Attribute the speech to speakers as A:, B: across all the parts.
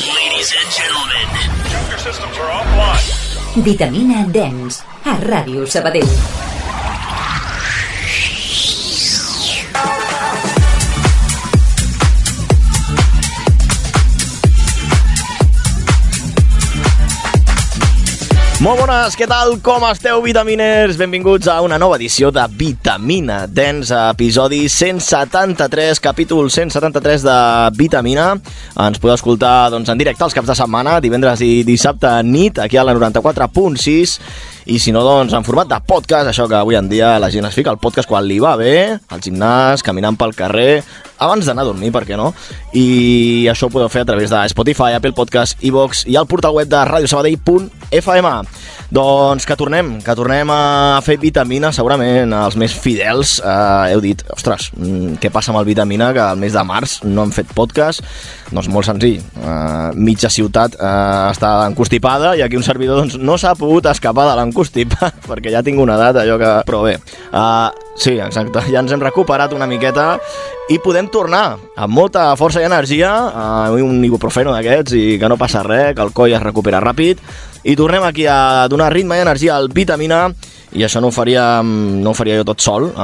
A: Ladies and gentlemen,
B: Your systems are offline.
C: Vitamina Dens, a Ràdio Sabadell.
D: Molt bones, què tal? Com esteu, vitaminers? Benvinguts a una nova edició de Vitamina Dens, episodi 173, capítol 173 de Vitamina. Ens podeu escoltar doncs, en directe els caps de setmana, divendres i dissabte nit, aquí a la 94.6, i si no, doncs, en format de podcast, això que avui en dia la gent es fica al podcast quan li va bé, al gimnàs, caminant pel carrer, abans d'anar a dormir, per què no? I això ho podeu fer a través de Spotify, Apple Podcast, iVox i al portal web de radiosabadell.fm. Doncs que tornem, que tornem a fer vitamina, segurament els més fidels eh, heu dit, ostres, mm, què passa amb el vitamina que el mes de març no han fet podcast? Doncs molt senzill, eh, mitja ciutat eh, està encostipada i aquí un servidor doncs, no s'ha pogut escapar de l'encostipat perquè ja tinc una edat allò que... Però bé, eh, sí, exacte, ja ens hem recuperat una miqueta i podem tornar amb molta força i energia, eh, un ibuprofeno d'aquests i que no passa res, que el coll es recupera ràpid i tornem aquí a donar ritme i energia al Vitamina i això no ho faria, no ho faria jo tot sol, eh,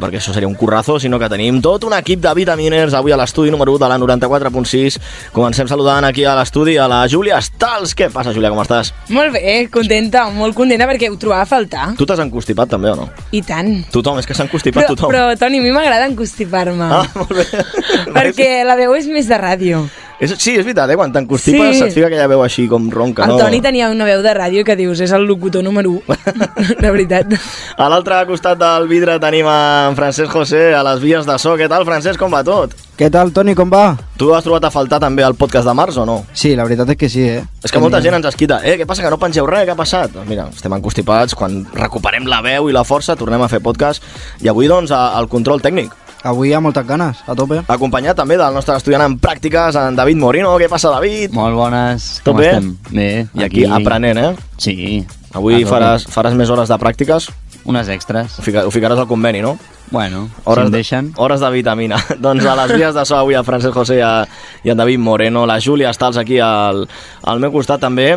D: perquè això seria un currazo, sinó que tenim tot un equip de vitaminers avui a l'estudi número 1 de la 94.6. Comencem saludant aquí a l'estudi a la Júlia Stals. Què passa, Júlia, com estàs?
E: Molt bé, contenta, molt contenta perquè ho trobava a faltar.
D: Tu t'has encostipat també o no?
E: I tant.
D: Tothom, és que s'ha encostipat
E: Però,
D: tothom.
E: però Toni, a mi m'agrada encostipar-me.
D: Ah, molt bé.
E: perquè la veu és més de ràdio.
D: És, sí, és veritat, eh? quan t'encostipes
E: Sí.
D: se't fica aquella veu així com ronca. no?
E: El Toni tenia una veu de ràdio que dius, és el locutor número 1, de veritat.
D: A l'altre costat del vidre tenim en Francesc José a les vies de so. Què tal, Francesc? Com va tot?
F: Què tal, Toni, com va?
D: Tu has trobat a faltar també el podcast de març o no?
F: Sí, la veritat és que sí, eh?
D: És que molta gent ens esquita, eh, què passa, que no pengeu res, què ha passat? Doncs mira, estem encostipats, quan recuperem la veu i la força tornem a fer podcast i avui doncs a- al control tècnic.
F: Avui hi ha moltes ganes, a tope.
D: Acompanyat també del nostre estudiant en pràctiques, en David Morino. Què passa, David?
G: Molt bones,
D: Tot
G: com
D: bé?
G: estem? Bé,
D: I aquí aprenent, eh?
G: Sí.
D: Avui
G: A tope.
D: faràs, faràs més hores de pràctiques,
G: Unes extres.
D: ho, fica, ho ficaràs al conveni, no?
G: Bueno,
D: Hores,
G: Hores si em
D: de-
G: deixen...
D: hores de vitamina. doncs a les vies de so avui a Francesc José i, a, i en David Moreno, la Júlia Estals aquí al, al meu costat també.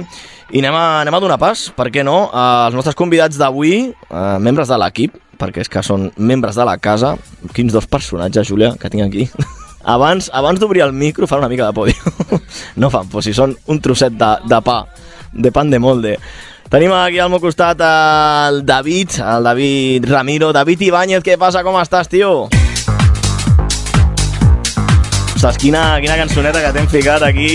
D: I anem a, anem a donar pas, per què no, als nostres convidats d'avui, eh, membres de l'equip, perquè és que són membres de la casa. Quins dos personatges, Júlia, que tinc aquí. Abans, abans d'obrir el micro fan una mica de podi. No fan por, si són un trosset de, de pa, de pan de molde. Tenim aquí al meu costat el David, el David Ramiro. David Ibáñez, què passa? Com estàs, tio? Ostres, quina, quina cançoneta que t'hem ficat aquí.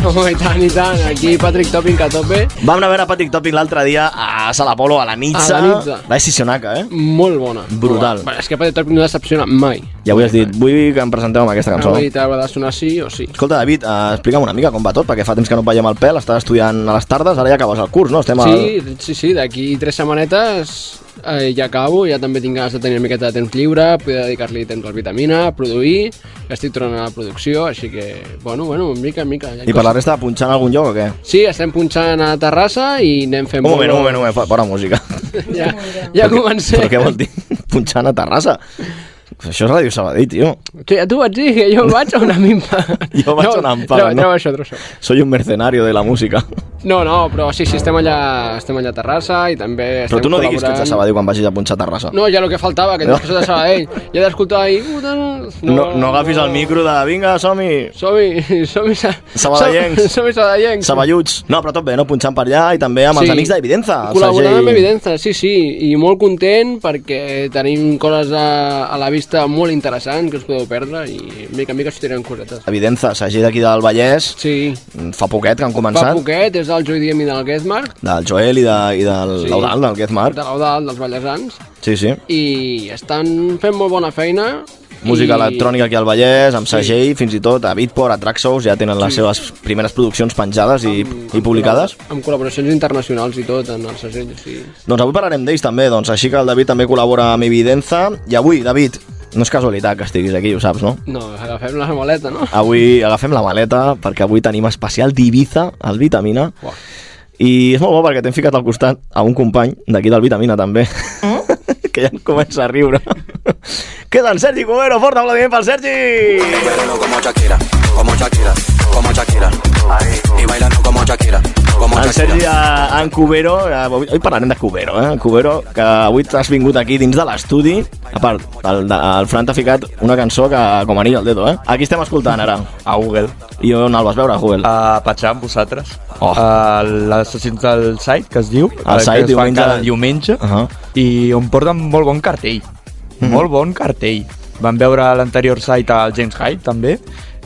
H: Oh, i tant, i tant. Aquí Patrick Topping que a tope.
D: Vam anar a veure Patrick Topic l'altre dia a Salapolo, a la Nitza.
H: A la Nitza.
D: Va ser Sionaca, eh?
H: Molt bona.
D: Brutal.
H: Bé, és que Patrick Topping no decepciona mai.
D: I avui has dit, vull que em presenteu amb aquesta cançó.
H: Avui t'ha de sonar sí o sí.
D: Escolta, David, eh, explica'm una mica com va tot, perquè fa temps que no et veiem al pèl, estàs estudiant a les tardes, ara ja acabes el curs, no? Estem al...
H: Sí, sí, sí, d'aquí tres setmanetes eh, ja acabo, ja també tinc ganes de tenir una miqueta de temps lliure, poder dedicar-li temps al vitamina, a produir, que estic tornant a la producció, així que, bueno, bueno, mica en mica. Ja hi
D: I per la resta, punxant a algun lloc o què?
H: Sí, estem punxant a Terrassa i anem fent...
D: Un moment,
H: bolo.
D: un moment, un moment, fa- fora música.
H: Ja, ja comencem.
D: Però què vol dir? Punxant a Terrassa? Això és Ràdio Sabadell, tio.
H: Sí, tu vaig dir que jo vaig a una mimpa.
D: Jo vaig a una mimpa,
H: Treu,
D: no?
H: treu això, treu això.
D: Soy un mercenario de la música.
H: No, no, però sí, sí, estem allà, estem allà a Terrassa i també estem
D: Però tu no diguis que ets de
H: col·laborant.
D: Sabadell quan vagis a punxar a Terrassa.
H: No, ja el que faltava, que
D: No.
H: dius que soc de Sabadell. Ja he d'escoltar ahir... No,
D: no, no agafis el micro de vinga, som-hi,
H: Som-hi, som-hi... Sa...
D: Sabadellencs.
H: Som-hi sabadellencs.
D: saballuts. No, però tot bé, no? Punxant per allà i també amb els amics d'Evidenza. el
H: Col·laborant
D: Sergi.
H: amb Evidenza, sí, sí, i molt content perquè tenim coses a, a la vista molt interessants que us podeu perdre i mica en mica sortiran cosetes.
D: Evidenza, Sagí d'aquí del Vallès,
H: Sí,
D: fa poquet que
H: fa
D: han començat,
H: poquet, és del Joy Diem i del Getmark,
D: del Joel i, de, i del
H: Sí.
D: Laudal, del Gezmar.
H: de l'Audal, dels Vallesans,
D: Sí, sí.
H: i estan fent molt bona feina.
D: Música
H: i-
D: electrònica aquí al Vallès, amb segell, fins i tot a Beatport, a Traxxous, ja tenen les seves primeres produccions penjades i, i publicades.
H: Amb col·laboracions internacionals i tot en el segell, sí.
D: Doncs avui parlarem d'ells també, doncs així que el David també col·labora amb Evidenza. I avui, David, no és casualitat que estiguis aquí, ho saps, no?
H: No, agafem la maleta, no?
D: Avui agafem la maleta perquè avui tenim especial d'Ibiza, al Vitamina.
H: Uau.
D: I és molt bo perquè t'hem ficat al costat a un company d'aquí del Vitamina també, que ja em comença a riure. Queda en Sergi Cubero, fort aplaudiment pel Sergi!
I: Bailando como Shakira, como Shakira, como Shakira. Y
D: en Cubero, eh, avui, avui parlarem de Cubero, eh? En Cubero, que avui has vingut aquí dins de l'estudi. A part, el, de- el Fran t'ha ficat una cançó que com anillo al dedo, eh? Aquí estem escoltant ara.
A: a Google.
D: I on el vas veure, Joel?
A: a petjar amb vosaltres
D: Oh.
A: oh. a l'Assassins del Site, que es diu,
D: El
A: eh,
D: Site,
A: que es fa
D: diumenge.
A: cada diumenge, uh
D: Ahà. Mhm.
A: -huh. i on porten molt bon cartell, mm -hmm. molt bon cartell. Vam veure l'anterior Site al James Hyde, també,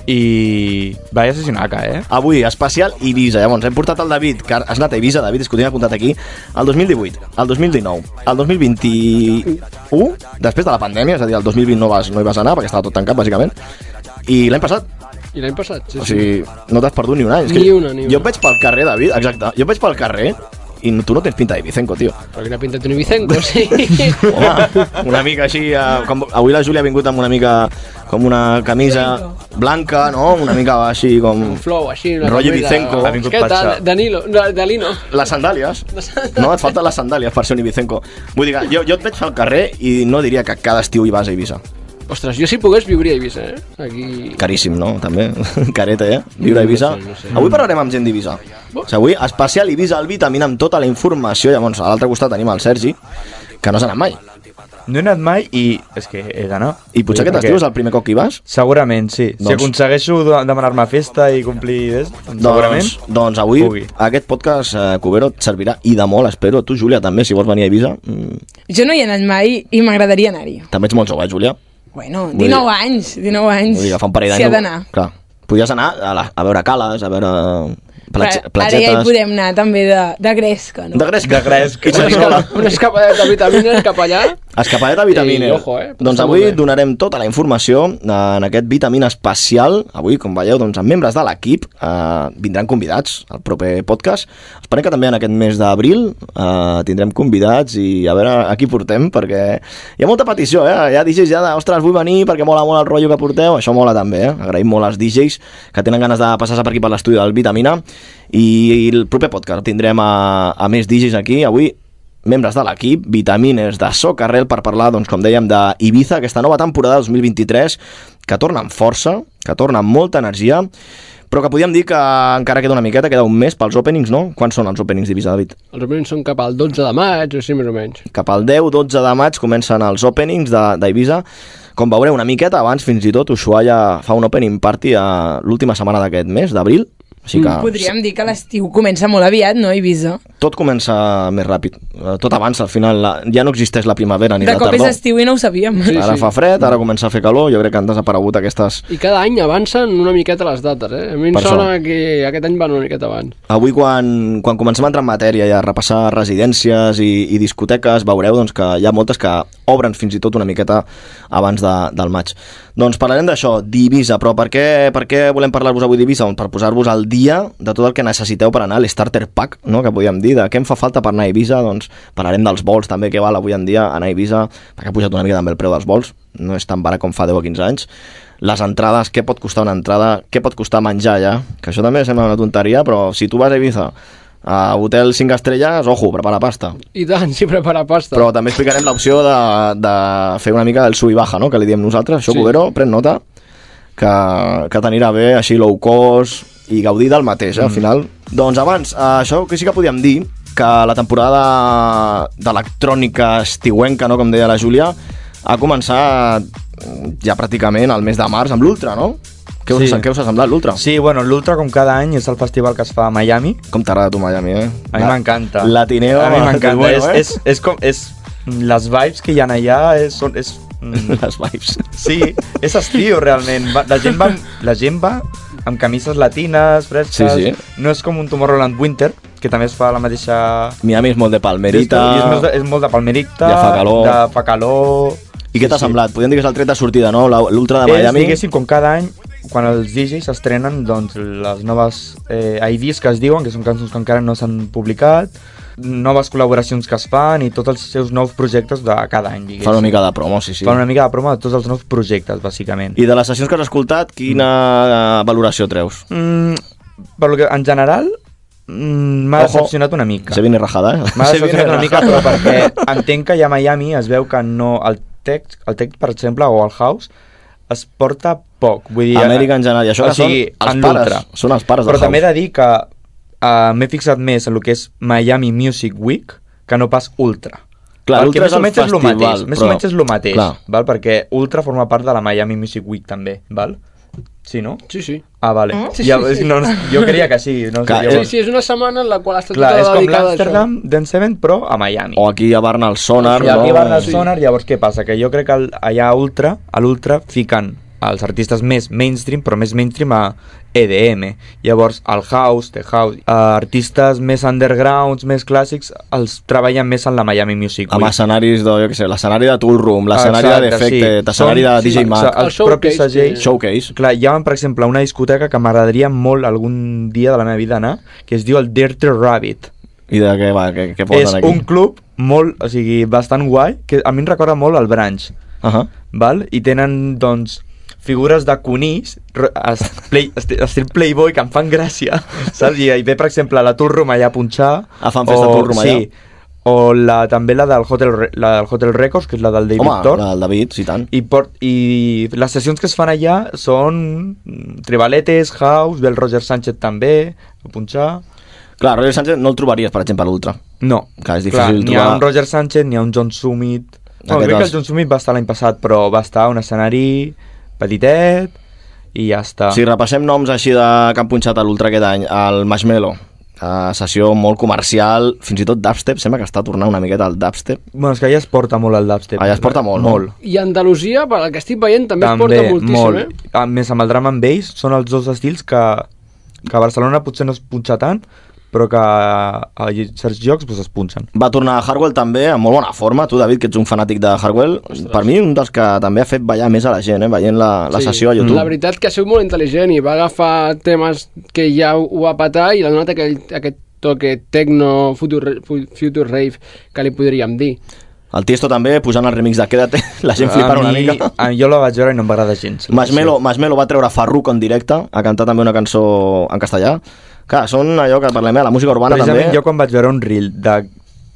A: i vaja assassinaca, eh?
D: Avui, especial Ibiza. Llavors, hem portat el David, que has anat a Ibiza, David, és que ho tinc apuntat aquí, el 2018, el 2019, el 2021, després de la pandèmia, és a dir, el 2020 no, vas, no hi vas anar perquè estava tot tancat, bàsicament, i l'any passat,
H: I l'any passat, sí,
D: o
H: sí.
D: sigui, no t'has perdut ni un any. És
H: Ni
D: jo-
H: una, ni
D: Jo
H: una.
D: et veig pel carrer, David, exacte, jo et veig pel carrer i no- tu no tens pinta d'Ibicenco, tio.
H: Però quina pinta té un Ibicenco, sí.
D: Home, una mica així... Eh, com, avui la Júlia ha vingut amb una mica... com una camisa blanca, no? Una mica així com...
H: Flow, així, una
D: Rotllo
H: camisa-
D: Ibicenco.
A: Ha vingut
H: Què tal,
A: patxat.
H: Danilo? No, Dalino.
D: Les sandàlies. No, et falten les sandàlies per ser un ibicenco. Vull dir que jo, jo et veig al carrer i no diria que cada estiu hi vas a Eivissa.
H: Ostres, jo si pogués viuria a Eivissa, eh? Aquí...
D: Caríssim, no? També. Careta, eh? Viure a Eivissa.
H: No sé, no sé.
D: Avui parlarem amb gent d'Eivissa. O sigui, avui, especial Eivissa al Vitamina amb tota la informació. Llavors, a l'altre costat tenim el Sergi, que no s'ha anat mai.
A: No he anat mai i és que he d'anar.
D: I potser aquest estiu és el primer cop que hi vas?
A: Segurament, sí. Doncs... Si
D: Doncs-
A: aconsegueixo de- demanar-me festa i complir... Eh? Segurament.
D: Doncs, doncs avui
A: Pugui.
D: aquest podcast, eh, Cubero, et servirà i de molt, espero. Tu, Júlia, també, si vols venir a Eivissa. Mm,
E: Jo no hi he anat mai i m'agradaria anar-hi.
D: també ets molt jove, eh, Júlia?
E: Bueno,
D: dir-
E: 19 anys, 19 anys.
D: Vull dir que fa un parell
E: S'hi
D: d'anys...
E: ha d'anar.
D: Clar. Podies anar a, la, a veure cales, a veure eh, platge,
E: Però Ara ja
D: platgetes...
E: hi podem anar també de, de gresca, no?
D: De gresca.
A: De gresca.
D: I xariscola.
H: Una escapada de vitamines cap allà.
D: Escapadet a vitamina.
H: I ojo, eh?
D: Doncs
H: Està
D: avui
H: molt bé.
D: donarem tota la informació en aquest vitamina especial. Avui, com veieu, doncs, amb membres de l'equip eh, vindran convidats al proper podcast. Esperem que també en aquest mes d'abril eh, tindrem convidats i a veure a qui portem, perquè hi ha molta petició, eh? Hi ha DJs ja de, ostres, vull venir perquè mola molt el rotllo que porteu. Això mola també, eh? Agraïm molt als DJs que tenen ganes de passar-se per aquí per l'estudi del Vitamina. I el proper podcast tindrem a, a més DJs aquí. Avui membres de l'equip, vitamines de Socarrel per parlar, doncs, com dèiem, d'Ibiza, aquesta nova temporada 2023, que torna amb força, que torna amb molta energia, però que podíem dir que encara queda una miqueta, queda un mes pels openings, no? Quants són els openings d'Ibiza, David?
H: Els openings són cap al 12 de maig, o així més o menys.
D: Cap al 10-12 de maig comencen els openings de- d'Ibiza. Com veureu, una miqueta abans, fins i tot, Ushuaia fa un opening party a l'última setmana d'aquest mes, d'abril, així que...
E: Podríem dir que l'estiu comença molt aviat, no, Eivissa?
D: Tot comença més ràpid, eh, tot avança, al final la, ja no existeix la primavera ni
E: De
D: la
E: cop
D: tardor.
E: és estiu i no ho sabíem.
H: Sí,
D: ara fa fred, ara comença a fer calor, jo crec que han desaparegut aquestes...
H: I cada any avancen una miqueta les dates, eh? A mi em
D: Per
H: sona
D: això.
H: que aquest any van una miqueta abans.
D: Avui, quan, quan comencem a entrar en matèria i a repassar residències i, i discoteques, veureu doncs, que hi ha moltes que obren fins i tot una miqueta abans de, del maig. Doncs parlarem d'això, d'Ibiza, però per què, per què volem parlar-vos avui d'Ibiza? Doncs per posar-vos al dia de tot el que necessiteu per anar a l'Starter Pack, no? que podíem dir, de què em fa falta per anar a Ibiza, doncs parlarem dels vols també, que val avui en dia anar a Ibiza, perquè ha pujat una mica també el preu dels vols, no és tan barat com fa 10 o 15 anys, les entrades, què pot costar una entrada, què pot costar menjar allà, que això també sembla una tonteria, però si tu vas a Ibiza, a hotel 5 estrelles, ojo, prepara pasta.
H: I tant, si prepara pasta.
D: Però també explicarem l'opció de, de fer una mica el sub i baja, no? que li diem nosaltres. Això, sí.
H: Sí.
D: Cubero, pren nota, que, que t'anirà bé, així low cost i gaudir del mateix,
A: Mm.
D: eh, al final. Doncs abans, eh, això que sí que podíem dir, que la temporada d'electrònica estiuenca, no? com deia la Júlia, ha començat mm, ja pràcticament al mes de març amb l'Ultra, no? Què us,
A: Sí.
D: què us ha semblat l'Ultra?
A: Sí, bueno, l'Ultra, com cada any, és el festival que es fa a Miami.
D: Com t'agrada tu Miami, eh?
A: A mi
D: La-
A: m'encanta.
D: Latineo.
A: A mi m'encanta.
D: bueno,
A: és,
D: eh?
A: és, és com... És, les vibes que hi ha allà és, són... És, mm,
D: Les vibes.
A: sí, és estiu, realment. Va, la, gent va, amb- la gent va amb camises latines, fresques...
D: Sí, sí.
A: No és com un Tomorrowland Winter, que també es fa a la mateixa...
D: Miami és molt de palmerita.
A: I És, més de, és molt de palmerita,
D: Ja fa calor.
A: de fa calor...
D: I què t'ha semblat? Podríem dir que és el tret de sortida, no? La- L'Ultra de
A: Miami.
D: Miami.
A: És, diguéssim, com cada any, quan els DJs estrenen doncs, les noves eh, IDs que es diuen, que són cançons que encara no s'han publicat, noves col·laboracions que es fan i tots els seus nous projectes de cada any, diguéssim.
D: Fa una mica de promo, sí, sí.
A: Fan una mica de promo de tots els nous projectes, bàsicament.
D: I de les sessions que has escoltat, quina eh, valoració treus?
A: Mm, per lo que, en general, mm, m'ha
D: Ojo.
A: decepcionat una mica.
D: Se viene rajada, eh?
A: M'ha
D: Se viene
A: decepcionat una mica, però
D: rajada.
A: perquè entenc que ja a Miami es veu que no... El tech, el tech per exemple, o el house, es porta poc. Vull dir,
D: Amèrica en general, i això
A: o
D: que són
A: sigui,
D: els
A: en
D: pares,
A: l'ultra.
D: són els pares del
A: Però també he
D: house.
A: de dir que uh, m'he fixat més en el que és Miami Music Week que no pas Ultra.
D: Clar, Ultra
A: Perquè
D: és
A: més
D: el
A: o menys és el
D: festival,
A: mateix, més o
D: però-
A: menys és el mateix,
D: Clar.
A: val? perquè Ultra forma part de la Miami Music Week també, val? Sí, no?
H: Sí, sí.
A: Ah, vale.
H: Sí,
A: Ja,
H: sí, sí.
A: No, no, jo creia que sí. No
D: Clar, eh,
A: sé,
D: és-
H: Sí,
A: llavors-
H: sí, és una setmana en la qual està
A: Doncs Clar, és
H: tota dedicada
A: com
H: a això.
A: l'Amsterdam Dance Event, però a Miami.
D: O aquí a Barna al Sonar,
A: I aquí
D: no?
A: van al
H: sí.
A: Sonar, llavors què passa? Que jo crec que el, allà a Ultra, a l'Ultra, fiquen els artistes més mainstream, però més mainstream a EDM. Llavors, el House, The House, eh, artistes més undergrounds, més clàssics, els treballen més en la Miami Music
D: Amb escenaris de, jo què sé, l'escenari de Tool Room, l'escenari de
A: Exacte,
D: Defecte,
A: sí.
D: l'escenari de
A: Són-
D: DJ
A: sí,
D: Mac,
A: exa- Els
H: El
A: propis
H: showcase,
A: segells...
H: sí.
D: Showcase.
A: Clar, hi ha, per exemple, una discoteca que m'agradaria molt algun dia de la meva vida anar, que es diu el Dirty Rabbit.
D: I de què va, què, què
A: és
D: posen aquí?
A: un club molt, o sigui, bastant guai, que a mi em recorda molt el Branch,
D: Uh -huh.
A: val? I tenen, doncs, figures de conills, re- es- play, esti- estil Playboy, que em fan gràcia, saps? I, i ve, per exemple, la Tour Room allà a punxar.
D: Ah, fan festa
A: o-
D: Tour Room allà.
A: Sí, o la, també la del, Hotel, Re- la del Hotel Records, que és la del David
D: Home,
A: Thor.
D: la del David, sí tant.
A: I, por, I les sessions que es fan allà són mm, tribaletes, house, ve el Roger Sánchez també, a punxar...
D: Clar, Roger Sánchez no el trobaries, per exemple, a l'Ultra.
A: No,
D: Clar, és
A: clar,
D: difícil
A: ni ha
D: trobar-
A: un Roger Sánchez, ni ha un John Summit... No,
D: Aquest
A: crec que
D: dels-
A: el John Summit va estar l'any passat, però va estar a un escenari petitet i ja està.
D: Si repassem noms així de que han punxat a l'Ultra aquest any, el Marshmello, eh, sessió molt comercial, fins i tot dubstep, sembla que està tornant una miqueta al dubstep.
A: Bueno, és que allà es porta molt el dubstep.
D: Allà es porta molt, no?
A: eh? Molt.
H: I Andalusia, per el que estic veient, també,
A: També,
H: es porta moltíssim,
A: molt.
H: eh?
A: A més, amb el drum and bass són els dos estils que, que a Barcelona potser no es punxa tant, però que a certs jocs pues, es punxen.
D: Va tornar a Hardwell també, en molt bona forma. Tu, David, que ets un fanàtic de Hardwell, per mi un dels que també ha fet ballar més a la gent, eh? veient la, la sessió
A: Mm.
D: a YouTube.
H: La veritat que ha sigut molt intel·ligent i va agafar temes que ja ho va petar i l'ha donat aquell, aquest toque techno, future, fu- future rave, que li podríem dir.
D: El Tiesto també, posant el remix de Quédate, la gent flipant una
A: mi- Ah,
D: mica.
A: A, jo la vaig veure i no em va agradar gens.
D: Masmelo, Masmelo va treure Farruko en directe, ha cantat també una cançó en castellà. Clar, són allò que parlem, eh? la música urbana també.
A: Precisament jo quan vaig veure un reel de,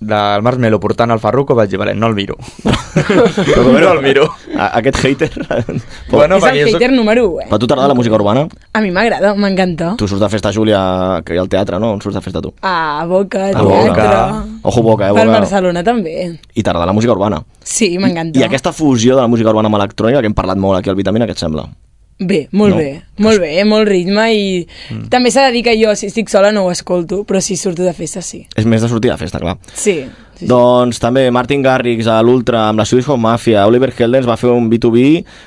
A: del Marshmello portant el Farruko vaig dir, vale, no el miro. no el miro.
D: A- Aquest hater...
A: Bueno,
E: és el
A: perquè jo soc-
E: hater número 1, eh?
D: Però a tu t'agrada la música urbana?
E: A mi m'agrada, m'encanta.
D: Tu surts de festa, Júlia, que hi ha al teatre, no? On surts de festa tu?
E: A Boca,
D: A
E: a
D: Boca.
E: Teatre...
D: Ojo Boca, eh,
E: Per
D: Boca.
E: Barcelona també.
D: I t'agrada la música urbana.
E: Sí, m'encanta.
D: I aquesta fusió de la música urbana amb electrònica, que hem parlat molt aquí al Vitamina, què et sembla?
E: Bé, molt
D: No. Mm.
E: bé, molt bé, molt ritme i també s'ha de dir que jo si estic sola no ho escolto, però si surto de festa sí.
D: És més de sortir de festa, clar.
E: Sí, sí, sí.
D: Doncs també Martin Garrix a l'Ultra amb la Swedish House Mafia, Oliver Heldens va fer un B2B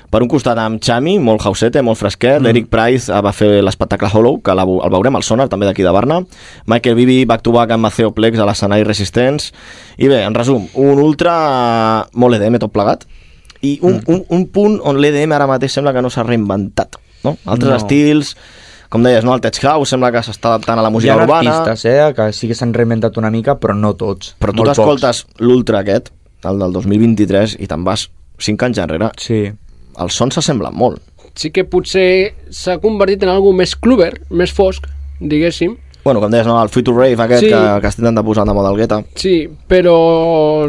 D: per un costat amb Chami, molt hausete, molt fresquet,
A: Mm.
D: l'Eric Price eh, va fer l'espectacle Hollow, que la, el veurem al Sonar també d'aquí de Barna, Michael Bibi back to back amb Maceo Plex a l'escenari Resistents, i bé, en resum, un Ultra eh, molt EDM tot plegat, i un,
A: Mm.
D: un, un punt on l'EDM ara mateix sembla que no s'ha reinventat, no? Altres
A: No.
D: estils, com deies, no? el Tech House sembla que s'està adaptant a la
A: Hi ha
D: música urbana
A: artistes, eh, que sí que s'han reinventat una mica, però no tots.
D: però tu
A: Molt
D: t'escoltes l'Ultra aquest, el del 2023, i te'n vas 5 anys enrere.
A: pocs. Sí.
D: Els sons s'assemblen molt.
H: Sí que potser s'ha convertit en algú més cluber, més fosc, diguéssim,
D: Bueno, com deies, no? el Free to Rave aquest
H: Sí.
D: que, que estic intentant posar de moda al gueta.
H: Sí, però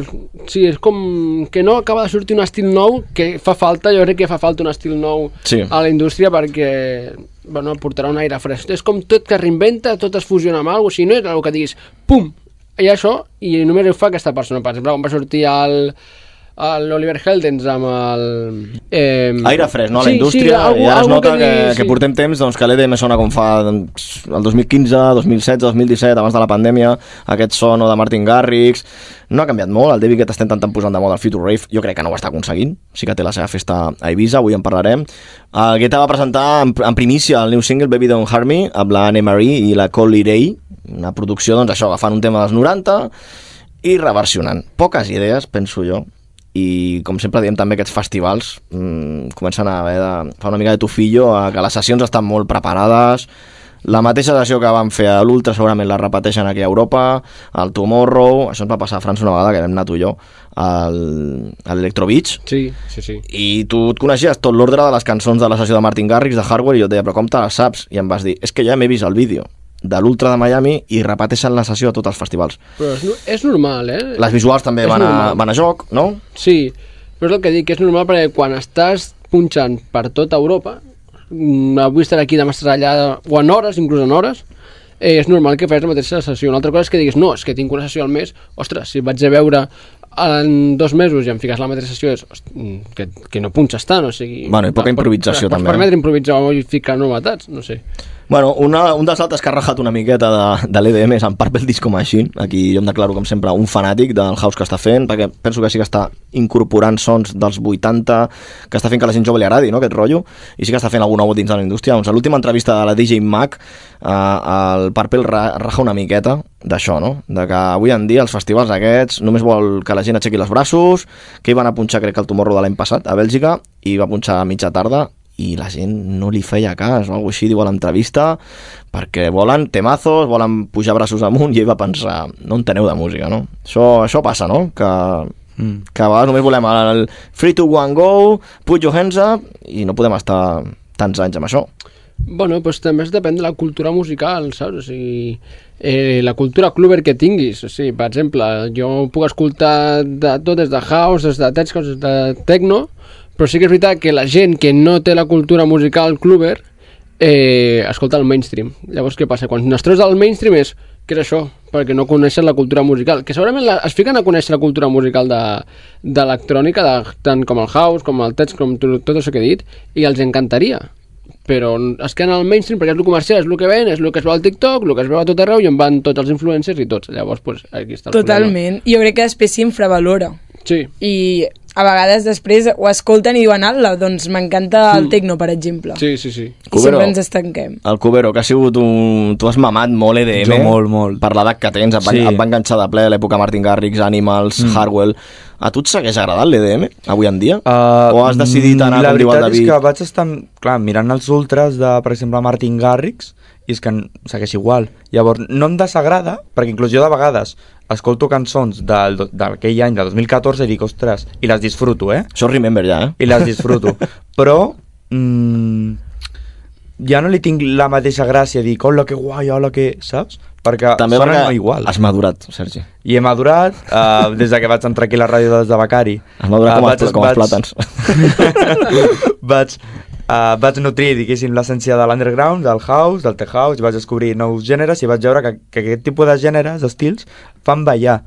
H: sí, és com que no acaba de sortir un estil nou que fa falta, jo crec que fa falta un estil nou
D: Sí.
H: a la indústria perquè bueno, portarà un aire fresc. És com tot que es reinventa, tot es fusiona amb alguna cosa, si no és el que diguis, pum, i això, i només ho fa aquesta persona. Per exemple, quan va sortir el l'Oliver Heldens amb el... Eh,
D: Aire fresc, no? A la
H: sí, sí,
D: indústria,
H: algú,
D: i ara es
H: algú
D: nota que,
H: diguis,
D: que
H: sí.
D: portem temps doncs, que l'EDM sona com fa doncs, el 2015, 2016, 2017, abans de la pandèmia, aquest son o de Martin Garrix... No ha canviat molt, el David que t'estem intentant posant de moda el Future Rave, jo crec que no ho està aconseguint, sí que té la seva festa a Ibiza, avui en parlarem. El Guetta va presentar en, en primícia el new single Baby Don't Harm Me, amb la Anne Marie i la Cole Ray, una producció, doncs això, agafant un tema dels 90 i reversionant. Poques idees, penso jo, i com sempre diem també aquests festivals mmm, comencen a haver de fa una mica de tufillo a que les sessions estan molt preparades la mateixa sessió que van fer a l'Ultra segurament la repeteixen aquí a Europa al Tomorrow, això ens va passar a França una vegada que vam anar tu i jo al, a l'Electro Beach
H: Sí, sí, sí.
D: i tu et coneixies tot l'ordre de les cançons de la sessió de Martin Garrix, de Hardware, i jo et deia, però com te les saps? I em vas dir, és que ja m'he vist el vídeo de l'Ultra de Miami i repeteixen la sessió a tots els festivals.
H: Però és, no- és normal, eh?
D: Les visuals també
H: És
D: van a,
H: normal.
D: van a joc, no?
H: Sí, però és el que dic, que és normal perquè quan estàs punxant per tota Europa, mm, avui estarà aquí, demà estarà allà, o en hores, inclús en hores, eh, és normal que facis la mateixa sessió. Una altra cosa és que diguis, no, és que tinc una sessió al mes, ostres, si vaig a veure en dos mesos i em fiques la mateixa sessió, és, "Host- mm, que, que no punxa tant, o sigui...
D: Bueno, i poca
H: et pot-
D: improvisació,
H: et pots
D: també, eh?
H: permetre improvisar o ficar novetats, no sé.
D: Bueno, una, un dels altres que ha rajat una miqueta de, de l'EDM és en Purple Disco Machine. Aquí jo em declaro, com sempre, un fanàtic del house que està fent, perquè penso que sí que està incorporant sons dels 80, que està fent que a la gent jove li agradi, no?, aquest rotllo, i sí que està fent alguna cosa dins de la indústria. Doncs a l'última entrevista de la DJ Mac, eh, el Purple ra, raja una miqueta d'això, no?, de que avui en dia els festivals aquests només vol que la gent aixequi els braços, que hi van a punxar, crec que el Tomorrow de l'any passat, a Bèlgica, i va punxar a mitja tarda, i la gent no li feia cas o alguna així, diu a l'entrevista, perquè volen temazos, volen pujar braços amunt, i ell va pensar, no enteneu de música, no? Això, això passa, no? Que, mm. que a vegades només volem el free to one go, put your hands up, i no podem estar tants anys amb això.
H: Bueno, doncs també es depèn de la cultura musical, saps? O sigui, eh, la cultura clubber que tinguis. O sigui, per exemple, jo puc escoltar de tot, des de house, des de tech house, des de techno, però sí que és veritat que la gent que no té la cultura musical clubber eh, escolta el mainstream. Llavors, què passa? Quan nostres del mainstream és què és això? Perquè no coneixen la cultura musical. Que segurament la, es fiquen a conèixer la cultura musical de, de electrònica, de, tant com el house, com el tech, com tot, tot això que he dit, i els encantaria però es queden al mainstream perquè és el comercial, és el que ven, és el que es veu al TikTok, el que es veu a tot arreu i en van tots els influencers i tots. Llavors, pues, aquí està el
E: Totalment. Jo crec que després s'infravalora.
H: problema. Sí.
E: I a vegades després ho escolten i diuen ala, doncs m'encanta el tecno, per exemple.
H: Sí, sí, sí.
E: I sempre ens estanquem.
D: El Cubero, que ha sigut un... Tu has mamat molt E EDM.
A: Jo molt, molt.
D: Per l'edat que tens, et va,
A: Sí.
D: et va enganxar de ple l'època Martin Garrix, Animals, mm. Hardwell... A tu et segueix agradant l'EDM, avui en dia?
A: Uh,
D: o has decidit anar,
A: la
D: com diu el
A: veritat
D: David?
A: és que vaig estar, clar, mirant els ultras de, per exemple, Martin Garrix, i és que n- segueix igual. Llavors, no em desagrada, perquè inclús jo de vegades escolto cançons del, do- d'aquell any, del 2014, i dic, ostres, i les disfruto, eh?
D: Això és Remember ja, eh?
A: I les disfruto. Però, mm, ja no li tinc la mateixa gràcia, dic, hola, que guai, hola, que... Saps? Perquè
D: També
A: sonen
D: perquè
A: igual.
D: has madurat, Sergi.
A: I he madurat uh, des de que vaig entrar aquí a la ràdio des de Becari.
D: Has madurat
A: Eh,
D: com,
A: vaig-
D: els, pla- com els
A: vaig-
D: plàtans.
A: vaig, uh, vaig nutrir, diguéssim, l'essència de l'underground, del house, del tech house, vaig descobrir nous gèneres i vaig veure que, que aquest tipus de gèneres, d'estils, fan ballar.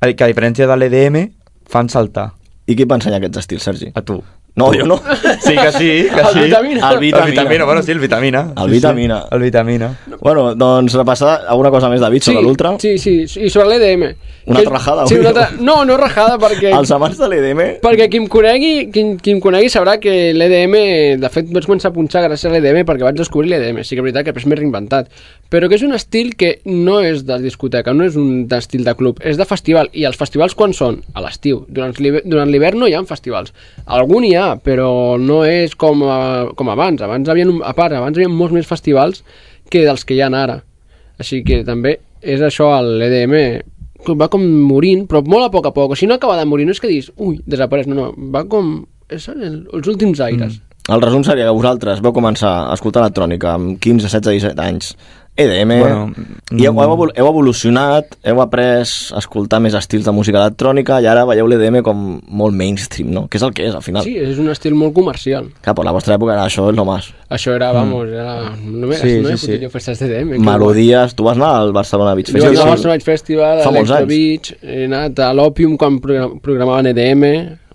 A: A dir, Que a diferència de l'EDM, fan saltar.
D: I qui et va ensenyar aquests estils, Sergi?
A: A tu.
D: No, jo no.
A: Sí que sí, que
H: El
A: sí.
H: Vitamina.
A: El vitamina. El vitamina, bueno, sí, el vitamina.
D: El
A: Sí,
D: Vitamina.
A: Sí, el vitamina.
D: Bueno, doncs repassar alguna cosa més, David, sobre l'Ultra.
H: Sí, sí, sí, i sobre l'EDM.
D: Una
H: Que-
D: altra rajada,
H: Sí,
D: avui,
H: una altra...
D: no?
H: No, no rajada, perquè...
D: Els amants de l'EDM...
H: Perquè qui em conegui, qui, qui em conegui sabrà que l'EDM, de fet vaig començar a punxar gràcies a l'EDM perquè vaig descobrir l'EDM, sí que és veritat que després m'he reinventat, però que és un estil que no és de discoteca, no és un estil de club, és de festival, i els festivals quan són? A l'estiu, durant l'hivern- durant l'hivern no hi ha festivals, algun hi ha, però no és com, a, com abans, abans havia, a part, abans hi havia molts més festivals que dels que hi ha ara, així que també és això l'EDM com- va com morint, però molt a poc a poc. O sigui, no acaba de morir, no és que dius, ui, desapareix, no, no, va com... És el, els últims aires. Mm.
D: El resum seria que vosaltres vau començar a escoltar electrònica amb 15, 16, 17 anys, EDM,
A: Bueno,
D: i heu,
A: mm.
D: heu, evol- heu evolucionat, heu après a escoltar més estils de música electrònica i ara veieu l'EDM com molt mainstream, no? Que és el que és, al final.
H: Sí, és un estil molt comercial.
D: Cap, a la vostra època era això, és lo más.
H: Això era, vamos, era... No me,
A: Sí,
H: no he
A: sí,
H: fotut
A: sí.
H: jo festes d'EDM.
D: Melodies, tu vas anar al Barcelona Beach
H: Jo vaig
D: Festival.
H: anar al Barcelona Beach Festival, a
D: Fa molts
H: l'Electro
D: anys.
H: Beach, he anat a l'Òpium quan progra- programaven EDM...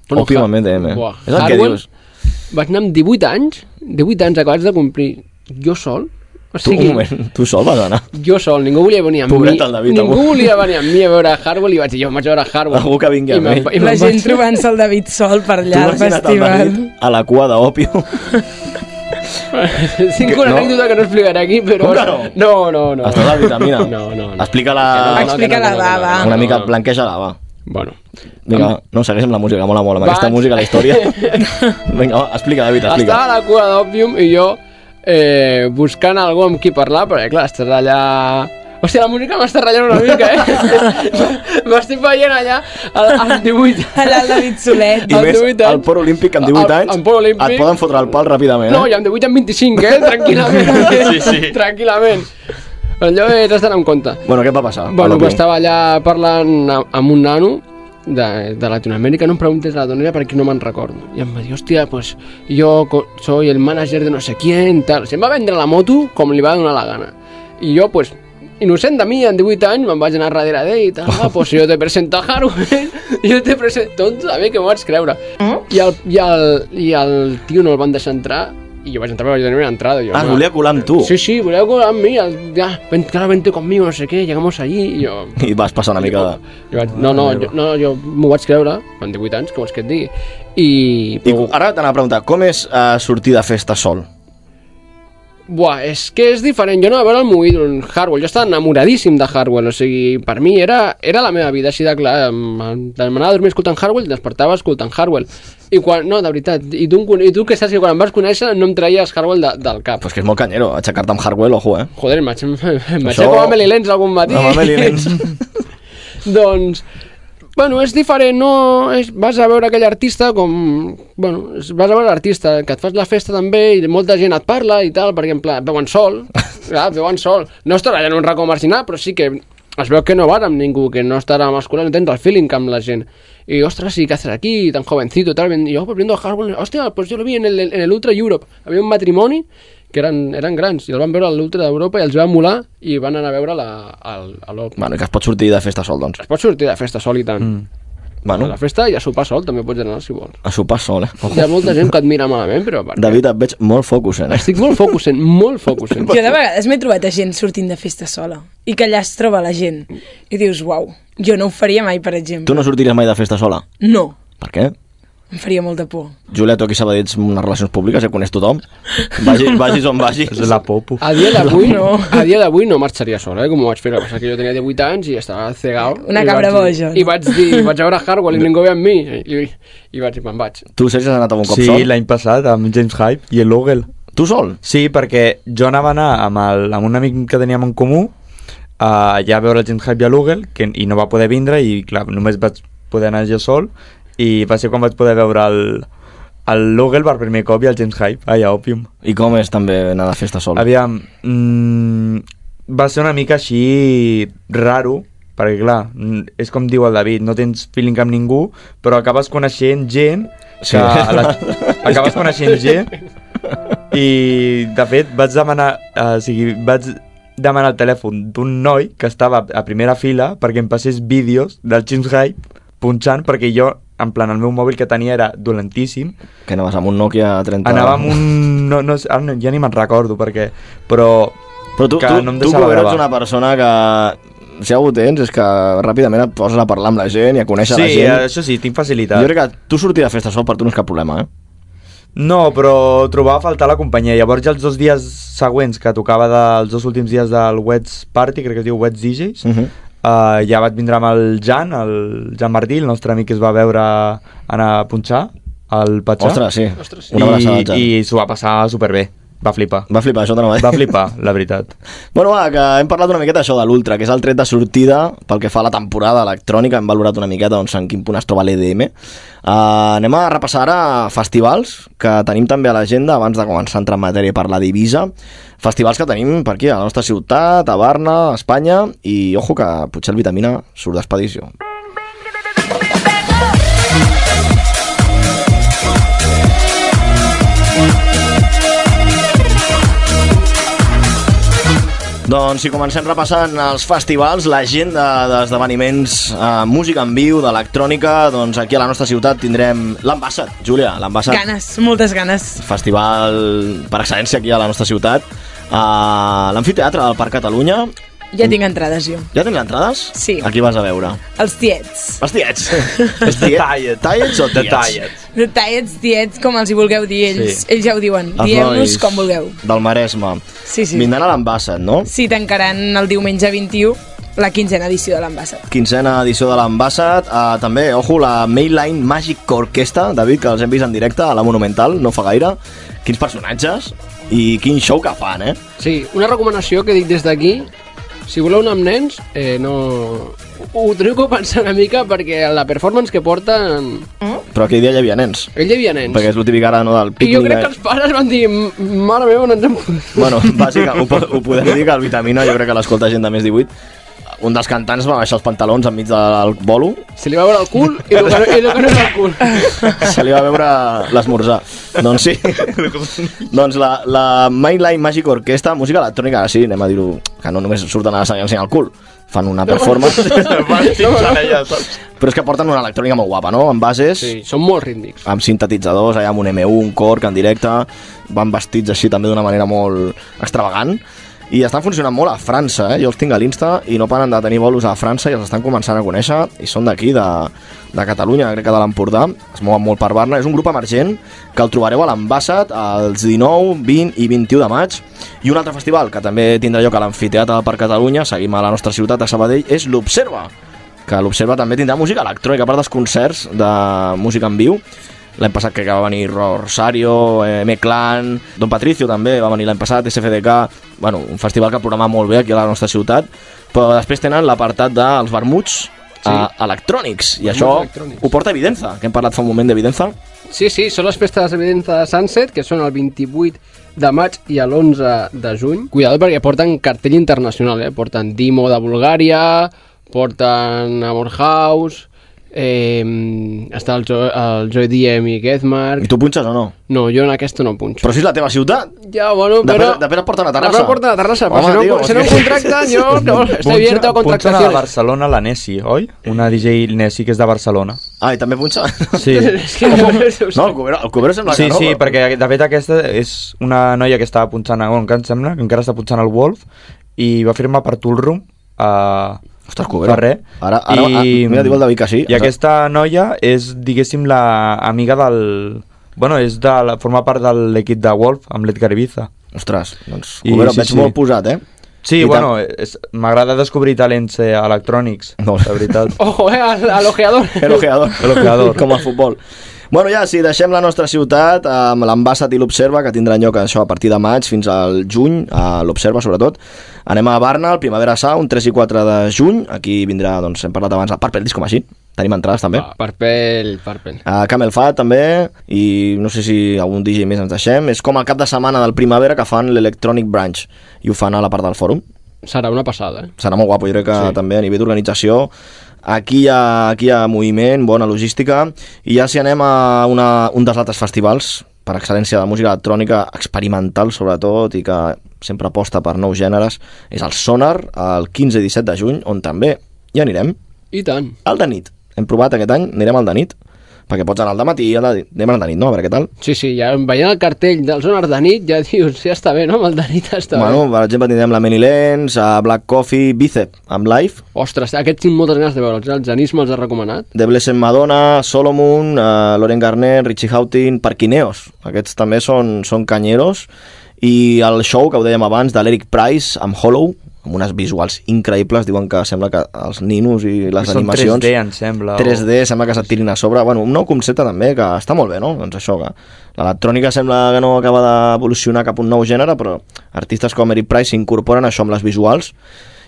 H: Bueno,
D: Òpium
H: ha-
D: amb EDM.
H: Buah,
D: És el que
H: Hardwell,
D: dius.
H: Vaig anar amb 18 anys, 18 anys acabats de complir, jo sol, o
D: Tu,
H: sigui,
D: un moment, tu sol vas anar.
H: Jo sol, ningú volia venir amb
D: Pobret
H: mi.
D: el David,
H: ningú
D: avui.
H: volia venir amb mi a veure Hardwell i vaig dir, jo me'n vaig a veure Hardwell.
D: Algú que
H: I
D: vingui amb
H: me'n
D: ell.
H: va- i
E: La
H: me'n
E: gent
H: vaig.
E: trobant-se el David sol per
D: Tu
E: allà
D: imagina't
E: al
D: el
E: festival.
D: David a la cua d'Òpium.
H: Tinc
D: Que
H: una
D: no.
H: anècdota que no explicaré aquí, però...
D: Com que no?
H: No, no, no.
D: Estàs a la vitamina.
H: No, no, no.
D: Explica-la...
H: Que no, que no,
E: Explica la
H: que no, que no,
E: dada.
H: que no.
D: Una mica blanqueja-la, va.
H: Bueno.
D: Vinga, no, segueix amb la música, mola molt, amb
H: Vaig.
D: aquesta música la història. Vinga, va, explica, David, explica.
H: Estava a la cua d'Òpium i jo eh, buscant algú amb qui parlar, perquè clar, estàs allà... Hòstia, la música m'està ratllant una mica, eh? M'estic veient allà als 18
E: Allà el David Solet.
D: I
H: Amb
D: més,
H: 18 anys.
D: al Port Olímpic amb 18
H: Al-
D: anys,
H: al Port Olímpic.
D: et poden fotre el pal ràpidament,
H: No,
D: eh?
H: i amb 18 amb 25, eh? Tranquil·lament. sí, sí. Tranquil·lament. Allò és estar en compte.
D: Bueno, què et va passar?
H: Bueno,
D: Pablo?
H: pues estava allà parlant a- amb un nano de, de Latinoamèrica, no em preguntes la donera perquè no me'n recordo. I em va dir, hòstia, pues jo co- soy el manager de no sé quién, tal. Se'm va vendre la moto com li va donar la gana. I jo, pues, innocent de mi, en 18 anys, me'n vaig anar darrere d'ell i tal, ah, pues jo te presento a Hardware, eh? jo te presento... Tonto, a mi que m'ho vaig creure. I el, i, el, I el tio no el van deixar entrar, i jo vaig entrar, però vaig donar una entrada. Jo,
D: Ah, es
H: no.
D: volia colar amb tu.
H: Sí, sí, voleu colar amb mi, el, ya, ven, claro, vente conmigo, no sé què, llegamos allí, i jo...
D: I vas passar una mica de...
H: Jo vaig, no, no, jo, no, jo m'ho vaig creure, quan 18 anys, com és que et digui, i...
D: I ara t'anava a preguntar, com és eh, sortir de festa sol?
H: Buah, és que és diferent. Jo no a veure el meu ídol, en Harwell. Jo estava enamoradíssim de Harwell, o sigui, per mi era, era la meva vida, així de clar. Em- em- M'anava a dormir escoltant Harwell, despertava escoltant Harwell. I quan, no, de veritat, i tu, em con- i tu que saps que quan em vas conèixer no em traies Harwell de, del cap.
D: Pues que és molt canyero, aixecar-te amb Hardwell, ojo, eh?
H: Joder, em vaig, em vaig
D: Això-
H: Això... com a Meli Lenz algun matí.
D: Amb Amelie Lenz.
H: doncs, bueno, és diferent, no... És, vas a veure aquell artista com... Bueno, és- vas a veure l'artista, que et fas la festa també i molta gent et parla i tal, perquè en plan, veuen sol, clar, veuen sol. No es treballa en un racó marginal, però sí que es veu que no van amb ningú, que no estarà masculà, no tens el feeling amb la gent. Y ostras, ¿y qué haces aquí? Tan jovencito, tal. Y yo volviendo a Harwell, hostia, pues yo lo vi en el, en el Ultra Europe. Había un matrimonio que eren, eren grans i el van veure a l'Ultra d'Europa i els va emular i van anar a veure la, al, a l'Op.
D: Bueno, i que es pot sortir de festa sol, doncs.
H: Es pot sortir de festa sol i tant. Mm. A
D: Bueno,
H: la festa i a sopar sol també pots anar si vols.
D: a sopar sol, eh?
E: Oh.
H: Hi
D: Ojo.
H: ha molta gent que et mira malament, però per
D: David, et veig molt focus, eh?
H: Estic molt focusent, molt focusent.
E: Jo de vegades m'he trobat a gent sortint de festa sola i que allà es troba la gent i dius, uau, jo no ho faria mai, per exemple.
D: Tu no sortiries mai de festa sola.
E: No,
D: Per què?
E: em faria molta por.
D: Júlia, tu aquí a Sabadell ets unes relacions públiques, ja coneix tothom. Vagi, vagis on vagis.
A: És la popo.
H: A dia d'avui no.
E: No.
H: a dia d'avui no marxaria sol, eh, com ho vaig fer, el que passa que jo tenia 18 anys i estava cegau.
E: Una
H: i
E: cabra
H: vaig dir-
E: boja.
H: I vaig dir, vaig a veure Harwell i ningú ve amb mi, i, i vaig dir, me'n vaig.
D: Tu, Sergi, has anat amb un cop
A: Sí,
D: sol?
A: l'any passat, amb James Hype i el Ogle.
D: Tu sol?
A: Sí, perquè jo anava a anar amb, el, amb un amic que teníem en comú a ja veure el James Hype i a l'Ugel que- i no va poder vindre i clar, només vaig poder anar jo sol i va ser quan vaig poder veure el, el Lugel per primer cop i el James Hype allà a Opium.
D: I com és també anar de festa sol?
A: Aviam, mm, va ser una mica així raro, perquè clar, mm, és com diu el David, no tens feeling amb ningú, però acabes coneixent gent
D: Sí.
A: que... a La, acabes coneixent gent i, de fet, vaig demanar... eh, O sigui, vaig demanar el telèfon d'un noi que estava a primera fila perquè em passés vídeos del James Hype punxant perquè jo, en plan, el meu mòbil que tenia era dolentíssim
D: Que anaves amb un Nokia 30...
A: Anava amb un... No, no, sé, ara no, ja ni me'n recordo, perquè... Però...
D: Però tu,
A: que
D: tu,
A: no em
D: tu
A: deixava
D: Cubero, ets
A: gravar.
D: una persona que... Si algú tens és que ràpidament et poses a parlar amb la gent i a conèixer
A: Sí,
D: la gent.
A: això sí, tinc facilitat.
D: Jo crec que tu sortir de festa sol per tu no és cap problema, eh?
A: No, però trobava a faltar la companyia. Llavors, els dos dies següents que tocava dels dos últims dies del Wets Party, crec que es diu Wets DJs, uh
D: Mhm.
A: -huh. uh, ja vaig vindre amb el Jan, el Jan Martí, el nostre amic que es va veure anar a punxar, al Patxà.
D: Ostres, sí.
H: Ostres, sí.
D: Una abraçada, Jan.
A: I, i s'ho va passar superbé. Va flipar.
D: Va flipar, això eh? t'anava a dir.
A: Va flipar, la veritat.
D: Bueno, va, que hem parlat una miqueta això de l'Ultra, que és el tret de sortida pel que fa a la temporada electrònica, hem valorat una miqueta doncs, en quin punt es troba l'EDM. Uh, Eh, anem a repassar ara festivals que tenim també a l'agenda abans de començar a entrar en matèria per la divisa. Festivals que tenim per aquí, a la nostra ciutat, a Barna, a Espanya, i ojo que potser el Vitamina surt d'expedició. Doncs si comencem repassant els festivals, l'agenda d'esdeveniments eh, música en viu, d'electrònica, doncs aquí a la nostra ciutat tindrem l'Ambassat, Júlia, l'Ambassat.
E: Ganes, moltes ganes.
D: Festival per excel·lència aquí a la nostra ciutat, a l'Amfiteatre del Parc Catalunya.
E: Ja tinc entrades, jo.
D: Ja tens entrades?
E: Sí.
D: Aquí vas a veure.
E: Els tiets.
D: Els tiets. Els tiets. Tiets o tiets?
E: Tallets, tiets, com els hi vulgueu dir ells.
A: Sí.
E: Ells ja ho diuen.
D: Els
E: Dieu-nos
D: nois
E: com vulgueu.
D: Del Maresme.
E: Sí, sí.
D: Vindran a l'Ambassat, no?
E: Sí, tancaran el diumenge 21 la quinzena edició de l'Ambassat.
D: quinzena edició de l'Ambassat. Uh, també, ojo, la Mainline Magic Orquesta, David, que els hem vist en directe a la Monumental, no fa gaire. Quins personatges i quin show que fan, eh?
H: Sí, una recomanació que dic des d'aquí, si voleu anar amb nens, eh, no... Ho teniu que pensar una mica perquè la performance que porten...
D: Però aquell dia hi havia nens.
H: Ell hi havia nens.
D: Perquè és el típic ara, no, del
H: I
D: pícnic.
H: jo crec
D: eh?
H: que els pares van dir, "M- mare meva, no ens hem...
D: Bueno, bàsica, ho, po- ho podem dir que el Vitamina jo crec que l'escolta gent de més 18 un dels cantants va baixar els pantalons enmig del bolo,
H: Se li va veure el cul i el que, no- i el que no era el cul.
D: se li va veure l'esmorzar. doncs sí. doncs la, la Mainline Magic Orquestra, música electrònica, ara sí, anem a dir-ho, que no només surten a ensenyar el cul, fan una performance,
H: Van pinxant allà,
D: però és que porten una electrònica molt guapa, no? Amb bases,
H: Sí, són molt rítmics.
D: amb sintetitzadors, allà amb un M1, un Korg en directe, van vestits així també d'una manera molt extravagant, i estan funcionant molt a França, eh? jo els tinc a l'Insta i no paren de tenir bolos a França i els estan començant a conèixer i són d'aquí, de, de Catalunya, crec que de l'Empordà, es mouen molt per Barna, és un grup emergent que el trobareu a l'Ambassat els 19, 20 i 21 de maig i un altre festival que també tindrà lloc a l'Amfiteatre per Catalunya, seguim a la nostra ciutat, a Sabadell, és l'Observa que l'Observa també tindrà música electrònica, a part dels concerts de música en viu. L'any passat crec que va venir Rosario, eh, M-Clan, Don Patricio també va venir l'any passat, SFDK, bueno, un festival que programa molt bé aquí a la nostra ciutat, però després tenen l'apartat dels vermuts, Sí. electrònics, i això
H: electrònics.
D: ho porta Evidenza, que hem parlat fa un moment d'Evidenza.
H: Sí, sí, són les festes de Evidenza de Sunset, que són el 28 de maig i l'11 de juny. Cuidado perquè porten cartell internacional, eh? Porten Dimo de Bulgària, porten Amor House, eh, està el, jo, el Joy Diem i Gezmark.
D: I tu punxes o no?
H: No, jo en aquesta no punxo.
D: Però si és la teva ciutat,
H: Ya, bueno,
D: Després-
H: pero...
D: després porta una terrassa.
H: Després porta una terrassa, però
D: Home,
H: si no,
D: tio,
H: si no
D: és
H: em
D: que-
H: contractan, yo no, estoy abierto a
A: Punxen a
H: contractaciones.
A: Barcelona la Nessi, oi? Una DJ Nessi que és de Barcelona.
D: ah, i també punxa?
A: Sí.
H: Es que no,
D: No, el Cubero, el Cubero sembla
A: Sí,
D: que no.
A: sí,
D: però-
A: perquè de fet aquesta és una noia que estava punxant, a- bueno, que em sembla, que encara està punxant al Wolf, i va firmar per Toolroom a
D: Ostres, Cubero.
A: Ferrer.
D: Ara- ara- ah, mira, diu el David que sí.
A: I aquesta noia és, diguéssim, la amiga del... Bueno, és de la, forma part de l'equip de Wolf, amb l'Edgar Ibiza.
D: Ostres, doncs,
A: I-
D: Cubero,
A: sí,
D: et veig
A: sí.
D: molt posat, eh?
A: Sí,
D: I tant.
A: bueno, és- m'agrada descobrir talents eh, electrònics,
D: No.
A: la veritat.
H: Ojo, eh, al, al ojeador.
D: El ojeador.
A: El ojeador.
D: Com a futbol. Bueno, ja, sí, deixem la nostra ciutat amb l'Ambassat i l'Observa, que tindran lloc això a partir de maig fins al juny, a l'Observa sobretot. Anem a Barna, al Primavera Sound, 3 i 4 de juny. Aquí vindrà, doncs, hem parlat abans de Purple Disco Machine. Tenim entrades, també.
H: Ah, Parpel, parpel.
D: A Camel Fat, també, i no sé si algun DJ més ens deixem. És com el cap de setmana del Primavera que fan l'Electronic Branch, i ho fan a la part del fòrum.
H: Serà una passada, eh?
D: serà molt guapo, jo crec que sí. també a nivell d'organització aquí hi, ha, aquí hi ha moviment, bona logística i ja si anem a una, un dels altres festivals per excel·lència de música electrònica experimental sobretot i que sempre aposta per nous gèneres és el Sonar el 15 i 17 de juny on també hi anirem
H: I tant.
D: al de nit, hem provat aquest any, anirem al de nit perquè pots anar al dematí i al de, anem al de nit, no? A veure què tal
H: Sí, sí, ja veient el cartell del Zonar de nit, ja dius, ja està bé, no? Amb el de nit està
D: bueno,
H: bé.
D: per exemple tindrem la Many Lens, a Black Coffee, Bicep amb Live
H: Ostres, aquests tinc moltes ganes de veure'ls, eh? el Janis me'ls ha recomanat.
D: The Blessed Madonna, Solomon, uh, Loren Garner, Richie Houghton, Parquineos. Aquests també són, són canyeros. I el show que ho dèiem abans de l'Eric Price amb Hollow, amb unes visuals increïbles, diuen que sembla que els ninos i les
A: Són
D: animacions...
A: 3D, em sembla, o-
D: 3D, sembla que s'atirin a sobre. Bueno, un nou concepte també, que està molt bé, no? Doncs això, que l'electrònica sembla que no acaba d'evolucionar cap a un nou gènere, però artistes com Eric Price s'incorporen a això amb les visuals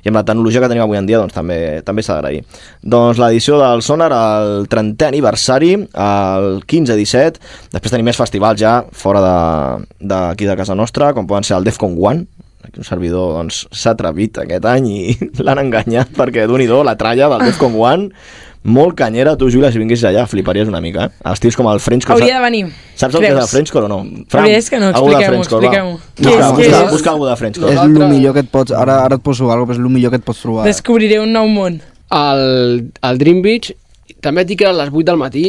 D: i amb la tecnologia que tenim avui en dia doncs, també també s'ha d'agrair. Doncs l'edició del Sonar al 30è aniversari, el 15-17, després tenim més festivals ja fora de- d'aquí de, de casa nostra, com poden ser el Defcon 1, Aquí un servidor doncs, s'ha atrevit aquest any i l'han enganyat perquè d'un i do la tralla del Defcon 1 molt canyera, tu Júlia, si vinguessis allà fliparies una mica, eh? Els tios com el Frenchcore
E: Hauria
D: sa-
E: de venir.
D: Saps el que és
E: Creus?
D: el Frenchcore o no?
E: veritat és que no,
D: algú de
E: expliquem-ho,
D: Frenchcore, va.
E: expliquem-ho. Què
D: Busca,
F: és, què
D: busca-
F: és?
D: busca algú de Frenchcore.
F: És el millor que et pots... Ara, ara et poso alguna cosa, però és el millor que et pots trobar.
E: Descobriré un nou món.
H: El, el Dream Beach, també et dic que era a les 8 del matí,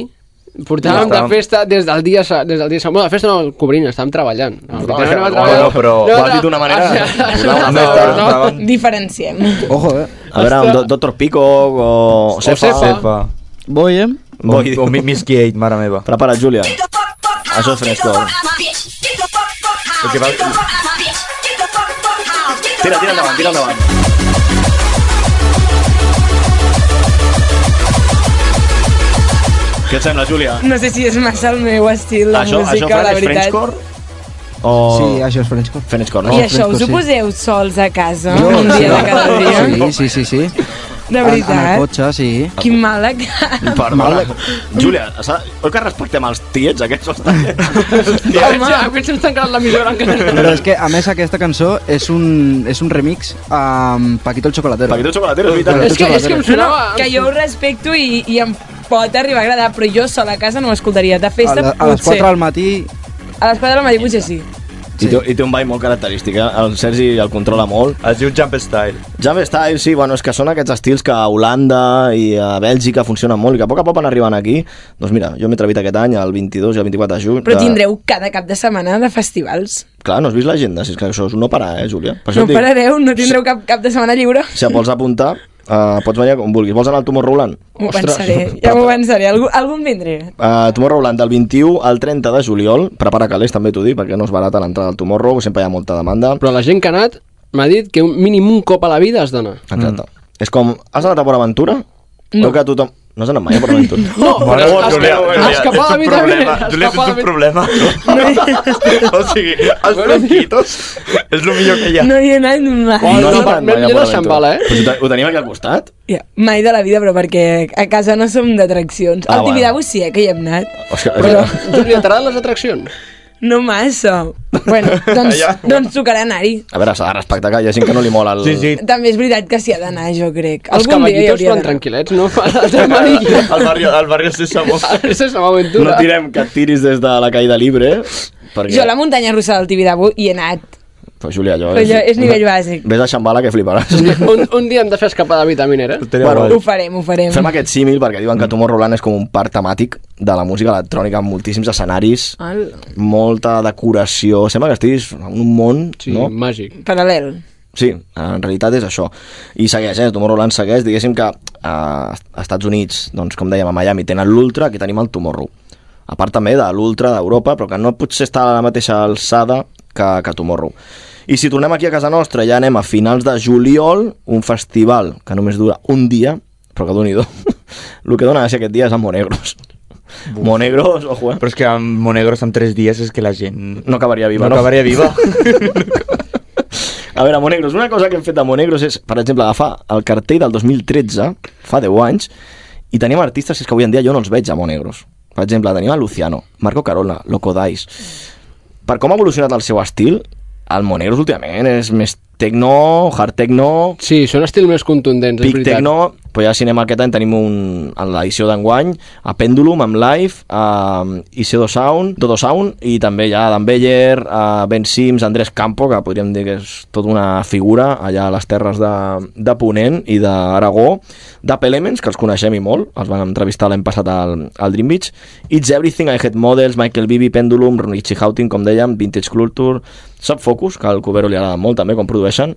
H: Portàvem
A: Ja
H: de
A: estàvem.
H: festa des del dia... sa- Des del dia sa- bueno, de festa no, cobrint, estàvem treballant. No,
D: bueno,
A: però-
D: ho has dit d'una manera-
A: No,
D: no,
A: no, no.
E: Diferenciem.
F: Ojo, eh?
D: A veure, un do- Dr. Pico o... Sefa.
H: Sefa.
A: Sepa.
F: Voy, eh?
D: Voy.
A: O, o Mi- Miss Kate, mare meva.
D: Prepara't, Júlia. Això és Frenchcore.
A: El que va...
D: Tira, tira endavant, tira endavant. Què et sembla, Júlia?
E: No sé si és massa el meu estil de
D: Això,
E: música,
D: això
E: la
D: Fran, és
E: veritat.
D: Frenchcore? O...
F: Sí, això és Frenchcore.
D: Frenchcore,
E: I
D: no?
E: això, us ho
F: Frenchcore, sí.
E: poseu sols a casa,
F: Jo,
E: un dia
F: sí.
E: de cada dia?
F: Sí, sí, sí, sí.
E: De
F: En, en el
E: veritat.
F: cotxe, sí.
E: Quin mal de cap.
D: Perdona. Júlia, s'ha- oi que respectem els tiets aquests? Els tiets?
H: Home, aquests ens tancaran l'emissora encara.
F: Però és que, a més, aquesta cançó és un, és un remix amb Paquito el Chocolatero.
D: Paquito Chocolatero, és veritat.
H: És que, és que em
E: No,
H: sonava...
E: que jo ho respecto i, i em pot arribar a agradar, però jo sola a casa no ho escoltaria. De
F: a,
E: festa,
F: la, a les
E: potser.
F: 4 del matí...
E: A les 4 del matí potser sí.
D: I, té, I té un ball molt característic, eh? el Sergi el controla molt.
A: Es diu Jump Style.
D: Jam Style, sí, bueno, és que són aquests estils que a Holanda i a Bèlgica funcionen molt i que a poc a poc van arribant aquí. Doncs mira, jo m'he atrevit aquest any, el 22 i el 24 de juny.
E: Però
D: de-
E: tindreu cada cap de setmana de festivals.
D: Clar, no has vist l'agenda, si és que això és un no parar, eh, Júlia? Per
E: No
D: et dic,
E: parareu, no tindreu cap cap de setmana lliure.
D: Si et vols apuntar, eh, pots venir com vulguis. Vols anar al Tomorrowland?
E: M'ho
D: Ostres.
E: pensaré, ja m'ho pensaré. Algú, algun vindré.
D: Uh, Tomorrowland del 21 al 30 de juliol prepara calés també t'ho dic perquè no és barata l'entrada al Tomorrow sempre hi ha molta demanda
H: Però la gent que ha anat m'ha dit que un mínim un cop a la vida has d'anar.
D: Exacte. Mm. és com has anat a Port Aventura? No. que tothom... no has anat mai a Port Aventura? no.
H: No,
A: Mare
H: però
A: meva,
H: has-
A: Julià,
H: has-
A: Julià,
H: has escapat
A: tens
H: la
A: un
H: vida,
A: problema.
H: has escapat
A: Julià, tens
H: la
A: un
H: vida.
A: problema. o sigui, els blanquitos és el millor que hi ha.
E: No hi he anat mai.
H: no,
D: has
H: no,
D: anat mai
H: m'he
D: a Port
H: de Shambhala,
D: Aventura.
H: eh?
D: Però si ho tenim aquí al costat?
E: Ja, mai de la vida, però perquè a casa no som d'atraccions.
D: Ah,
E: Al Tibidabo sí, eh, que hi hem anat.
D: Ostres,
H: Però, Júlia, t'agraden les atraccions?
E: No massa. Bueno, doncs,
A: Ja.
E: doncs tocarà anar-hi.
D: a veure, s'ha de respectar que hi ha gent que no li mola el...
A: Sí, sí.
E: També és veritat que s'hi ha d'anar, jo crec.
H: Els
E: Algun dia hi
H: cavallitos
E: hauria
H: van
E: d'anar.
H: tranquil·lets, no? El amarillo.
A: El barri, el barri és sabós.
H: Esa és la meva
D: no
H: aventura.
D: tirem que et tiris des de la caïda llibre perquè...
E: Jo a la muntanya russa del Tibidabo hi he anat.
D: Però Júlia, jo...
E: Però jo- és nivell bàsic.
D: Ves a Shambhala que fliparàs
H: Un, un dia hem de fer escapada vitaminera.
D: Bueno,
E: Ho farem, ho farem.
D: Fem aquest símil perquè diuen que Tomorrowland és com un parc temàtic de la música electrònica amb moltíssims escenaris,
E: Al-
D: molta decoració, sembla que estiguis en un món,
H: Sí,
D: no?
H: màgic.
E: Paral·lel.
D: Sí, en realitat és això. I segueix, eh? Tomorrowland segueix, diguéssim que eh, a Estats Units, doncs com dèiem, a Miami tenen l'Ultra, aquí tenim el Tomorrow. A part també de l'Ultra d'Europa, però que no potser està a la mateixa alçada que, que Tomorrow. I si tornem aquí a casa nostra, ja anem a finals de juliol, un festival que només dura un dia, però que doni do. El que dona gràcia aquest dia és a Monegros. Monegros, ojo, eh?
A: Però és que amb Monegros en tres dies és que la gent...
D: No acabaria viva,
A: no
D: no?
A: acabaria viva.
D: A veure, Monegros, una cosa que hem fet a Monegros és, per exemple, agafar el cartell del 2013, fa 10 anys, i tenim artistes que, és que avui en dia jo no els veig a Monegros. Per exemple, tenim a Luciano, Marco Carola, Loco Dice. Per com ha evolucionat el seu estil, el Monegros últimament és més techno, hard techno,
H: Sí, són estils més contundents, és
D: Pic
H: veritat.
D: Tecno, però ja cinema aquest any tenim un, en l'edició d'enguany a Pendulum, amb Live, a IC2 Sound, Dodo Sound, i també ja Dan Beller, a Ben Sims, Andrés Campo, que podríem dir que és tota una figura allà a les terres de, de Ponent i d'Aragó, de Pelements, que els coneixem i molt, els van entrevistar l'any passat al, al Dream Beach, It's Everything, I Hate Models, Michael Bibi, Pendulum, Richie Houghton, com dèiem, Vintage Culture, Subfocus, que al Cubero li agrada molt també com produeixen,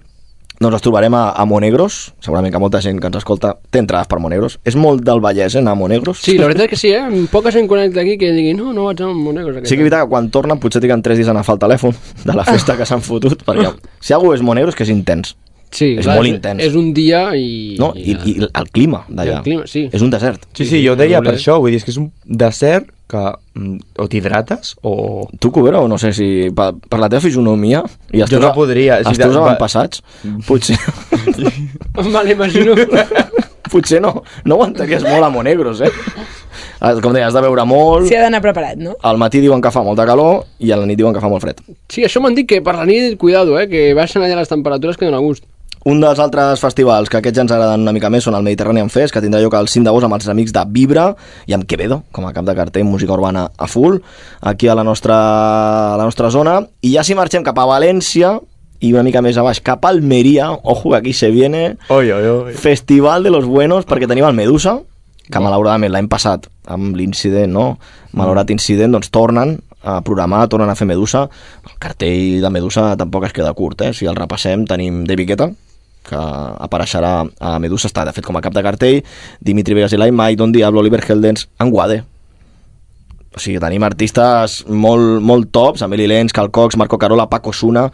D: doncs els trobarem a, a Monegros, segurament que molta gent que ens escolta té entrades per Monegros. És molt del Vallès, eh, anar a Monegros.
H: Sí, la veritat és que sí, eh? Poca gent conec d'aquí que digui, no, no vaig anar amb Monegros. aquest
D: Sí que és veritat que quan tornen potser trigen 3 dies a agafar el telèfon de la festa que s'han fotut, perquè si algú és Monegros que és intens,
H: any." sí,
D: és molt intens.
H: És un dia i...
D: no? I, i el clima d'allà.
H: El clima, sí.
D: És un desert.
A: Sí, sí, jo deia per això, vull dir, és que és un desert que mm, o t'hidrates o...
D: Tu, Cubero, no sé si per, per la teva fisonomia i els
A: Jo
D: teus,
A: no podria, si
D: Els
A: de-
D: teus
A: va-
D: avantpassats, potser,
H: Me l'imagino.
D: potser no, no aguantaries molt a Monegros, eh? Com deia, has de beure molt,
E: S'hi ha d'anar preparat, no?
D: al matí diuen que fa molta calor i a la nit diuen que fa molt fred.
H: Sí, això m'han dit que per la nit, cuidado, eh? Que baixen allà les temperatures que dona gust.
D: Un dels altres festivals que aquests ja ens agraden una mica més són el Mediterranean Fest, que tindrà lloc el 5 d'agost amb els amics de Vibra i amb Quevedo, com a cap de cartell, música urbana a full, aquí a la nostra, a la nostra zona. I ja si marxem cap a València i una mica més a baix, cap a Almeria, ojo que aquí se viene
A: Oi, oi, oi.
D: Festival de los Buenos, perquè tenim el Medusa, que malauradament l'any passat, amb l'incident, no? Malaurat incident, doncs tornen a programar, tornen a fer Medusa. El cartell de Medusa tampoc es queda curt, eh? Si el repassem, tenim David Guetta, que apareixerà a Medusa, està de fet com a cap de cartell, Dimitri Vegas i Lai, Mike Don Diablo, Oliver Heldens, en Wade. O sigui, tenim artistes molt, molt tops, Amelie Lenz, Cal Cox, Marco Carola, Paco Suna,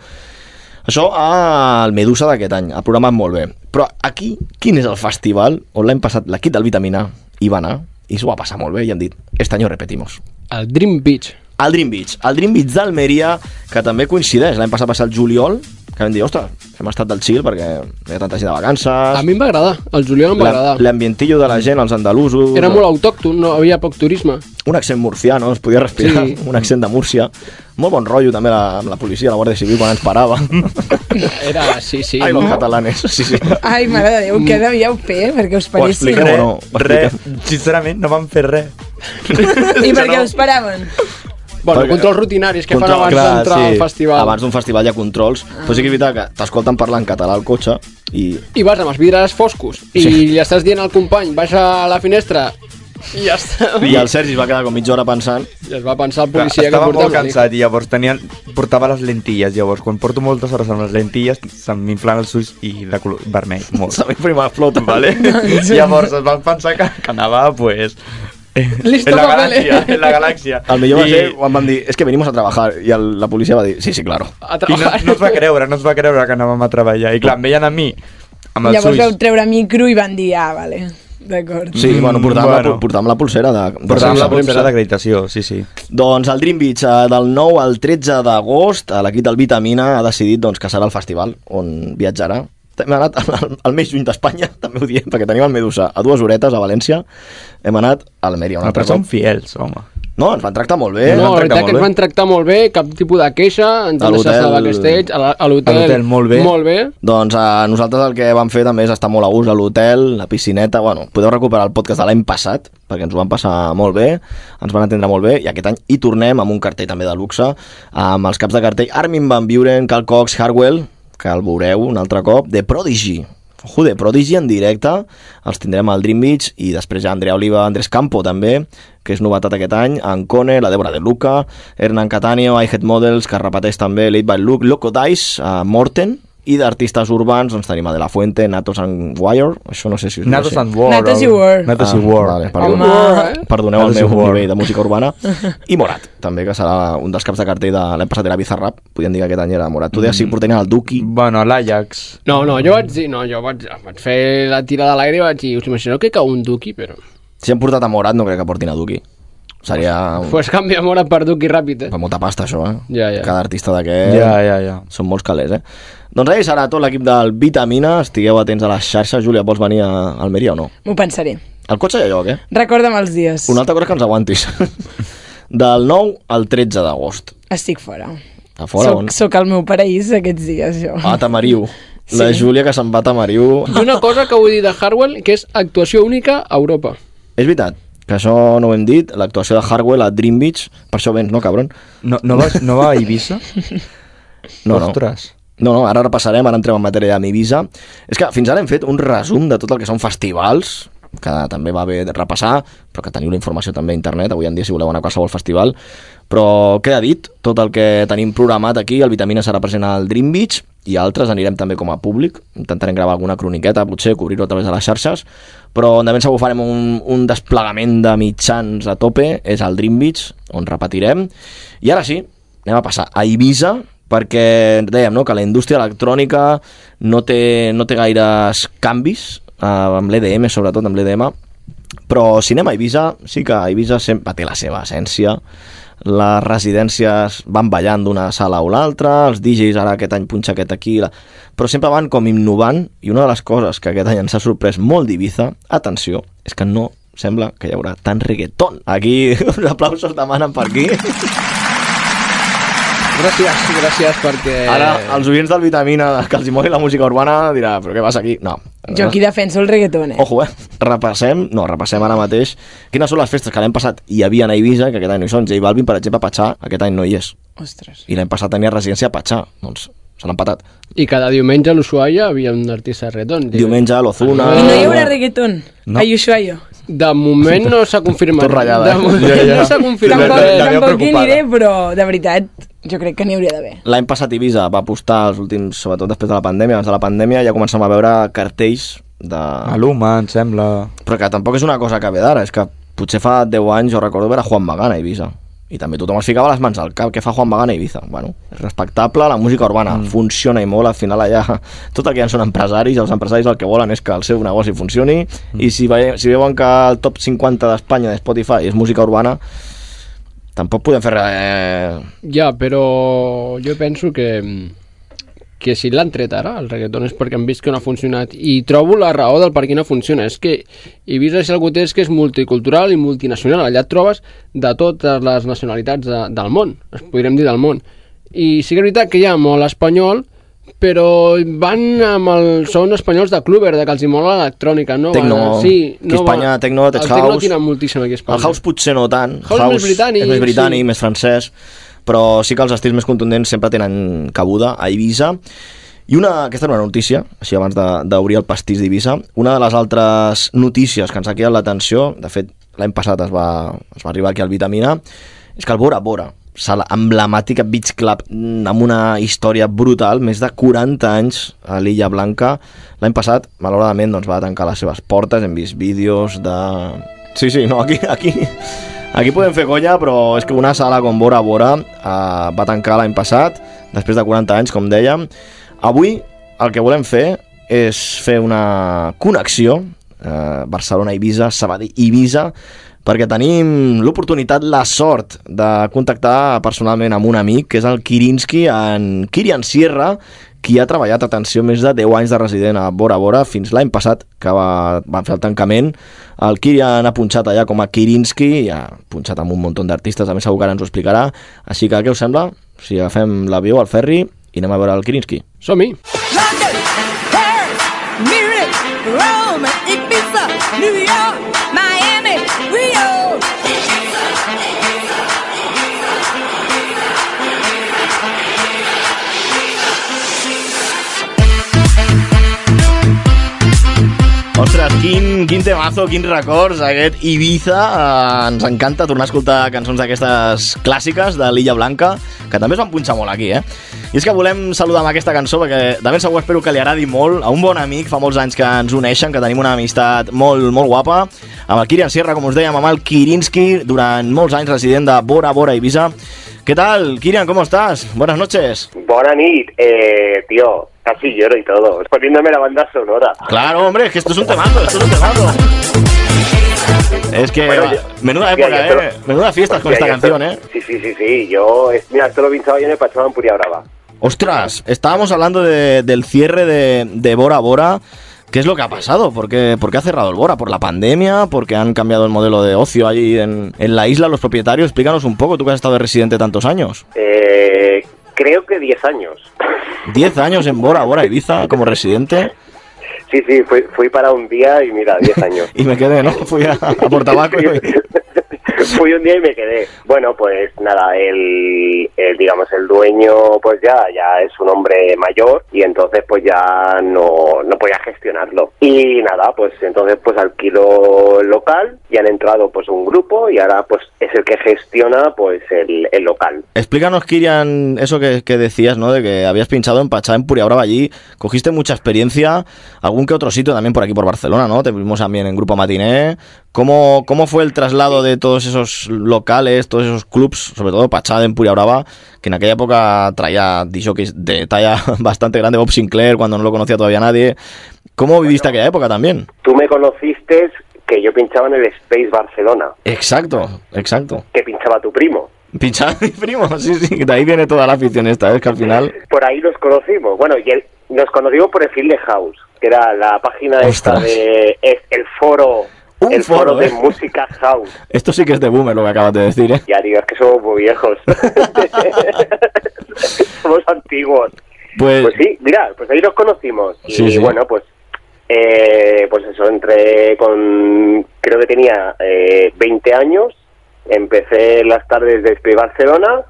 D: això al Medusa d'aquest any, ha programat molt bé. Però aquí, quin és el festival on l'any passat l'equip del Vitamina hi va anar i s'ho va passar molt bé i han dit, este any ho repetimos.
H: El Dream Beach.
D: El Dream Beach, el Dream Beach d'Almeria, que també coincideix, l'any passat va ser el juliol, que que vam dir, ostres, hem estat del Xil perquè hi ha tanta gent de vacances,
H: A mi em va agradar, el juliol em va
D: la-
H: agradar.
D: l'ambientillo de la gent, els andalusos...
H: Era molt autòcton, no havia poc turisme.
D: un accent murcià, no? Es podia respirar sí.
H: Sí.
D: un accent de Múrcia. Molt bon rotllo també la, amb la policia, la Guàrdia Civil, quan ens parava.
H: Era, sí, sí.
D: Ai, los catalanes. Sí, sí.
E: Ai, mare de Déu, què devíeu fer perquè us paressin?
D: explicaré.
A: Re,
D: No, no,
A: re,
D: expliquem.
A: sincerament no van fer res.
E: I per què us paraven?
H: Bueno,
D: Perquè-
H: controls rutinaris que fan
D: Control,
H: abans
A: clar,
H: d'entrar
A: sí.
H: al festival.
D: Abans d'un festival hi ha controls, ah. però sí que és veritat que t'escolten parlar en català al cotxe i...
H: I vas amb els vidres foscos i
D: Sí.
H: li estàs dient al company, baixa a la finestra i ja està.
D: I el Sergi es va quedar com mitja hora pensant
H: I es va pensar el
A: Clar,
H: policia que
A: estava molt
H: portava.
A: cansat i llavors tenien, portava les lentilles. Llavors, quan porto moltes hores amb les lentilles, se'm inflan els ulls i de color vermell, molt.
D: Sabem prima flota,
A: vale? llavors, es van pensar que, que anava, pues... eh,
H: Listo,
A: en la
H: papel.
A: galàxia, en la galàxia.
D: El millor va
A: I-
D: ser quan van dir, és que venimos a trabajar, i el, la policia va dir, sí, sí, claro.
H: A
A: I no,
H: treballar.
A: no es va creure, no es va creure que anàvem a treballar. I clar, em veien a mi, amb els
E: Llavors vau
A: ulls,
E: treure micro i van dir, ah, vale, d'acord.
D: Sí,
A: Mm,
D: bueno, portàvem, bueno.
A: bueno.
D: La, portàvem la pulsera de... de
A: portàvem la
D: Sergi.
A: polsera d'acreditació, sí, sí.
D: Doncs el Dream Beach, eh, del 9 al 13 d'agost, eh, l'equip del Vitamina ha decidit doncs, que serà el festival on viatjarà. Hem anat al, al més lluny d'Espanya, també ho diem, perquè tenim el Medusa a dues horetes, a València. Hem anat a Almeria un
A: Ah, Però
D: altre
A: són
D: cop.
A: fiels, home.
D: No, ens van tractar molt bé.
H: No,
A: van
H: la
A: tractar
H: veritat
A: eh, molt
H: que ens
A: bé.
H: van tractar molt bé, cap tipus de queixa, ens
D: A
H: van deixar
D: l'hotel-
H: estar a backstage, a la- a
A: A
H: l'hotel
A: l'hotel, molt bé.
H: Molt bé.
D: Doncs a nosaltres el que vam fer també és estar molt a gust a l'hotel, la piscineta, bueno, podeu recuperar el podcast de l'any passat, perquè ens ho vam passar molt bé, ens van atendre molt bé, i aquest any hi tornem amb un cartell també de luxe, amb els caps de cartell Armin Van Buren, Cal Cox, Harwell, que el veureu un altre cop, de Prodigy, Joder, Prodigy en directe, els tindrem al Dream Beach i després ja Andrea Oliva, Andrés Campo també, que és novetat aquest any, en Cone, la Débora de Luca, Hernán Cataneo, iHead Models, que es repeteix també Late by Luke, Loco Dice, uh, Morten, i d'artistes urbans doncs tenim a De La Fuente, Natos and Wire, això no sé si us
A: Natos and War.
E: Natos i
A: o-
E: War.
A: Natos i
D: Ah,
A: War.
D: vale, perdó.
E: Home, eh?
D: Perdoneu el
A: Natos i
D: meu
A: War.
D: nivell de música urbana. I Morat, també, que serà un dels caps de cartell de l'any passat era Bizarrap, podríem dir que aquest any era Morat. Tu deies
A: Mm.
D: si portaven el Duki,
A: Bueno, l'Ajax.
H: No, no, jo vaig dir, no, jo vaig, vaig fer la tirada a l'aire i vaig dir, us imagineu que cau un duqui, però...
A: Oh.
D: si han portat a Morat no crec que portin a Duki. Seria... un-
H: Pues canvia mora per duqui ràpid, eh?
D: Per molta pasta, això, eh?
H: Ja, ja.
D: Cada artista d'aquest...
A: Ja, ja, ja.
D: Són molts calés, eh? Doncs ahí serà tot l'equip del Vitamina. Estigueu atents a les xarxes. Júlia, vols venir a Almeria o no?
E: M'ho pensaré.
D: El cotxe hi ha lloc, eh?
E: Recorda'm els dies.
D: Una altra cosa és que ens aguantis. del 9 al 13 d'agost.
E: Estic fora.
D: A fora,
E: soc,
D: on? Ah,
E: soc al meu paraís aquests dies, jo.
D: A Tamariu. La Júlia que se'n va a Tamariu.
H: I una cosa que vull dir de Harwell, que és actuació única a Europa.
D: És veritat, que això no ho hem dit, l'actuació de Hardwell a Dream Beach, per això vens, no, cabron?
A: No, no, va, no va a Eivissa?
D: No, no.
A: Ostres.
D: No, no, ara repassarem, ara entrem en matèria amb Ibiza. És que fins ara hem fet un resum de tot el que són festivals, que també va bé de repassar, però que teniu la informació també a internet, avui en dia si voleu anar a qualsevol festival. Però queda dit tot el que tenim programat aquí, el Vitamina serà present al Dream Beach, i altres anirem també com a públic, intentarem gravar alguna croniqueta, potser cobrir-ho a través de les xarxes, però de ben segur farem un, un desplegament de mitjans a tope, és al Dream Beach, on repetirem. I ara sí, anem a passar a Ibiza, perquè dèiem no, que la indústria electrònica no té, no té gaires canvis, eh, amb l'EDM sobretot, amb l'EDM, però cinema a Eivissa, sí que a Eivissa sempre té la seva essència, les residències van ballant d'una sala o l'altra, els DJs ara aquest any punxa aquest aquí, la... però sempre van com innovant, i una de les coses que aquest any ens ha sorprès molt d'Ibiza, atenció, és que no sembla que hi haurà tant reggaeton. Aquí uns aplausos demanen per aquí.
H: Gràcies, gràcies, perquè...
D: Ara, els oients del Vitamina que els hi mogui la música urbana dirà, però què passa aquí? No.
E: Jo aquí defenso el reggaeton, eh?
D: Ojo, eh? Repassem, no, repassem ara mateix quines són les festes que l'any passat hi havia a Eivissa, que aquest any no hi són. J Balvin, per exemple, a Patxà, aquest any no hi és.
E: Ostres.
D: I l'any passat tenia residència a Patxà, doncs se l'han patat.
H: I cada diumenge a l'Ushuaia havia un artista de reggaeton.
D: Diumenge a l'Ozuna...
E: Ah. I no hi haurà
D: bueno.
E: reggaeton?
A: No.
E: A Ushuaia?
H: De moment no s'ha confirmat.
D: Tot ratllada, eh?
H: De moment
A: Ja, ja.
H: no s'ha confirmat.
A: La-
E: Tampoc,
A: la- la veu
E: tampoc hi
A: preocupada.
E: aniré, però de veritat, jo crec que n'hi hauria d'haver.
D: L'any passat Ibiza va apostar els últims, sobretot després de la pandèmia, abans de la pandèmia ja començàvem a veure cartells de...
A: Maluma, em sembla.
D: Però que tampoc és una cosa que ve d'ara, és que potser fa 10 anys jo recordo veure Juan Magán a Ibiza. I també tothom es ficava les mans al cap, què fa Juan Magán a Ibiza? Bueno, és respectable, la música urbana mm. funciona i molt, al final allà tot el que ja són empresaris, els empresaris el que volen és que el seu negoci funcioni, mm. i si, ve, si veuen que el top 50 d'Espanya de Spotify és música urbana, tampoc podem fer... Eh,
H: Ja, però jo penso que que si l'han tret ara, el reggaeton, és perquè han vist que no ha funcionat. I trobo la raó del per què no funciona. És que Ibiza és algú que és, que és multicultural i multinacional. Allà et trobes de totes les nacionalitats de, del món, es podríem dir del món. I sí que és veritat que hi ha molt espanyol, però van amb el... són espanyols de Clubber, de que els hi mola l'electrònica. No
D: Tecno.
H: van, sí,
D: Aquí a Espanya, Tecno, Tech
H: El Tecno
D: House.
H: tenen moltíssim aquí a Espanya.
D: El house potser no tant.
H: House és més britànic,
D: és més britànic,
H: sí.
D: més francès, però sí que els estils més contundents sempre tenen cabuda a Ibiza. I una, aquesta era una notícia, així abans de- d'obrir el pastís d'Ibiza, una de les altres notícies que ens ha quedat l'atenció, de fet l'any passat es va, es va arribar aquí al Vitamina, és que el Bora Bora, sala emblemàtica Beach Club mm, amb una història brutal, més de 40 anys a l'Illa Blanca, l'any passat, malauradament, doncs, va tancar les seves portes, hem vist vídeos de... Sí, sí, no, aquí, aquí, Aquí podem fer conya, però és que una sala com Bora Bora eh, va tancar l'any passat, després de 40 anys, com dèiem. Avui el que volem fer és fer una connexió eh, Barcelona-Ibiza, Sabadell-Ibiza, perquè tenim l'oportunitat, la sort de contactar personalment amb un amic, que és el Kirinski, en Kirian Sierra, qui ha treballat, atenció, més de 10 anys de resident a Bora Bora fins l'any passat que va, van fer el tancament. El Kirian ha punxat allà com a Kirinski i ha punxat amb un munt d'artistes, a més segur que ara ens ho explicarà. Així que què us sembla? Si agafem l'avió al ferri i anem a veure el Kirinski.
H: Som-hi!
G: London, Paris, Munich, Rome, Ibiza, New York, Miami, Rio.
D: Ostres, quin, quin temazo, quins records, aquest Ibiza. Eh, ens encanta tornar a escoltar cançons d'aquestes clàssiques de l'Illa Blanca, que també es van punxar molt aquí, eh? I és que volem saludar amb aquesta cançó, perquè de ben segur espero que li agradi molt a un bon amic, fa molts anys que ens uneixen, que tenim una amistat molt, molt guapa, amb el Kirian Sierra, com us dèiem, amb el Kirinski, durant molts anys resident de Bora Bora, Ibiza. Què tal, Kirian, com estàs? Buenas noches.
I: Buena nit, eh, tío, casi lloro y todo, poniéndome la banda sonora.
D: Claro, hombre, es que esto es un temazo, esto es un temazo. Es que
I: Bueno,
D: va,
I: yo-
D: menuda
I: Hostia,
D: época,
I: yo te
D: eh.
I: lo-
D: Menuda fiestas con esta
I: Hostia, yo
D: canción, eh.
I: esto- Sí, sí, sí, sí, yo, es- mira, esto lo pinchaba yo en el Pachaba en Puria Brava.
D: Ostras, estábamos hablando de- del cierre de, de Bora Bora. ¿Qué es lo que ha pasado? ¿Por qué, por qué ha cerrado el Bora? ¿Por la pandemia? ¿Porque han cambiado el modelo de ocio allí en, en la isla los propietarios? Explícanos un poco, tú que has estado de residente tantos años.
I: Eh, creo que 10 años.
D: 10 años en Bora Bora, Ibiza, como residente.
I: Sí, sí, fui, fui para un día y mira, 10 años.
D: Y me quedé, ¿no? Fui a, a por tabaco y-
I: Fui un día y me quedé. Bueno, pues nada, el, el, digamos el dueño pues ya ya es un hombre mayor y entonces pues ya no, no podía gestionarlo. Y nada, pues entonces pues alquiló el local y han entrado pues un grupo y ahora pues es el que gestiona pues el, el local.
D: Explícanos, Kirian, eso que, que decías, ¿no? De que habías pinchado en Pachá, en Puria Brava allí. Cogiste mucha experiencia, algún que otro sitio también por aquí, por Barcelona, ¿no? Te vimos también en Grupo Matiné. ¿Cómo, cómo fue el traslado de todos esos locales, todos esos clubs, sobre todo Pachá en Puria Brava, que en aquella época traía disjockeys de talla bastante grande, Bob Sinclair, cuando no lo conocía todavía nadie? ¿Cómo viviste aquella época también?
I: Tú me conociste que yo pinchaba en el Space Barcelona,
D: Exacto, exacto.
I: que pinchaba tu primo.
D: Pinchar mi primo, sí, sí, de ahí viene toda la afición esta, ¿eh? es que al final...
I: Por ahí nos conocimos. Bueno, y el- nos conocimos por el Field House, que era la página esta
D: Ostras.
I: de es el foro,
D: Un
I: el foro,
D: foro,
I: de
D: eh.
I: música house.
D: Esto sí que es de boomer lo que acabas de decir, ¿eh?
I: Ya digo, es que somos muy viejos. somos antiguos.
D: Pues,
I: Pues sí, mira, pues ahí nos conocimos. Y
D: Sí, sí.
I: bueno, pues eh, pues eso, entré con, creo que tenía eh, 20 años, empecé las tardes de Spy Barcelona,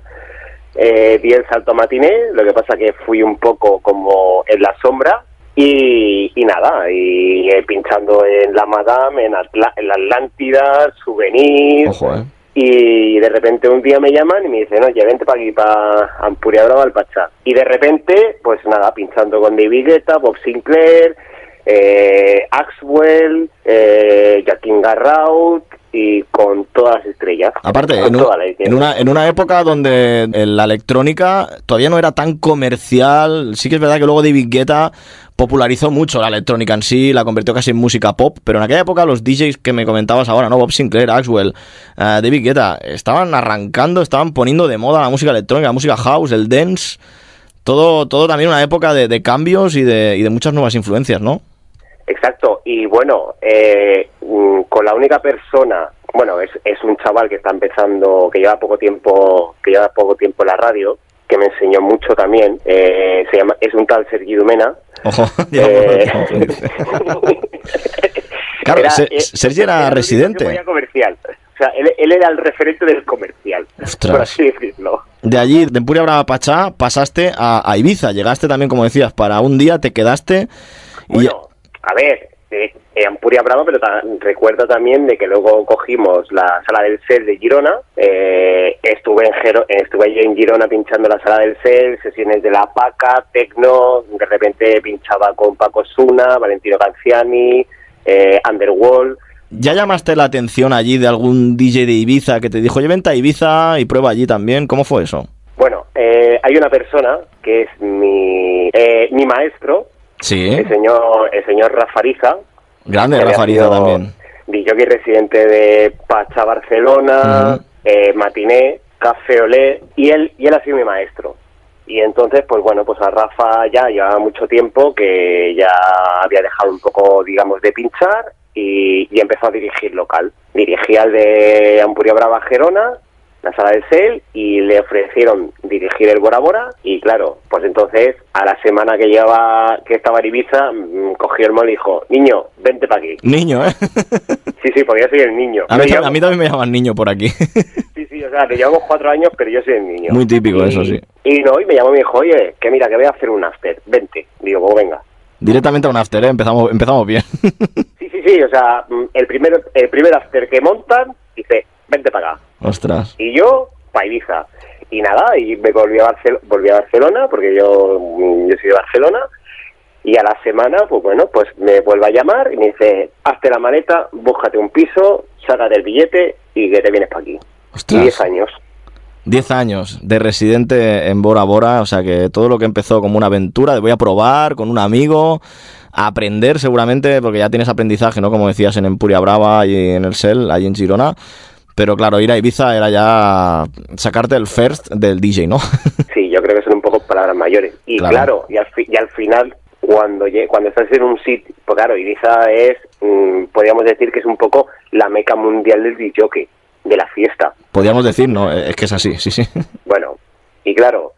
I: eh, di el salto a matiné, lo que pasa que fui un poco como en la sombra. Y, y nada, y eh, pinchando en la Madame, en, Atla- en la Atlántida, Souvenir,
D: ojo, ¿eh?
I: y de repente un día me llaman y me dicen, oye, vente para aquí, para Ampuria Brava, al Pachá. Y de repente, pues nada, pinchando con David Guetta, Bob Sinclair, eh, Axwell, eh, Joaquín Garraut y con todas las estrellas.
D: Aparte,
I: Con
D: en, un-
I: todas las estrellas.
D: en una, en una época donde eh, la electrónica todavía no era tan comercial, sí que es verdad que luego David Guetta popularizó mucho la electrónica en sí, la convirtió casi en música pop, pero en aquella época los DJs que me comentabas ahora, ¿no? Bob Sinclair, Axwell, eh, David Guetta, estaban arrancando, estaban poniendo de moda la música electrónica, la música house, el dance. Todo, todo también una época de, de cambios y de, y de muchas nuevas influencias, ¿no?
I: Exacto, y bueno, eh, mm, con la única persona, bueno, es, es un chaval que está empezando, que lleva poco tiempo, que lleva poco tiempo en la radio, que me enseñó mucho también, eh, se llama, es un tal Sergi Dumena.
D: Ojo, ya
I: Eh,
D: lo dice. Claro, Se-
I: eh,
D: Sergi era
I: el único que
D: residente.
I: ponía comercial. O sea, él, él era el referente del comercial,
D: Ostras.
I: por así decirlo.
D: De allí, de Empuria Brava Pachá, pasaste a, a Ibiza. Llegaste también, como decías, para un día, te quedaste. y-
I: Bueno, a ver, eh, eh, Ampuria Brava, pero ta- recuerdo también de que luego cogimos la sala del CEL de Girona, eh, estuve, en Gero- eh, estuve allí en Girona pinchando la sala del CEL, sesiones de La Paca, Tecno, de repente pinchaba con Paco Suna, Valentino Ganciani, eh, Underworld,
D: ¿Ya llamaste la atención allí de algún DJ de Ibiza que te dijo, oye, vente a Ibiza y prueba allí también? ¿Cómo fue eso?
I: Bueno, eh, hay una persona que es mi, eh, mi maestro,
D: Sí,
I: el señor, el señor Rafariza.
D: grande
I: que había
D: Mm. Rafa Ariza
I: sido
D: también.
I: disjockey residente de Pacha Barcelona,
D: Ujú.
I: eh, Matiné, Café Olé, y él, y él ha sido mi maestro. Y entonces, pues bueno, pues a Rafa ya llevaba mucho tiempo que ya había dejado un poco, digamos, de pinchar y, y empezó a dirigir local. Dirigía el de Ampuria Brava Gerona, la sala del CEL, y le ofrecieron dirigir el Bora Bora. Y claro, pues entonces, a la semana que llevaba, que estaba en Ibiza, mm, cogió el mol y dijo, niño, vente para aquí.
D: Niño, ¿eh?
I: Sí, sí, porque yo soy el niño.
D: A mí,
I: Me
D: tam-
I: llamo-
D: a mí también me llaman niño por aquí.
I: Sí, sí, o sea, te llevamos cuatro años, pero yo soy el niño.
D: Muy típico
I: Y-
D: eso, sí.
I: Y no, y me llamó y me dijo, oye, que mira, que voy a hacer un after, vente. Digo, pues venga.
D: Directamente a un after, ¿eh? Empezamos, empezamos bien.
I: Sí, sí, sí, o sea, mm, el primer, el primer after que montan, dice, vente para acá.
D: Ostras.
I: Y yo, para Ibiza. Y nada, y me volví a, Barcel- volví a Barcelona, porque yo, mm, yo soy de Barcelona. Y a la semana, pues bueno, pues me vuelve a llamar y me dice, hazte la maleta, búscate un piso, sácate el billete y que te vienes para aquí. Y
D: Ostras.
I: 10 años.
D: 10 años de residente en Bora Bora, o sea que todo lo que empezó como una aventura de voy a probar con un amigo, a aprender seguramente, porque ya tienes aprendizaje, ¿no? Como decías en Empuria Brava y en el Sel, ahí en Girona. Pero claro, ir a Ibiza era ya sacarte el first del DJ, ¿no?
I: Sí, yo creo que son un poco palabras mayores. Y
D: Claro.
I: claro, y, al fi- y al final, cuando, lle- cuando estás en un sitio, pues claro, Ibiza es, mm, podríamos decir que es un poco la meca mundial del disjockey, de la fiesta.
D: Podríamos decir, ¿no? Eh, Es que es así, sí, sí.
I: Bueno, y claro,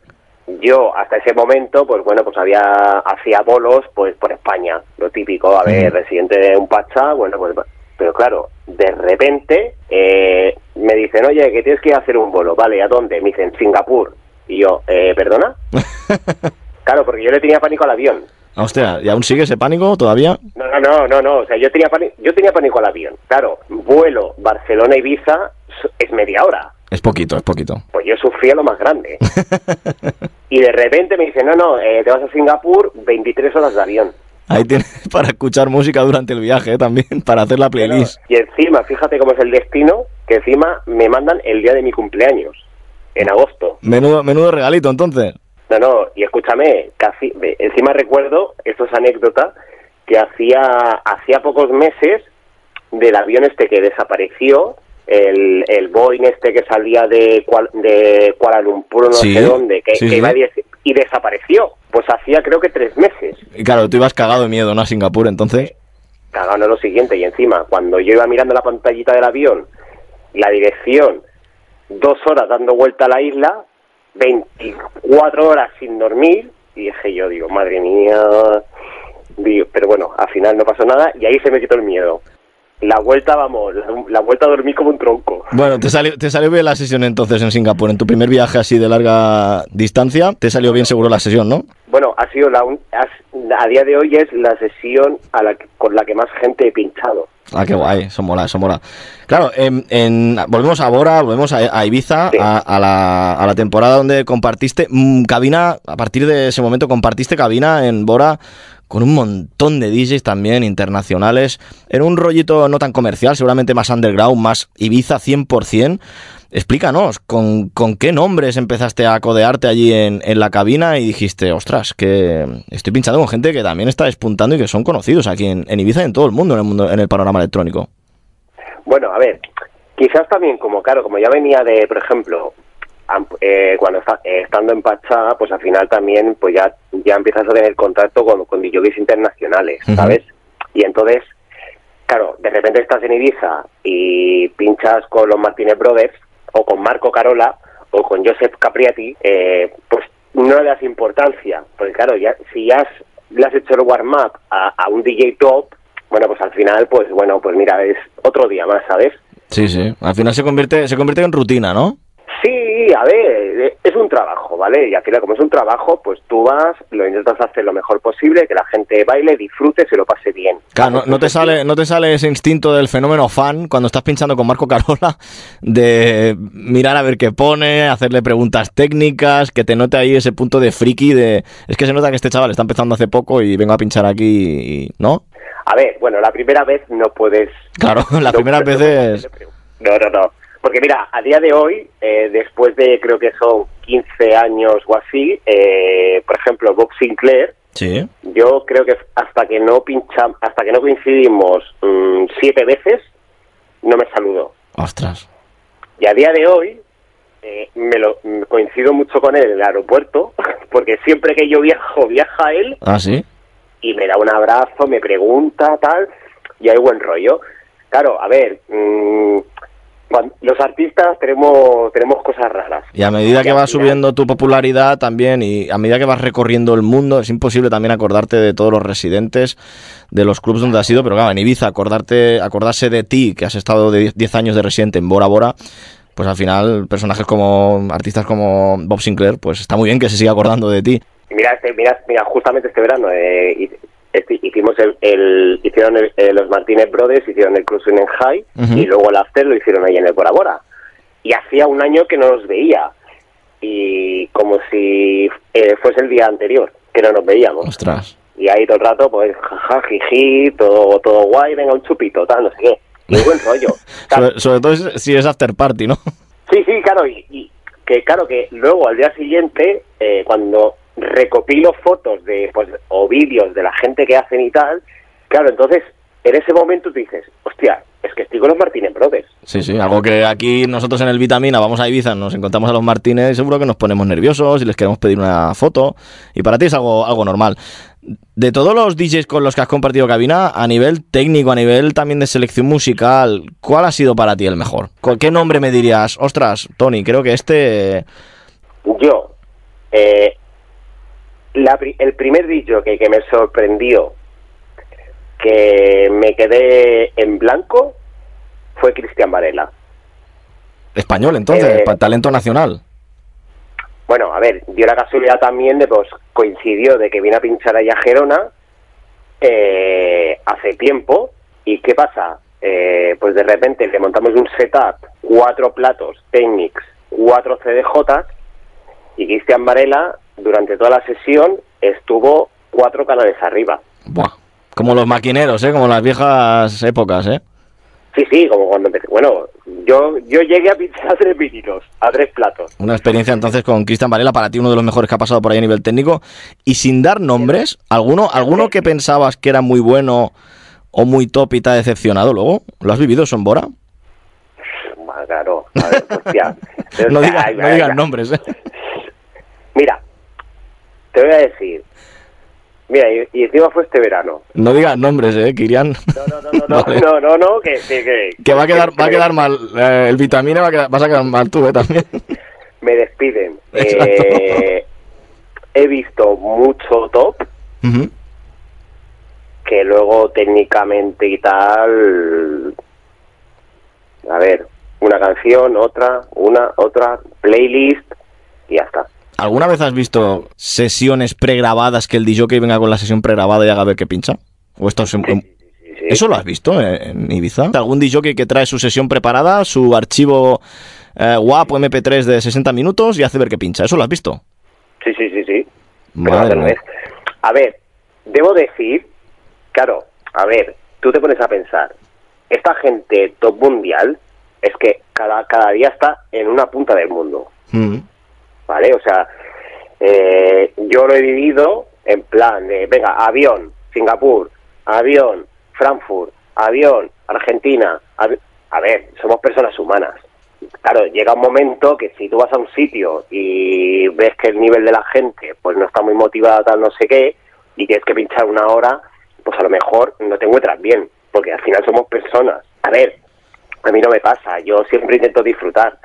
I: yo hasta ese momento, pues bueno, pues había, hacía bolos, pues por España, lo típico, a ver,
D: Ujú.
I: residente de un pachá, bueno, pues, pero claro, de repente eh, me dicen, oye, que tienes que ir a hacer un bolo, vale, ¿a dónde? Me dicen, Singapur. Y yo, eh, ¿perdona? Claro, porque yo le tenía pánico al avión.
D: Hostia, ¿y aún sigue ese pánico todavía?
I: No, no, no, no, no. O sea, yo tenía, pánico, yo tenía pánico al avión. Claro, vuelo Barcelona-Ibiza es media hora.
D: Es poquito, es poquito.
I: Pues yo sufría lo más grande. ¿eh? y de repente me dicen, no, no, eh, te vas a Singapur 23 horas de avión.
D: Ahí tienes para escuchar música durante el viaje ¿eh? también, para hacer la playlist.
I: Y encima, fíjate cómo es el destino, que encima me mandan el día de mi cumpleaños, en agosto.
D: Menudo, menudo regalito entonces.
I: No, no, y escúchame, casi, ve, encima recuerdo, esto es anécdota, que hacía, hacía pocos meses del avión este que desapareció, el, el Boeing este que salía de, Kual- de Kuala Lumpur, no
D: Sí,
I: sé dónde, que,
D: sí,
I: que
D: sí.
I: iba a diez- y desapareció. Pues hacía creo que tres meses.
D: Y claro, tú ibas cagado de miedo, ¿no? A Singapur, entonces.
I: Cagado no lo siguiente, y encima, cuando yo iba mirando la pantallita del avión, la dirección, dos horas dando vuelta a la isla, 24 horas sin dormir, y dije yo, digo, madre mía, digo, pero bueno, al final no pasó nada, y ahí se me quitó el miedo. La vuelta, vamos, la, la vuelta a dormir como un tronco.
D: Bueno, te salió, te salió bien la sesión entonces en Singapur. En tu primer viaje así de larga distancia, te salió bien seguro la sesión, ¿no?
I: Bueno, ha sido la, un- has- a día de hoy es la sesión a la, que- con la que más gente he pinchado.
D: Ah, qué guay, eso mola, eso mola. Claro, en, en- volvemos a Bora, volvemos a, a Ibiza,
I: Sí.
D: a, a la, a la temporada donde compartiste mm, cabina, a partir de ese momento compartiste cabina en Bora con un montón de DJs también internacionales, en un rollito no tan comercial, seguramente más underground, más Ibiza 100%. Explícanos, ¿con, con qué nombres empezaste a codearte allí en, en la cabina y dijiste, ostras, que estoy pinchando con gente que también está despuntando y que son conocidos aquí en, en Ibiza y en todo el mundo, en el mundo, en el panorama electrónico?
I: Bueno, a ver, quizás también como, claro, como ya venía de, por ejemplo, am- eh, cuando está, eh, estando en Pachá, pues al final también pues ya, ya empiezas a tener contacto con, con DJs internacionales,
D: Ujú.
I: ¿sabes? Y entonces, claro, de repente estás en Ibiza y pinchas con los Martínez Brothers o con Marco Carola o con Joseph Capriati, eh, pues no le das importancia, porque claro, ya, si ya has- le has hecho el warm-up a, a un DJ top, bueno, pues al final, pues bueno, pues mira, es otro día más, ¿sabes?
D: Sí, sí. Al final se convierte, se convierte en rutina, ¿no?
I: Sí, a ver, eh, es un trabajo, ¿vale? Y al final, como es un trabajo, pues tú vas, lo intentas hacer lo mejor posible, que la gente baile, disfrute, se lo pase bien.
D: Claro, no, no te sale, no te sale ese instinto del fenómeno fan cuando estás pinchando con Marco Carola de mirar a ver qué pone, hacerle preguntas técnicas, que te note ahí ese punto de friki de es que se nota que este chaval está empezando hace poco y vengo a pinchar aquí, y- ¿no?
I: A ver, bueno, la primera vez no puedes...
D: Claro, las
I: no
D: primeras
I: puedes-
D: veces-
I: No, no, no. Porque mira, a día de hoy, eh, después de creo que son 15 años o así, eh, por ejemplo, Bob Sinclair,
D: Sí.
I: yo creo que hasta que no pincham, hasta que no coincidimos mm, siete veces, no me saludo.
D: Ostras.
I: Y a día de hoy eh, me lo me coincido mucho con él en el aeropuerto, porque siempre que yo viajo, viaja él
D: Ah, sí.
I: y me da un abrazo, me pregunta, tal, y hay buen rollo. Claro, a ver, mm, cuan- los artistas tenemos, tenemos cosas raras.
D: Y a medida
I: Y
D: que
I: al
D: vas
I: final-
D: subiendo tu popularidad también y a medida que vas recorriendo el mundo, es imposible también acordarte de todos los residentes de los clubs donde has ido, pero claro, en Ibiza, acordarte, acordarse de ti, que has estado de 10 años de residente en Bora Bora, pues al final personajes como, artistas como Bob Sinclair, pues está muy bien que se siga acordando de ti.
I: Mira, este, mira, mira, justamente este verano eh, hi- este, hicimos el, el- hicieron el- eh, los Martínez Brothers, hicieron el Club Swing en High
D: Ujú.
I: y luego el After lo hicieron ahí en el Bora Bora. Y hacía un año que no los veía y como si eh, fuese el día anterior que no nos veíamos.
D: Ostras.
I: Y ahí todo el rato, pues, jaja, jiji, todo, todo guay, venga un chupito, tal, no sé qué. Muy buen rollo. Claro,
D: Sobre, sobre todo es- si es after party, ¿no?
I: Sí, sí, claro, y, y que claro que luego al día siguiente, eh, cuando recopilo fotos de pues, o vídeos de la gente que hacen y tal, claro, entonces en ese momento tú dices, hostia, es que estoy con los Martínez Brothers.
D: Sí, sí, algo que aquí nosotros en el Vitamina vamos a Ibiza, nos encontramos a los Martínez y seguro que nos ponemos nerviosos y les queremos pedir una foto. Y para ti es algo, algo normal. De todos los DJs con los que has compartido cabina, a nivel técnico, a nivel también de selección musical, ¿cuál ha sido para ti el mejor? ¿Con ¿Qué nombre me dirías? Ostras, Tony, creo que este...
I: Yo, eh, la pri- el primer DJ que, que me sorprendió, que me quedé en blanco, fue Cristian Varela.
D: Español, entonces,
I: Eh,
D: pa- talento nacional.
I: Bueno, a ver, dio la casualidad también de pues coincidió de que vine a pinchar allá a Gerona eh, hace tiempo y qué pasa, Eh, pues de repente le montamos un setup, cuatro platos, Technics, cuatro CDJ y Cristian Varela durante toda la sesión estuvo cuatro canales arriba.
D: Buah. Como los maquineros, ¿eh? Como las viejas épocas, ¿eh?
I: Sí, sí, como cuando empecé. Bueno, yo yo llegué a pinchar a tres vinilos, a tres platos.
D: Una experiencia entonces con Cristian Varela, para ti uno de los mejores que ha pasado por ahí a nivel técnico. Y sin dar nombres, ¿alguno, alguno que pensabas que era muy bueno o muy top y te ha decepcionado luego? ¿Lo has vivido, Son Bora?
I: Ah, Claro, a ver, hostia.
D: No digas,
I: Ay,
D: no digas
I: venga.
D: nombres, ¿eh?
I: Mira, te voy a decir. Mira, y, y encima fue este verano.
D: No digas nombres, ¿eh, Kirian?
I: No, no, no, no, no,
D: Vale.
I: no, no, no, que, que, que,
D: Que va a quedar,
I: que-
D: va a quedar mal. eh, el vitamina va a quedar, vas a quedar mal tú, ¿eh? También.
I: Me despiden.
D: Exacto.
I: Eh, he visto mucho top
D: Ujú.
I: que luego técnicamente y tal. A ver, una canción, otra, una, otra, playlist y ya está.
D: ¿Alguna vez has visto sesiones pregrabadas que el DJ venga con la sesión pregrabada y haga ver qué pincha? ¿O esto es un-
I: Sí, sí.
D: ¿Eso lo has visto eh, en Ibiza? ¿Algún DJ que trae su sesión preparada, su archivo eh, WAP o MP3 de 60 minutos y hace ver que pincha? ¿Eso lo has visto?
I: Sí, sí, sí, sí. Pero
D: Madre
I: otra
D: mía.
I: vez. A ver, debo decir, claro, a ver, tú te pones a pensar, esta gente top mundial es que cada, cada día está en una punta del mundo,
D: Mm.
I: ¿vale? O sea, eh, yo lo he vivido en plan de, venga, avión, Singapur, avión, Frankfurt, avión, Argentina. avi- a ver, somos personas humanas. claro, llega un momento que si tú vas a un sitio y ves que el nivel de la gente pues no está muy motivada, tal, no sé qué, y tienes que pinchar una hora, pues a lo mejor no te encuentras bien, porque al final somos personas. A ver, a mí no me pasa, yo siempre intento disfrutar.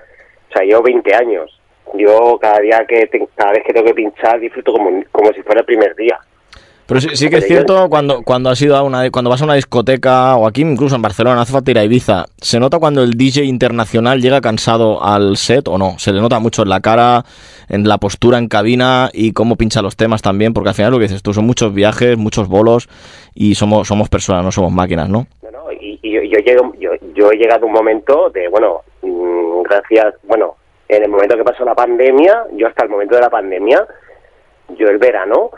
I: O sea, yo 20 años, yo cada día que te- cada vez que tengo que pinchar disfruto como, como si fuera el primer día.
D: Pero sí, sí que es cierto, cuando, cuando, has ido a una, cuando vas a una discoteca o aquí incluso en Barcelona, hace falta ir a Ibiza, ¿se nota cuando el DJ internacional llega cansado al set o no? Se le nota mucho en la cara, en la postura en cabina y cómo pincha los temas también, porque al final lo que dices tú son muchos viajes, muchos bolos y somos, somos personas, no somos máquinas, ¿no?
I: No, no, y, y yo, yo llego- yo, yo he llegado a un momento de, bueno, mm, gracias, bueno, en el momento que pasó la pandemia, yo hasta el momento de la pandemia, yo el verano,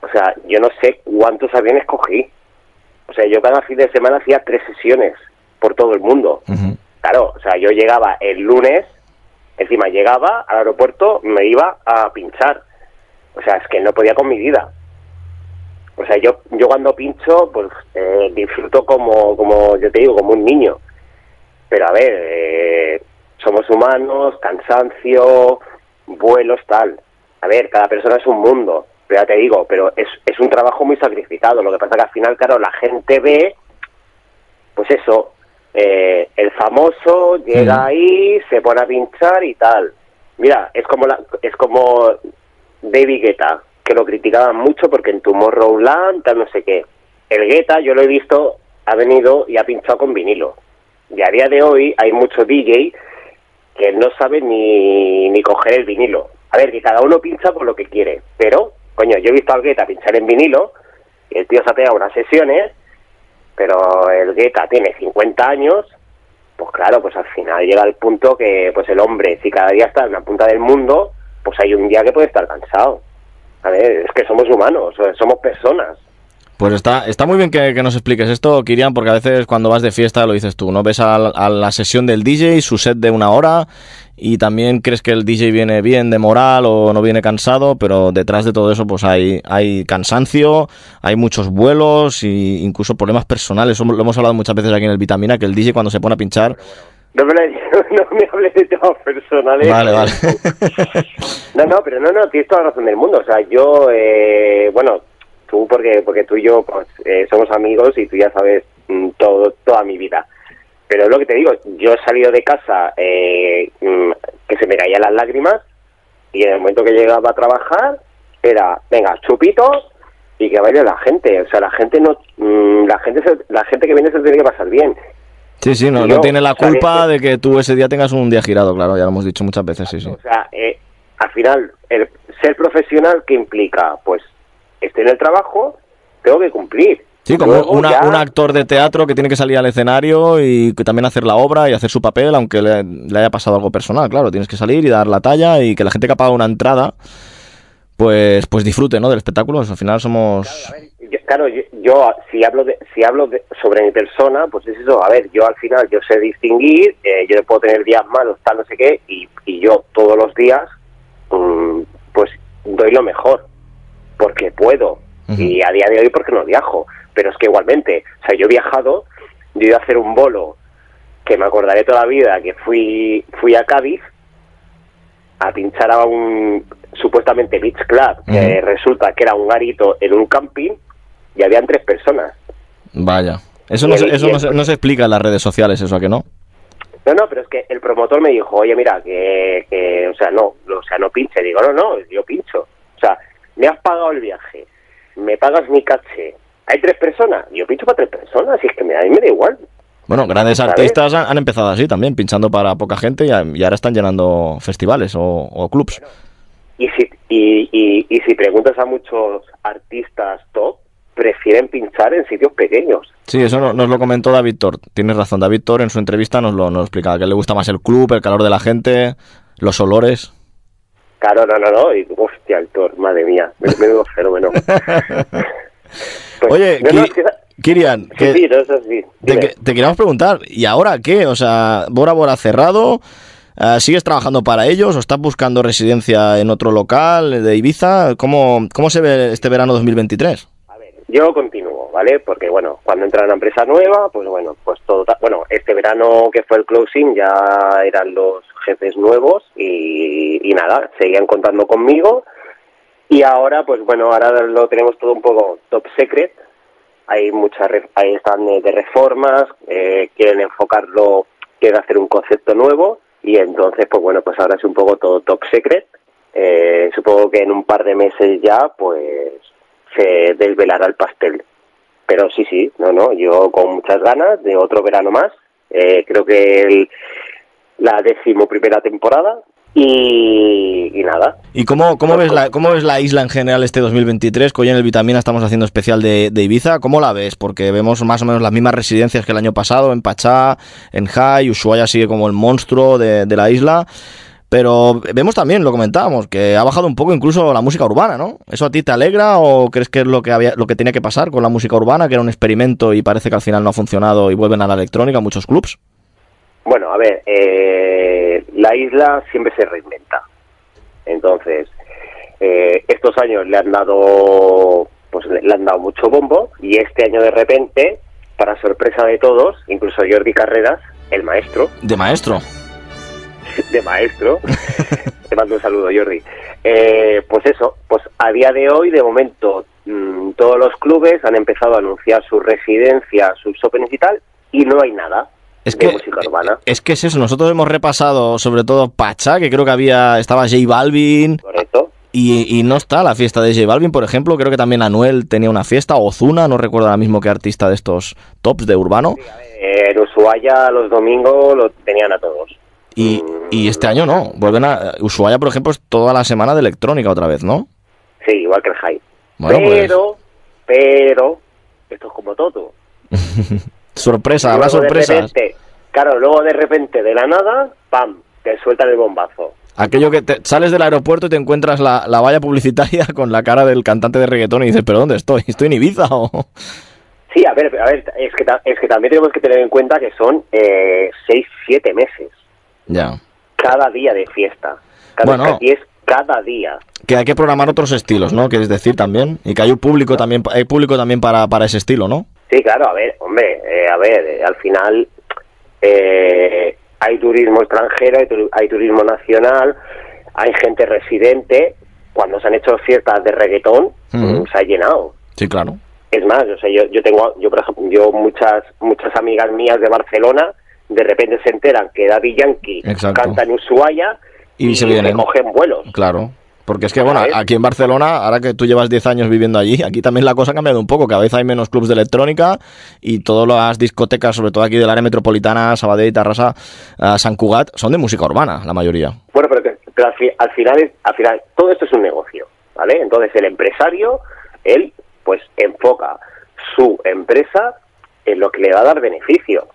I: o sea, yo no sé cuántos aviones cogí. O sea, yo cada fin de semana hacía tres sesiones por todo el mundo. Claro, o sea, yo llegaba el lunes, encima llegaba al aeropuerto, me iba a pinchar. O sea, es que no podía con mi vida. O sea, yo, yo cuando pincho, pues eh, disfruto como, como, yo te digo, como un niño. Pero a ver, eh, somos humanos, cansancio, vuelos, tal. A ver, cada persona es un mundo, pero ya te digo, pero es, es un trabajo muy sacrificado. Lo que pasa que al final, claro, la gente ve, pues eso, eh, el famoso llega ahí, se pone a pinchar y tal. Mira, es como, la, es como David Guetta, que lo criticaban mucho porque en Tomorrowland, tal no sé qué. El Guetta, yo lo he visto, ha venido y ha pinchado con vinilo. Y a día de hoy hay muchos DJ que no saben ni, ni coger el vinilo. A ver, que cada uno pincha por lo que quiere, pero, coño, yo he visto al Guetta pinchar en vinilo, y el tío se ha pegado unas sesiones, pero el Guetta tiene 50 años, pues claro, pues al final llega el punto que pues el hombre, si cada día está en una punta del mundo, pues hay un día que puede estar cansado. A ver, es que somos humanos, o sea, somos personas.
D: Pues está, está muy bien que, que nos expliques esto, Kirian, porque a veces cuando vas de fiesta lo dices tú, ¿no? Ves a, la- a la sesión del DJ, su set de una hora, y también crees que el DJ viene bien de moral o no viene cansado, pero detrás de todo eso pues hay, hay cansancio, hay muchos vuelos e incluso problemas personales. Lo hemos hablado muchas veces aquí en el Vitamina, que el DJ cuando se pone a pinchar...
I: No me, lo- no me hables de temas personales.
D: Vale, vale.
I: No, no, pero no, no, tienes toda la razón del mundo. O sea, yo, eh, bueno, tú porque porque tú y yo pues, eh, somos amigos y tú ya sabes mm, todo toda mi vida. Pero es lo que te digo, yo he salido de casa eh, mm, que se me caían las lágrimas y en el momento que llegaba a trabajar era, venga, chupitos y que baile la gente. O sea, la gente no, mm, la gente se- la gente que viene se lo tiene que pasar bien.
D: Sí, sí, no,
I: Yo,
D: no tiene la
I: o sea,
D: culpa de que tú ese día tengas un día girado, claro, ya lo hemos dicho muchas veces, sí, sí.
I: O sea, eh, al final, el ser profesional, ¿qué implica? Pues estoy en el trabajo, tengo que cumplir.
D: Sí, como
I: Luego
D: una-
I: ya-
D: un actor de teatro que tiene que salir al escenario y que también hacer la obra y hacer su papel, aunque le, le haya pasado algo personal, claro, tienes que salir y dar la talla y que la gente que ha pagado una entrada, pues, pues disfrute, ¿no? Del espectáculo, al final somos...
I: yo- claro, yo, yo, si hablo de, si hablo de- sobre mi persona, pues es eso. A ver, yo al final yo sé distinguir, eh, yo puedo tener días malos, tal, no sé qué, y, y yo todos los días, mm, pues doy lo mejor, porque puedo.
D: Ujú.
I: Y a día de hoy porque no viajo. Pero es que igualmente, o sea, yo he viajado, yo he ido a hacer un bolo que me acordaré toda la vida, que fui, fui a Cádiz a pinchar a un supuestamente beach club, que
D: Ujú.
I: resulta que era un garito en un camping y habían tres personas.
D: Vaya. Eso, no,
I: Y
D: se-
I: el-
D: eso
I: y el-
D: no, se, no se explica en las redes sociales, eso, ¿a que no?
I: No, no, pero es que el promotor me dijo, oye, mira, que, que, o sea, no, o sea, no pinche. Digo, no, no, yo pincho. O sea, me has pagado el viaje, me pagas mi caché. Hay tres personas, yo pincho para tres personas, y es que me, a mí me da igual.
D: Bueno, grandes
I: ¿Sabes?
D: artistas han, han empezado así también, pinchando para poca gente y, a- y ahora están llenando festivales o, o clubs.
I: Y si, y, y, y si preguntas a muchos artistas top, prefieren pinchar en sitios pequeños.
D: Sí, eso no- nos lo comentó David Thor. Tienes razón, David Thor en su entrevista nos lo, nos lo explicaba, que a él le gusta más el club, el calor de la gente, los olores.
I: Claro, no, no, no. Y, hostia, el Thor, madre mía, me- menudo fenómeno. Pues,
D: Oye,
I: no, no,
D: Ki-
I: es que-
D: Kirian, que
I: sí, sí, no, eso sí.
D: te,
I: Dime.
D: que- te queríamos preguntar, ¿y ahora qué? O sea, Bora Bora cerrado, eh, ¿sigues trabajando para ellos o estás buscando residencia en otro local de Ibiza? ¿Cómo, cómo se ve este verano 2023?
I: Yo continúo, ¿vale? Porque, bueno, cuando entra una empresa nueva, pues bueno, pues todo... ta- Bueno, este verano que fue el closing ya eran los jefes nuevos y, y nada, seguían contando conmigo. Y ahora, pues bueno, ahora lo tenemos todo un poco top secret. Hay muchas, re- ahí están de, de reformas, eh, quieren enfocarlo, quieren hacer un concepto nuevo y entonces, pues bueno, pues ahora es un poco todo top secret. Eh, supongo que en un par de meses ya, pues se desvelará el pastel. Pero sí, sí, no, no, yo con muchas ganas de otro verano más. Eh, creo que el, la decimoprimera temporada y, y nada,
D: ¿Y cómo, cómo, ves la, cómo ves la isla en general este 2023? Que hoy en el Vitamina estamos haciendo especial de, de Ibiza. ¿Cómo la ves? Porque vemos más o menos las mismas residencias que el año pasado, en Pachá, en Jai, Ushuaia sigue como el monstruo de, de la isla. Pero vemos también, lo comentábamos, que ha bajado un poco incluso la música urbana, ¿no? ¿Eso a ti te alegra o crees que es lo que, había, lo que tenía que pasar con la música urbana, que era un experimento y parece que al final no ha funcionado y vuelven a la electrónica muchos clubs?
I: Bueno, a ver, eh, la isla siempre se reinventa. Entonces, eh, estos años le han dado, pues le le han dado mucho bombo y este año de repente, para sorpresa de todos, incluso Jordi Carreras, el maestro,
D: De maestro.
I: de maestro. Te mando un saludo, Jordi. Eh, pues eso, pues a día de hoy, de momento, mm, todos los clubes han empezado a anunciar sus residencias, sus openings y tal, y no hay nada
D: Es
I: de
D: que, eh,
I: música urbana.
D: es que es eso, nosotros hemos repasado sobre todo Pacha, que creo que había estaba J Balvin
I: Correcto.
D: y, y no está la fiesta de J Balvin, por ejemplo, creo que también Anuel tenía una fiesta, Ozuna, no recuerdo ahora mismo qué artista de estos tops de urbano,
I: Eh, en Ushuaia los domingos lo tenían a todos.
D: y, y este año no, vuelven a Ushuaia, por ejemplo, es toda la semana de electrónica otra vez, ¿no?
I: Sí, igual que el High.
D: Bueno, pues.
I: pero, pero, esto es como todo.
D: Sorpresa, habrá
I: Luego de
D: sorpresas.
I: repente- claro, luego de repente, de la nada, ¡pam! Te sueltan el bombazo.
D: Aquello que te- sales del aeropuerto y te encuentras la, la valla publicitaria con la cara del cantante de reggaetón y dices, pero ¿dónde estoy? ¿Estoy en Ibiza o...?
I: Sí, a ver, a ver es, que, ta- es que también tenemos que tener en cuenta que son 6, 7 meses.
D: Ya.
I: Cada día de fiesta. Cada
D: Bueno.
I: Y es cada día.
D: que hay que programar otros estilos, ¿no? Quieres decir también y que hay un público también, hay público también para, para ese estilo, ¿no?
I: Sí, claro, a ver, hombre, eh, a ver, eh, al final eh, hay turismo extranjero, hay, turi- hay turismo nacional, hay gente residente. Cuando se han hecho fiestas de reggaetón,
D: Ujú.
I: mm, se ha llenado.
D: Sí, claro.
I: Es más, o sea, yo, yo tengo, yo por ejemplo, yo muchas, muchas amigas mías de Barcelona, de repente se enteran que Daddy Yankee
D: Exacto.
I: canta en Ushuaia
D: Y se vienen.
I: cogen vuelos.
D: Claro. Porque es que, bueno,
I: ¿Sabes?
D: aquí en Barcelona, ahora que tú llevas 10 años viviendo allí, aquí también la cosa ha cambiado un poco. Cada vez hay menos clubs de electrónica y todas las discotecas, sobre todo aquí del área metropolitana, Sabadell, Tarrasa, eh, Sant Cugat, son de música urbana, la mayoría.
I: Bueno, pero, que- pero al, fi- al final, es- al final todo esto es un negocio, ¿vale? Entonces el empresario, él, pues enfoca su empresa en lo que le va a dar beneficio.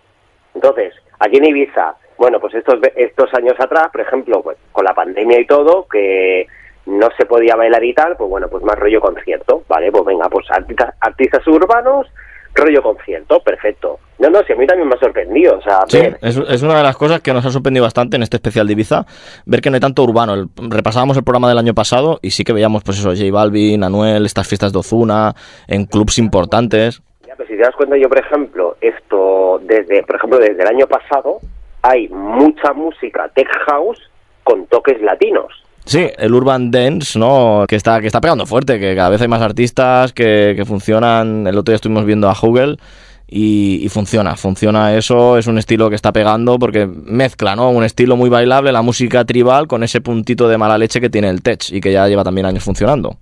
I: Entonces, aquí en Ibiza, bueno, pues estos ve- estos años atrás, por ejemplo, pues, con la pandemia y todo, que no se podía bailar y tal, pues bueno, pues más rollo concierto, ¿vale? Pues venga, pues artistas, artistas urbanos, rollo concierto, perfecto. No, no, si a mí también me ha sorprendido, o sea,
D: Sí,
I: ver,
D: es, es una de las cosas que nos ha sorprendido bastante en este especial de Ibiza, ver que no hay tanto urbano. El- repasábamos el programa del año pasado y sí que veíamos, pues eso, J Balvin, Anuel, estas fiestas de Ozuna, en clubs importantes.
I: Ya, pero si te das cuenta, yo, por ejemplo, esto, desde, por ejemplo, desde el año pasado, hay mucha música tech house con toques latinos.
D: Sí, el Urban Dance, ¿no? Que está, que está pegando fuerte, que cada vez hay más artistas que, que funcionan. El otro día estuvimos viendo a Hugel y, y funciona, funciona eso. Es un estilo que está pegando porque mezcla, ¿no? Un estilo muy bailable, la música tribal con ese puntito de mala leche que tiene el tech y que ya lleva también años funcionando.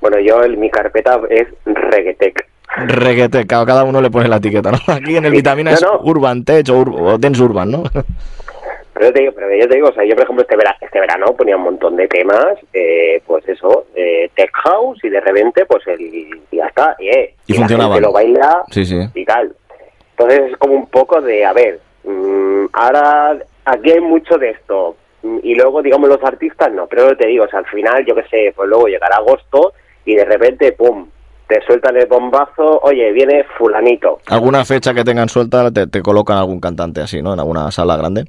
I: Bueno, yo, en mi carpeta es reggaetech.
D: Reggaete, claro, cada uno le pone la etiqueta, ¿no? Aquí en el
I: Sí,
D: Vitamina
I: no,
D: es
I: no.
D: Urban Tech o, ur- o Dance Urban, ¿no?
I: Pero yo te digo, pero yo te digo, o sea, yo, por ejemplo, este verano, este verano ponía un montón de temas, eh, pues eso, eh, tech house, y de repente, pues el, y ya está, y, eh,
D: Y
I: la
D: funcionaban.
I: gente lo baila,
D: Sí, sí.
I: y tal. Entonces es como un poco de, a ver, mm, ahora aquí hay mucho de esto. Mm, Y luego, digamos, los artistas no, pero te digo, o sea, al final, yo qué sé, pues luego llegará agosto y de repente, ¡pum!, te sueltan el bombazo, oye, viene fulanito.
D: Alguna fecha que tengan suelta te, te colocan algún cantante así, ¿no? En alguna sala grande.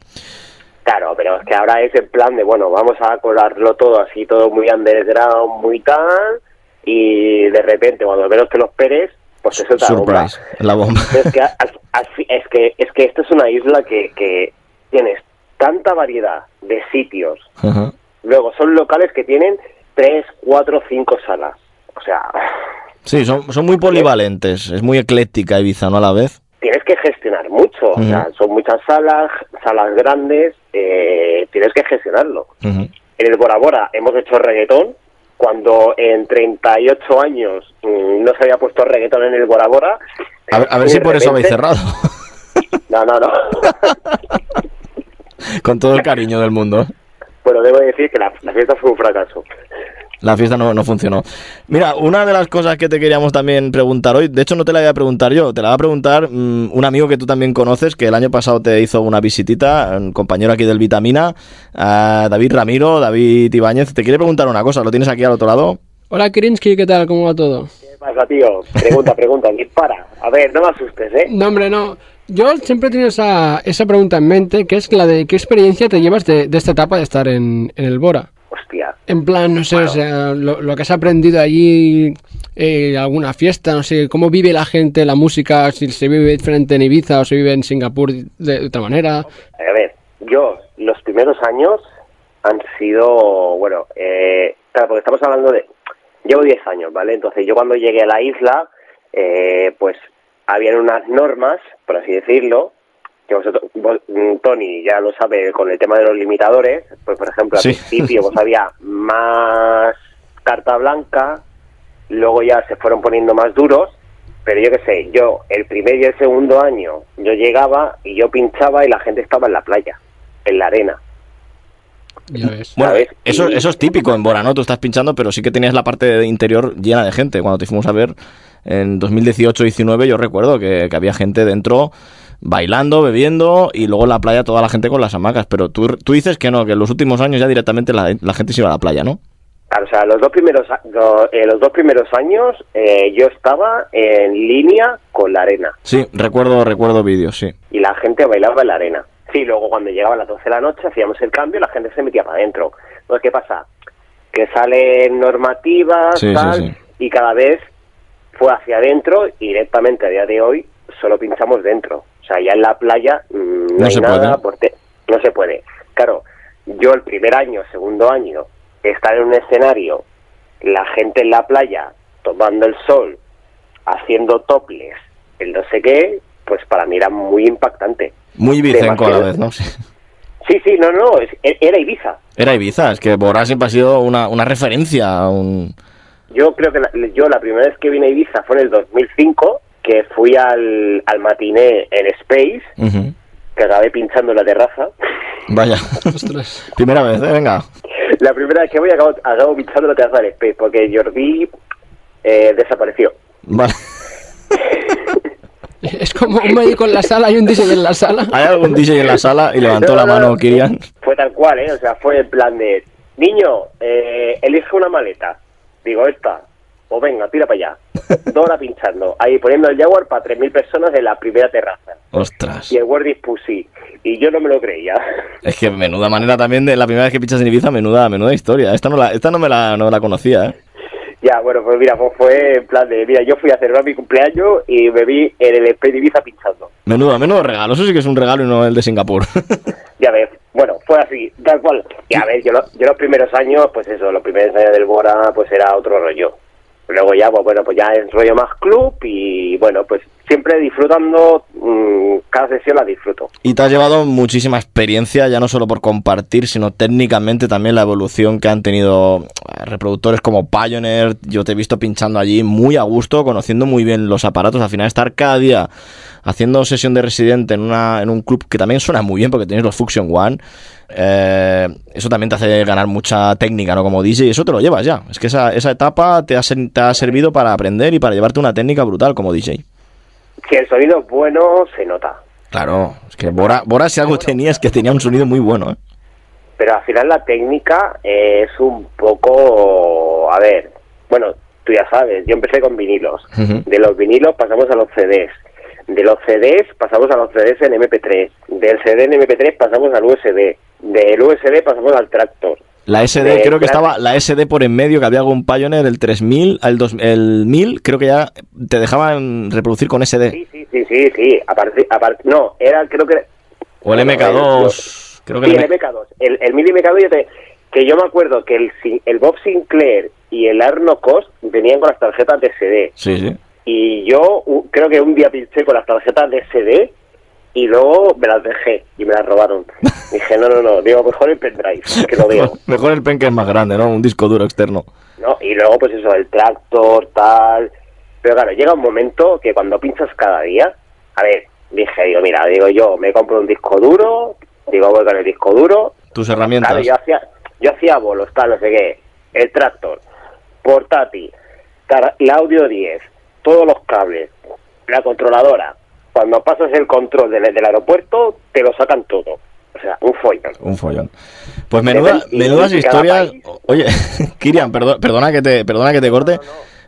I: Claro, pero es que ahora es el plan de, bueno, vamos a colarlo todo así, todo muy underground, muy tal, y de repente, cuando menos te lo esperes, Pues eso está bomba.
D: Surprise, la bomba.
I: Es que, al- al fi- es que, es que esto es una isla que, que tienes tanta variedad de sitios.
D: Ajá.
I: Luego, son locales que tienen 3, 4, 5 salas. O sea,
D: Sí, son, son muy polivalentes. Es muy ecléctica Ibiza, ¿no? A la vez.
I: tienes que gestionar mucho. O sea,
D: Ujú.
I: son muchas salas, salas grandes, eh, tienes que gestionarlo.
D: Ujú.
I: En el Bora Bora hemos hecho reggaetón. Cuando en 38 años mm, no se había puesto reggaetón en el Bora Bora.
D: A ver, a ver
I: y
D: si
I: de
D: por eso habéis
I: repente-
D: cerrado.
I: No, no, no.
D: Con todo el cariño del mundo. ¿eh?
I: Bueno, debo decir que la, la fiesta fue un fracaso.
D: La fiesta no, no funcionó. Mira, una de las cosas que te queríamos también preguntar hoy, de hecho no te la voy a preguntar yo, te la va a preguntar mm, un amigo que tú también conoces, que el año pasado te hizo una visitita, un compañero aquí del Vitamina, a David Ramiro, David Ibáñez, te quiere preguntar una cosa, lo tienes aquí al otro lado.
H: Hola Krinsky, ¿qué tal? ¿Cómo va todo?
I: ¿Qué pasa, tío? Pregunta, pregunta, dispara. A ver, no me asustes, ¿eh?
H: No, hombre, no. Yo siempre he tenido esa, esa pregunta en mente, que es la de qué experiencia te llevas de, de esta etapa de estar en, en el Bora.
I: Hostia.
H: En plan, no sé, o sea, lo, lo que has aprendido allí, eh, alguna fiesta, no sé, cómo vive la gente, la música, si se vive diferente en Ibiza o se vive en Singapur de, de otra manera.
I: A ver, yo, los primeros años han sido, bueno, eh, claro, porque estamos hablando de, llevo 10 años, ¿vale? Entonces yo cuando llegué a la isla, eh, pues habían unas normas, por así decirlo, que vosotros, vos- mm, Tony ya lo sabe con el tema de los limitadores, pues por ejemplo al
D: Sí.
I: principio pues había más carta blanca, luego ya se fueron poniendo más duros, pero yo qué sé, yo el primer y el segundo año yo llegaba y yo pinchaba y la gente estaba en la playa, en la arena.
H: Ya ves.
D: Bueno,
I: ¿Sabes?
D: eso,
I: Y-
D: eso es típico en Bora, ¿no? Tú estás pinchando, pero sí que tenías la parte de interior llena de gente. Cuando te fuimos a ver en 2018-19, yo recuerdo que, que había gente dentro bailando, bebiendo y luego en la playa toda la gente con las hamacas. Pero tú, tú dices que no, que en los últimos años ya directamente la, la gente se iba a la playa, ¿no?
I: Claro, o sea, los dos primeros a- do- eh, los dos primeros años eh, yo estaba en línea con la arena
D: Sí, recuerdo, recuerdo vídeos, sí.
I: y la gente bailaba en la arena. Sí, luego cuando llegaba a las 12 de la noche hacíamos el cambio y la gente se metía para adentro. Entonces, ¿qué pasa? Que salen normativas
D: Sí, sí,
I: tal,
D: sí.
I: y cada vez fue hacia adentro y directamente a día de hoy solo pinchamos dentro. O sea, ya en la playa mm, no,
D: No
I: hay
D: se
I: nada
D: puede.
I: porque no se puede. Claro, yo el primer año, segundo año, estar en un escenario, la gente en la playa tomando el sol, haciendo toples, el no sé qué, pues para mí era muy impactante.
D: Muy ibicenco a la
I: Demasiado.
D: vez, ¿no? Sí.
I: Sí, sí, no, no, es- e- era Ibiza.
D: Era Ibiza, es que Bora siempre ha sido una, una referencia, un...
I: Yo creo que la, yo la primera vez que vine a Ibiza fue en el 2005, que fui al, al matiné en Space,
D: Ujú.
I: que acabé pinchando en la terraza.
D: Vaya.
H: Ostras.
D: Primera vez, ¿eh? Venga.
I: La primera vez que voy acabo, acabo pinchando en la terraza del Space, porque Jordi eh, desapareció.
D: Vale.
H: Es como un médico en la sala y un DJ en la sala.
D: ¿Hay algún DJ en la sala? Y levantó
I: No,
D: la
I: no,
D: mano
I: no.
D: Kirian.
I: Fue tal cual, ¿eh? O sea, fue el plan de, niño, eh, elige una maleta. Digo, esta. O venga, tira para allá. Dos horas pinchando. Ahí poniendo el Jaguar para 3.000 personas en la primera terraza.
D: Ostras.
I: Y el Word is Pussy. Y yo no me lo creía.
D: Es que menuda manera también de la primera vez que pinchas en Ibiza, menuda, menuda historia. Esta no la, esta no me la, no la conocía, ¿eh?
I: ya, bueno, pues mira, pues fue en plan de, mira, yo fui a celebrar mi cumpleaños y me vi en el Space Ibiza pinchando.
D: Menudo, menudo regalo. Eso sí que es un regalo y no el de Singapur.
I: Ya ves, bueno, fue así, tal cual. Y a ver, yo, lo- yo los primeros años, pues eso, los primeros años del Bora, pues era otro rollo. Luego ya, pues bueno, pues ya es rollo más club y bueno, pues siempre disfrutando, mm, cada sesión la disfruto.
D: y te has llevado muchísima experiencia, ya no solo por compartir, sino técnicamente también la evolución que han tenido eh, reproductores como Pioneer. Yo te he visto pinchando allí muy a gusto, conociendo muy bien los aparatos. Al final estar cada día haciendo sesión de residente en, una, en un club que también suena muy bien porque tienes los Fuction One. eh, eso también te hace ganar mucha técnica, ¿no? Como DJ, y eso te lo llevas ya. Es que esa, esa etapa te ha, sen- te ha servido para aprender y para llevarte una técnica brutal como DJ.
I: Si el sonido es bueno, se nota.
D: Claro, es que Bora, Bora si algo tenía es que tenía un sonido muy bueno, ¿eh?
I: Pero al final la técnica eh, es un poco, a ver, bueno, tú ya sabes, yo empecé con vinilos.
D: Ujú.
I: De los vinilos pasamos a los CDs. De los CDs pasamos a los CDs en MP3. Del CD en MP3 pasamos al USB. Del USB pasamos al tractor.
D: La SD,
I: Eh,
D: creo que
I: espérate.
D: estaba la SD por en medio, que había algún Pioneer, el 3000, el, 2000, el 1000, creo que ya te dejaban reproducir con SD.
I: Sí, sí, sí, sí, sí. Aparte, aparte, no, era, creo que... era-
D: O el
I: no, no, no.
D: MK2. Creo que
I: Sí,
D: el
I: el
D: M-
I: MK2. El, el Mini MK2 yo te- que yo me acuerdo que el, Si- el Bob Sinclair y el Arno Cost venían con las tarjetas de CD.
D: Sí, sí.
I: Y yo u- creo que un día pinché con las tarjetas de CD y luego me las dejé y me las robaron. Dije, no, no, no, digo, mejor el pendrive, que lo veo.
D: Mejor el pen que es más grande, ¿no? Un disco duro externo.
I: ¿no? Y luego, pues eso, el tractor, tal. Pero claro, llega un momento que cuando pinchas cada día, a ver, dije, digo, mira, digo yo, me compro un disco duro, digo, voy con el disco duro.
D: Tus herramientas.
I: Claro, yo hacía, yo hacía bolos, tal, no sé qué. El tractor, portátil, tar- el audio 10, todos los cables, la controladora. Cuando pasas el control del, del aeropuerto, te lo sacan todo. O sea, un follón.
D: Un follón. Pues menuda,
I: Depende-
D: menudas
I: de cada
D: historias.
I: país.
D: Oye, Kirian, perdo- perdona que te, perdona que te corte,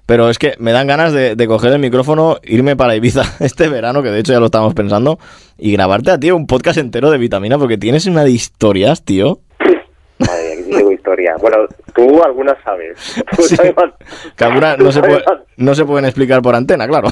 D: pero es que me dan ganas de, de coger el micrófono, irme para Ibiza este verano, que de hecho ya lo estamos pensando, y grabarte a ti un podcast entero de vitamina, porque tienes una de historias, tío.
I: Madre mía, que tengo historia. Bueno, tú algunas sabes. Tú
D: Sí.
I: sabes más-
D: Que algunas
I: tú
D: no se,
I: sabes
D: puede-
I: más.
D: no se pueden explicar por antena, claro.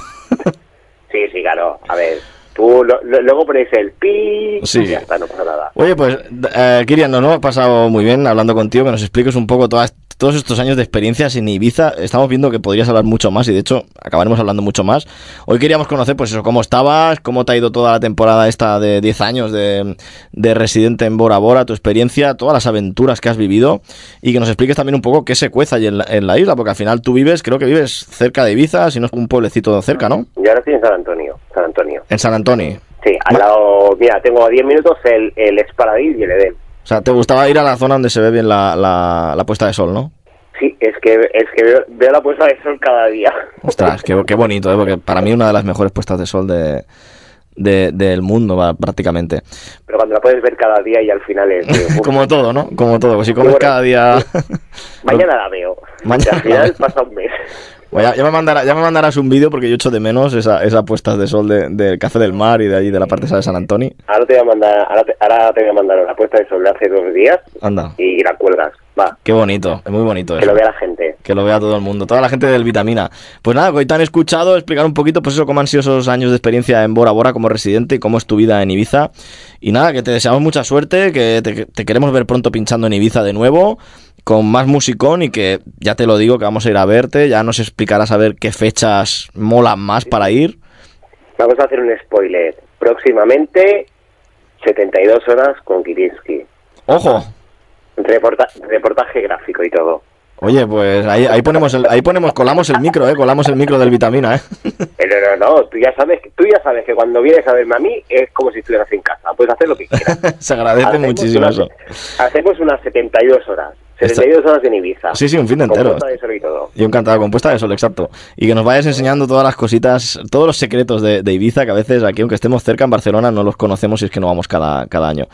I: Sí, sí, claro. A ver, tú lo- lo- luego ponéis el pi.
D: Sí.
I: y Ya está, no pasa nada.
D: Oye, pues, eh, Kirian, nos lo hemos pasado muy bien hablando contigo, que nos expliques un poco todas, todos estos años de experiencias en Ibiza. Estamos viendo que podrías hablar mucho más y, de hecho, acabaremos hablando mucho más. Hoy queríamos conocer, pues eso, cómo estabas, cómo te ha ido toda la temporada esta de 10 años de, de residente en Bora Bora, tu experiencia, todas las aventuras que has vivido y que nos expliques también un poco qué se cueza allí en la, en la isla, porque al final tú vives, creo que vives cerca de Ibiza, si no es un pueblecito cerca, ¿no?
I: Yo ahora estoy en San Antonio. San Antonio.
D: En San Antonio.
I: Sí, al lado. Mira, tengo a 10 minutos el, el Sparadís y el Edén.
D: O sea, te gustaba ir a la zona donde se ve bien la- la- la puesta de sol, ¿no?
I: Sí, es que, es que veo, veo la puesta de sol cada día.
D: Ostras, qué, qué bonito, ¿eh? porque para mí una de las mejores puestas de sol de, de- del mundo, va, prácticamente.
I: Pero cuando la puedes ver cada día y al final es. digo, uf,
D: Como todo, ¿no? Como todo, pues si comes
I: Bueno,
D: cada día...
I: Mañana la veo.
D: Mañana
I: Y al final
D: la veo.
I: pasa un mes.
D: Bueno, Pues ya, ya me mandará- ya me mandarás un vídeo porque yo echo de menos esa, esa puestas de sol de- del Café del Mar y de allí, de la parte esa de San Antonio.
I: Ahora te voy a mandar, ahora te, ahora te voy a mandar la puesta de sol de hace dos días
D: Anda,
I: y la cuelgas. Va,
D: qué bonito, es muy bonito
I: que
D: eso.
I: lo vea la gente.
D: Que lo vea todo el mundo, toda la gente del Vitamina. Pues nada, que hoy te han escuchado explicar un poquito, pues eso, cómo han sido esos años de experiencia en Bora Bora como residente y cómo es tu vida en Ibiza. Y nada, que te deseamos mucha suerte, que te, te queremos ver pronto pinchando en Ibiza de nuevo, con más musicón y que ya te lo digo, que vamos a ir a verte, ya nos explicarás a ver qué fechas molan más para ir.
I: Vamos a hacer un spoiler. Próximamente, 72 horas con Kirinsky.
D: ¡Ojo!
I: Reporta- reportaje gráfico y todo.
D: Oye, pues ahí, ahí ponemos, el- ahí ponemos, colamos el micro, eh, colamos el micro del Vitamina, eh.
I: Pero no, no, tú ya sabes, que- tú ya sabes que cuando vienes a verme a mí es como si estuvieras en casa. Puedes hacer lo que quieras.
D: Se agradece muchísimo
I: unas,
D: eso.
I: Hacemos unas 72 horas. 72 horas en Ibiza.
D: Sí, sí, un fin de
I: Con
D: entero.
I: puesta de sol y todo.
D: Yo encantado, compuesta de sol, exacto. Y que nos vayas enseñando todas las cositas, todos los secretos de, de Ibiza, que a veces aquí, aunque estemos cerca en Barcelona, no los conocemos y es que no vamos cada, cada año.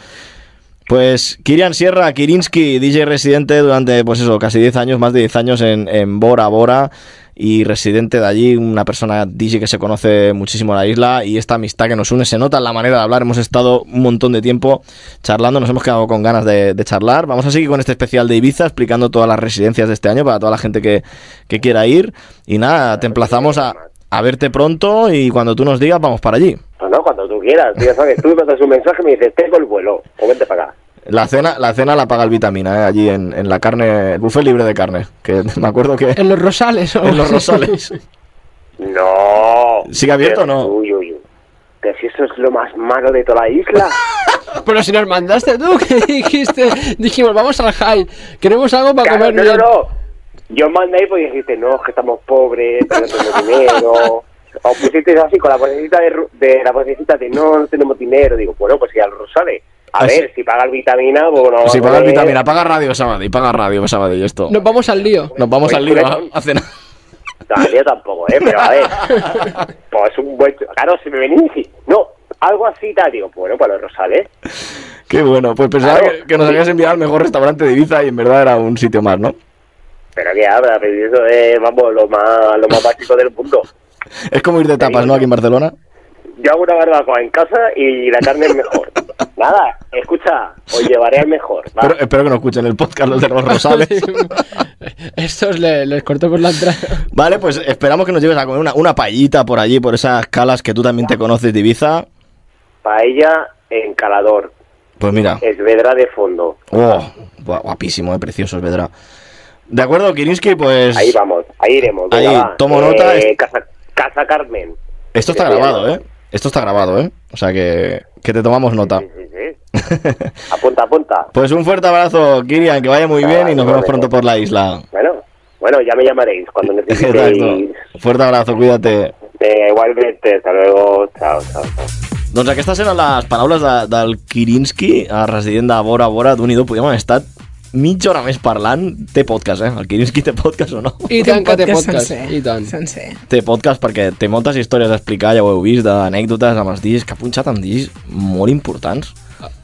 D: Pues Kirian Sierra, Kirinsky, DJ residente durante, pues eso, casi 10 años, más de 10 años en, en Bora Bora y residente de allí, una persona DJ que se conoce muchísimo en la isla y esta amistad que nos une se nota en la manera de hablar. Hemos estado un montón de tiempo charlando, nos hemos quedado con ganas de, de charlar. Vamos a seguir con este especial de Ibiza explicando todas las residencias de este año para toda la gente que, que quiera ir. Y nada, te emplazamos a, a verte pronto y cuando tú nos digas, vamos para allí.
I: No, no, cuando tú quieras. Tú ya sabes, tú me mandas un mensaje y me dices, tengo el vuelo. O vente para acá.
D: La cena, la cena la paga el vitamina, ¿eh? allí en, en la carne, el buffet libre de carne, que me acuerdo que
H: En los rosales. o-
D: en los Rosales.
I: No.
D: ¿Sigue abierto o no?
I: Uy, uy, uy. Pero si eso es lo más malo de toda la isla.
H: Pero si nos mandaste tú, que dijiste, dijimos, vamos al high, queremos algo para
I: Claro,
H: comer
I: no, no,
H: bien.
I: no. Yo mandé ahí porque dijiste, no, es que estamos pobres, que no tenemos dinero. O pusiste así con la vocecita de, ru- de la vocecita de no, no tenemos dinero. Digo, bueno, pues ya lo sale. A
D: Ah, sí.
I: ver, si paga el vitamina, pues bueno.
D: Si
I: a
D: paga el
I: ver.
D: vitamina, paga radio Sabadell, paga radio Sabadell, esto.
H: Nos vamos al lío.
D: Nos vamos al lío a, a cenar.
I: No, yo tampoco, ¿eh? Pero a ver. pues un buen. Claro, si me venís y. No, algo así tal. Digo, bueno, para los rosales.
D: Qué bueno, pues pensaba
I: Claro.
D: que, que nos habías enviado al mejor restaurante de Ibiza y en verdad era un sitio más, ¿no?
I: Pero que habla, pero eso es, vamos, lo más, lo más básico del mundo.
D: Es como ir de tapas, ¿no? Aquí en Barcelona.
I: Yo hago una barbacoa en casa y la carne es mejor. Nada, escucha, os llevaré al mejor. va.
D: Pero, eh, espero que no escuchen el podcast los de los Rosales.
H: Estos le- les cortó por la entrada.
D: Vale, pues esperamos que nos lleves a comer una, una paellita por allí, por esas calas que tú también te conoces de Ibiza.
I: Paella en Calador,
D: Pues mira,
I: Esvedra de fondo.
D: oh, gua- guapísimo, eh, precioso, es verdad. De acuerdo, Kirinsky, pues
I: Ahí vamos, ahí iremos.
D: Ahí,
I: venga, va.
D: tomo nota,
I: Eh,
D: es-
I: Casa, Casa Carmen.
D: esto está grabado, ¿eh? Esto está grabado, ¿eh? O sea que, que te tomamos nota.
I: Sí, sí, sí. Apunta, apunta.
D: Pues un fuerte abrazo, Kirian, que vaya muy bien y nos vemos pronto por la isla.
I: Bueno, bueno, ya me llamaréis cuando necesitéis.
D: Exacto. Fuerte abrazo, cuídate.
I: Eh, igualmente, hasta luego. Chao, chao, chao.
D: Doncs aquestes eren les paraules de, del Kirinski, eh, resident de Bora Bora. d'un nhi do podíem haver estat mitja hora més parlant. Té podcast, eh? El Kirinski té podcast o no?
H: I tant que té podcast.
E: Sencer,
H: I tant.
E: Sencer.
D: Té podcast perquè té moltes històries a explicar, ja ho heu vist, d'anècdotes amb els discs, que ha punxat amb discs molt importants.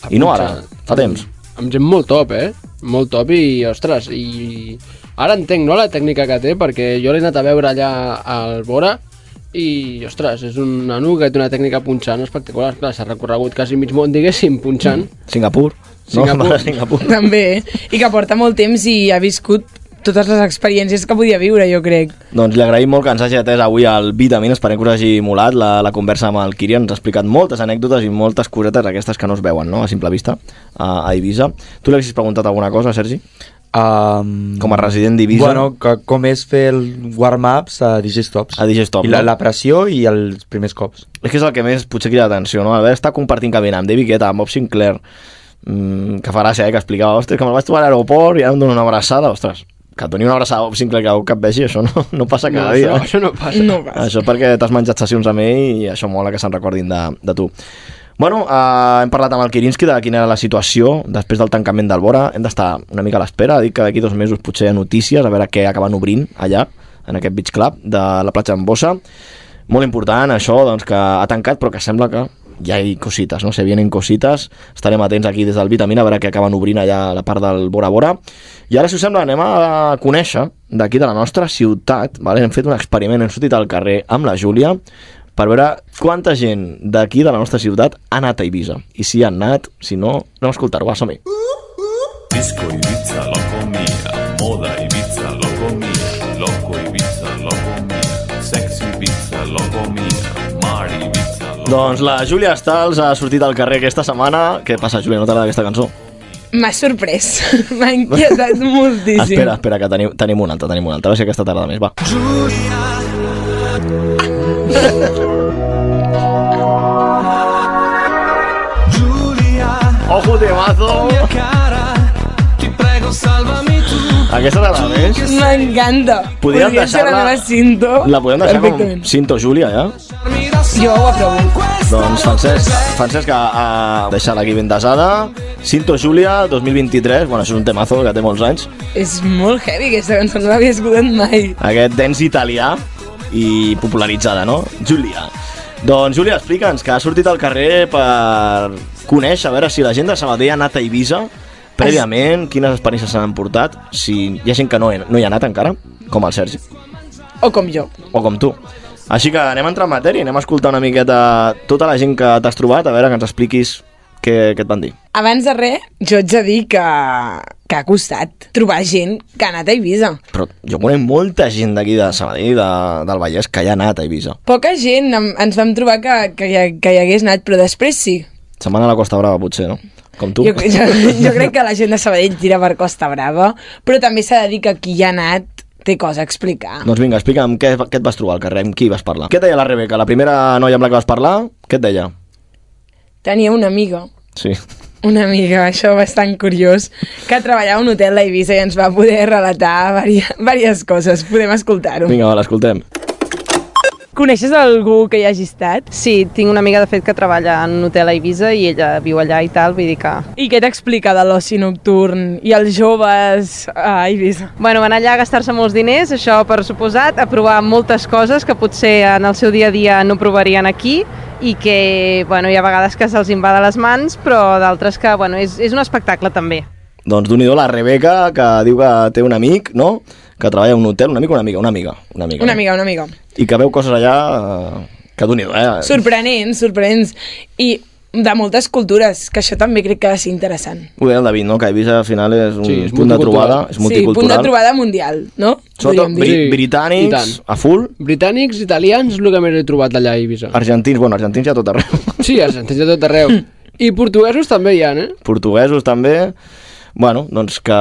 D: I no ara, fa temps.
H: Amb gent molt top, eh? Molt top i, ostres, i ara entenc, no?, la tècnica que té, perquè jo l'he anat a veure allà al Bora i, ostres, és un nano que té una tècnica punxant espectacular. Clar, s'ha recorregut quasi mig món, diguéssim, punxant.
D: Mm, Singapur.
H: Singapur.
D: No, Singapur.
E: També, eh? i que porta molt temps i ha viscut totes les experiències que podia viure, jo crec.
D: Doncs li agraïm molt que ens hagi atès avui al Vitamin, esperem que us hagi molat la, la conversa amb el Kirian, ens ha explicat moltes anècdotes i moltes cosetes aquestes que no es veuen no? a simple vista a, a Ibiza. Tu li hagis preguntat alguna cosa, Sergi?
A: Um,
D: Com a resident d'Ibiza.
A: Bueno, que, com és fer el warm-ups a DJ Stops.
D: A DJ Stop,
A: I la,
D: no?
A: la pressió i els primers cops.
D: És que és el que més potser crida l'atenció, no? Haver estat compartint cabina amb David Guetta, amb Bob Sinclair, mm, que fa gràcia, eh? que explicava, ostres, que me'l vaig trobar a l'aeroport i ara em dona una abraçada, ostres, que et doni una abraçada a Bob Sinclair cada cop que et vegi, això no, no passa
H: No,
D: cada dia. eh?
H: això, això no passa.
E: No va.
D: Això perquè t'has menjat sessions amb ell i això mola que se'n recordin de, de tu. Bueno, eh, hem parlat amb el Kirinski de quina era la situació després del tancament del Bora. Hem d'estar una mica a l'espera, dic que d'aquí dos mesos potser hi ha notícies, a veure què acaben obrint allà, en aquest beach club de la platja en Bossa. Molt important això, doncs, que ha tancat, però que sembla que ja hi ha cosites, no? Se vienen cosites. Estarem atents aquí des del Vitamina a veure què acaben obrint allà a la part del Bora Bora. I ara, si us sembla, anem a conèixer d'aquí de la nostra ciutat, vale? hem fet un experiment, hem sortit al carrer amb la Júlia per veure quanta gent d'aquí de la nostra ciutat ha anat a Ibiza. I si ha anat, si no, anem a escoltar-ho, va, som-hi.
B: Disco Ibiza, loco mía. Moda Ibiza, loco mía. Loco Ibiza, loco mía. Sexy Ibiza, loco mía. Mar Ibiza, loco
D: Doncs la Júlia Stals ha sortit al carrer aquesta setmana. Què passa, Júlia, no t'agrada aquesta cançó?
E: M'ha sorprès, m'ha inquietat moltíssim.
D: Espera, espera, que tenim, tenim una altra, tenim una altra. A veure si aquesta tarda més, va. Ojo temazo. Aquesta tarda més.
E: M'encanta.
D: Podríem
E: Podria ser la
D: deixar-la-
E: meva cinto.
D: La podem deixar
E: Perfectament.
D: com Cinto Júlia, ja?
E: Jo ho aprovo.
D: Doncs Francesc, Francesc eh, ha, ha deixat aquí ben desada. Cinto Júlia 2023, bueno, això és un temazo que té molts anys.
E: És molt heavy aquesta cançó, no l'havia escoltat mai.
D: Aquest dance italià i popularitzada, no? Júlia. Doncs Júlia, explica'ns que ha sortit al carrer per conèixer, a veure si la gent de Sabadell ha anat a Ibiza prèviament, quines experiències s'han portat, si hi ha gent que no, he, no hi ha anat encara, com el Sergi.
E: O com jo.
D: o com tu. Així que anem a entrar en matèria, anem a escoltar una miqueta tota la gent que t'has trobat, a veure que ens expliquis què, què et van dir.
E: Abans de res, jo ets a dir que, que ha costat trobar gent que ha anat a Ibiza.
D: Però jo conec molta gent d'aquí de Sabadell, de, del Vallès, que ja ha anat a Eivissa.
E: Poca gent em, ens vam trobar que, que, hi- que hi hagués anat, però després sí.
D: Se'n van a la Costa Brava, potser, no? Com tu.
E: Jo, jo, jo crec que la gent de Sabadell tira per Costa Brava, però també s'ha de dir que qui hi ha anat té cosa a explicar.
D: Doncs vinga, explica'm què, què et vas trobar al carrer, amb qui vas parlar. Què et deia la Rebeca, la primera noia amb la que vas parlar? Què et deia?
E: Tenia una amiga,
D: Sí.
E: una amiga, això bastant curiós, que treballava a un hotel a Eivissa i ens va poder relatar diverses coses. Podem escoltar-ho.
D: Vinga, va, l'escoltem.
E: Coneixes algú que hi hagi estat?
J: Sí, tinc una amiga, de fet, que treballa en un hotel a Eivissa i ella viu allà i tal, vull dir que...
E: I què t'explica de l'oci nocturn i els joves a Eivissa?
J: Bueno, van allà a gastar-se molts diners, això per suposat, a provar moltes coses que potser en el seu dia a dia no provarien aquí i que, bueno, hi ha vegades que se'ls invada les mans, però d'altres que, bueno, és, és un espectacle també.
D: Doncs d'un la Rebeca, que diu que té un amic, no? Que treballa a un hotel, un amic o una amiga? Una amiga. Una amiga,
E: Una
D: no?
E: amiga, una amiga.
D: i que veu coses allà eh, que d'un eh?
E: Sorprenents, sorprenents. I de moltes cultures, que això també crec que ha de ser interessant.
D: Ho deia el David, no? que Eivissa al final és un
H: Sí,
D: sí,
H: és
D: és punt de
H: multicultural.
D: trobada, és
E: Sí, punt de
D: multicultural.
E: trobada mundial, no?
D: Sobretot
E: Podríem dir.
D: bri
H: Sí. I
D: britànics,
H: tant.
D: a full,
H: Britànics, italians, el que més he trobat allà a Eivissa.
D: argentins, bueno, argentins ja tot arreu,
H: Sí, argentins de tot arreu. I portuguesos també hi ha, eh?
D: portuguesos també, bueno, doncs que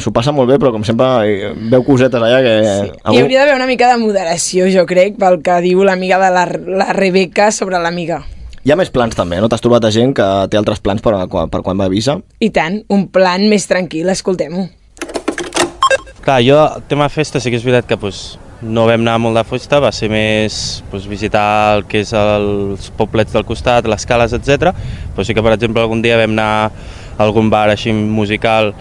D: s'ho passa molt bé, però com sempre eh, veu cosetes allà que... Sí.
E: Hi hauria d'haver una mica de moderació, jo crec, pel que diu l'amiga de la, la Rebeca sobre l'amiga.
D: Hi ha més plans també, no? T'has trobat a gent que té altres plans per, a quan- per quan va a Eivissa?
E: I tant, un plan més tranquil, escoltem-ho.
K: Clar, jo, el tema festa sí que és veritat que pues, no vam anar molt de festa, va ser més pues, visitar el que és els poblets del costat, les cales, etc. Però sí que, per exemple, algun dia vam anar a algun bar així musical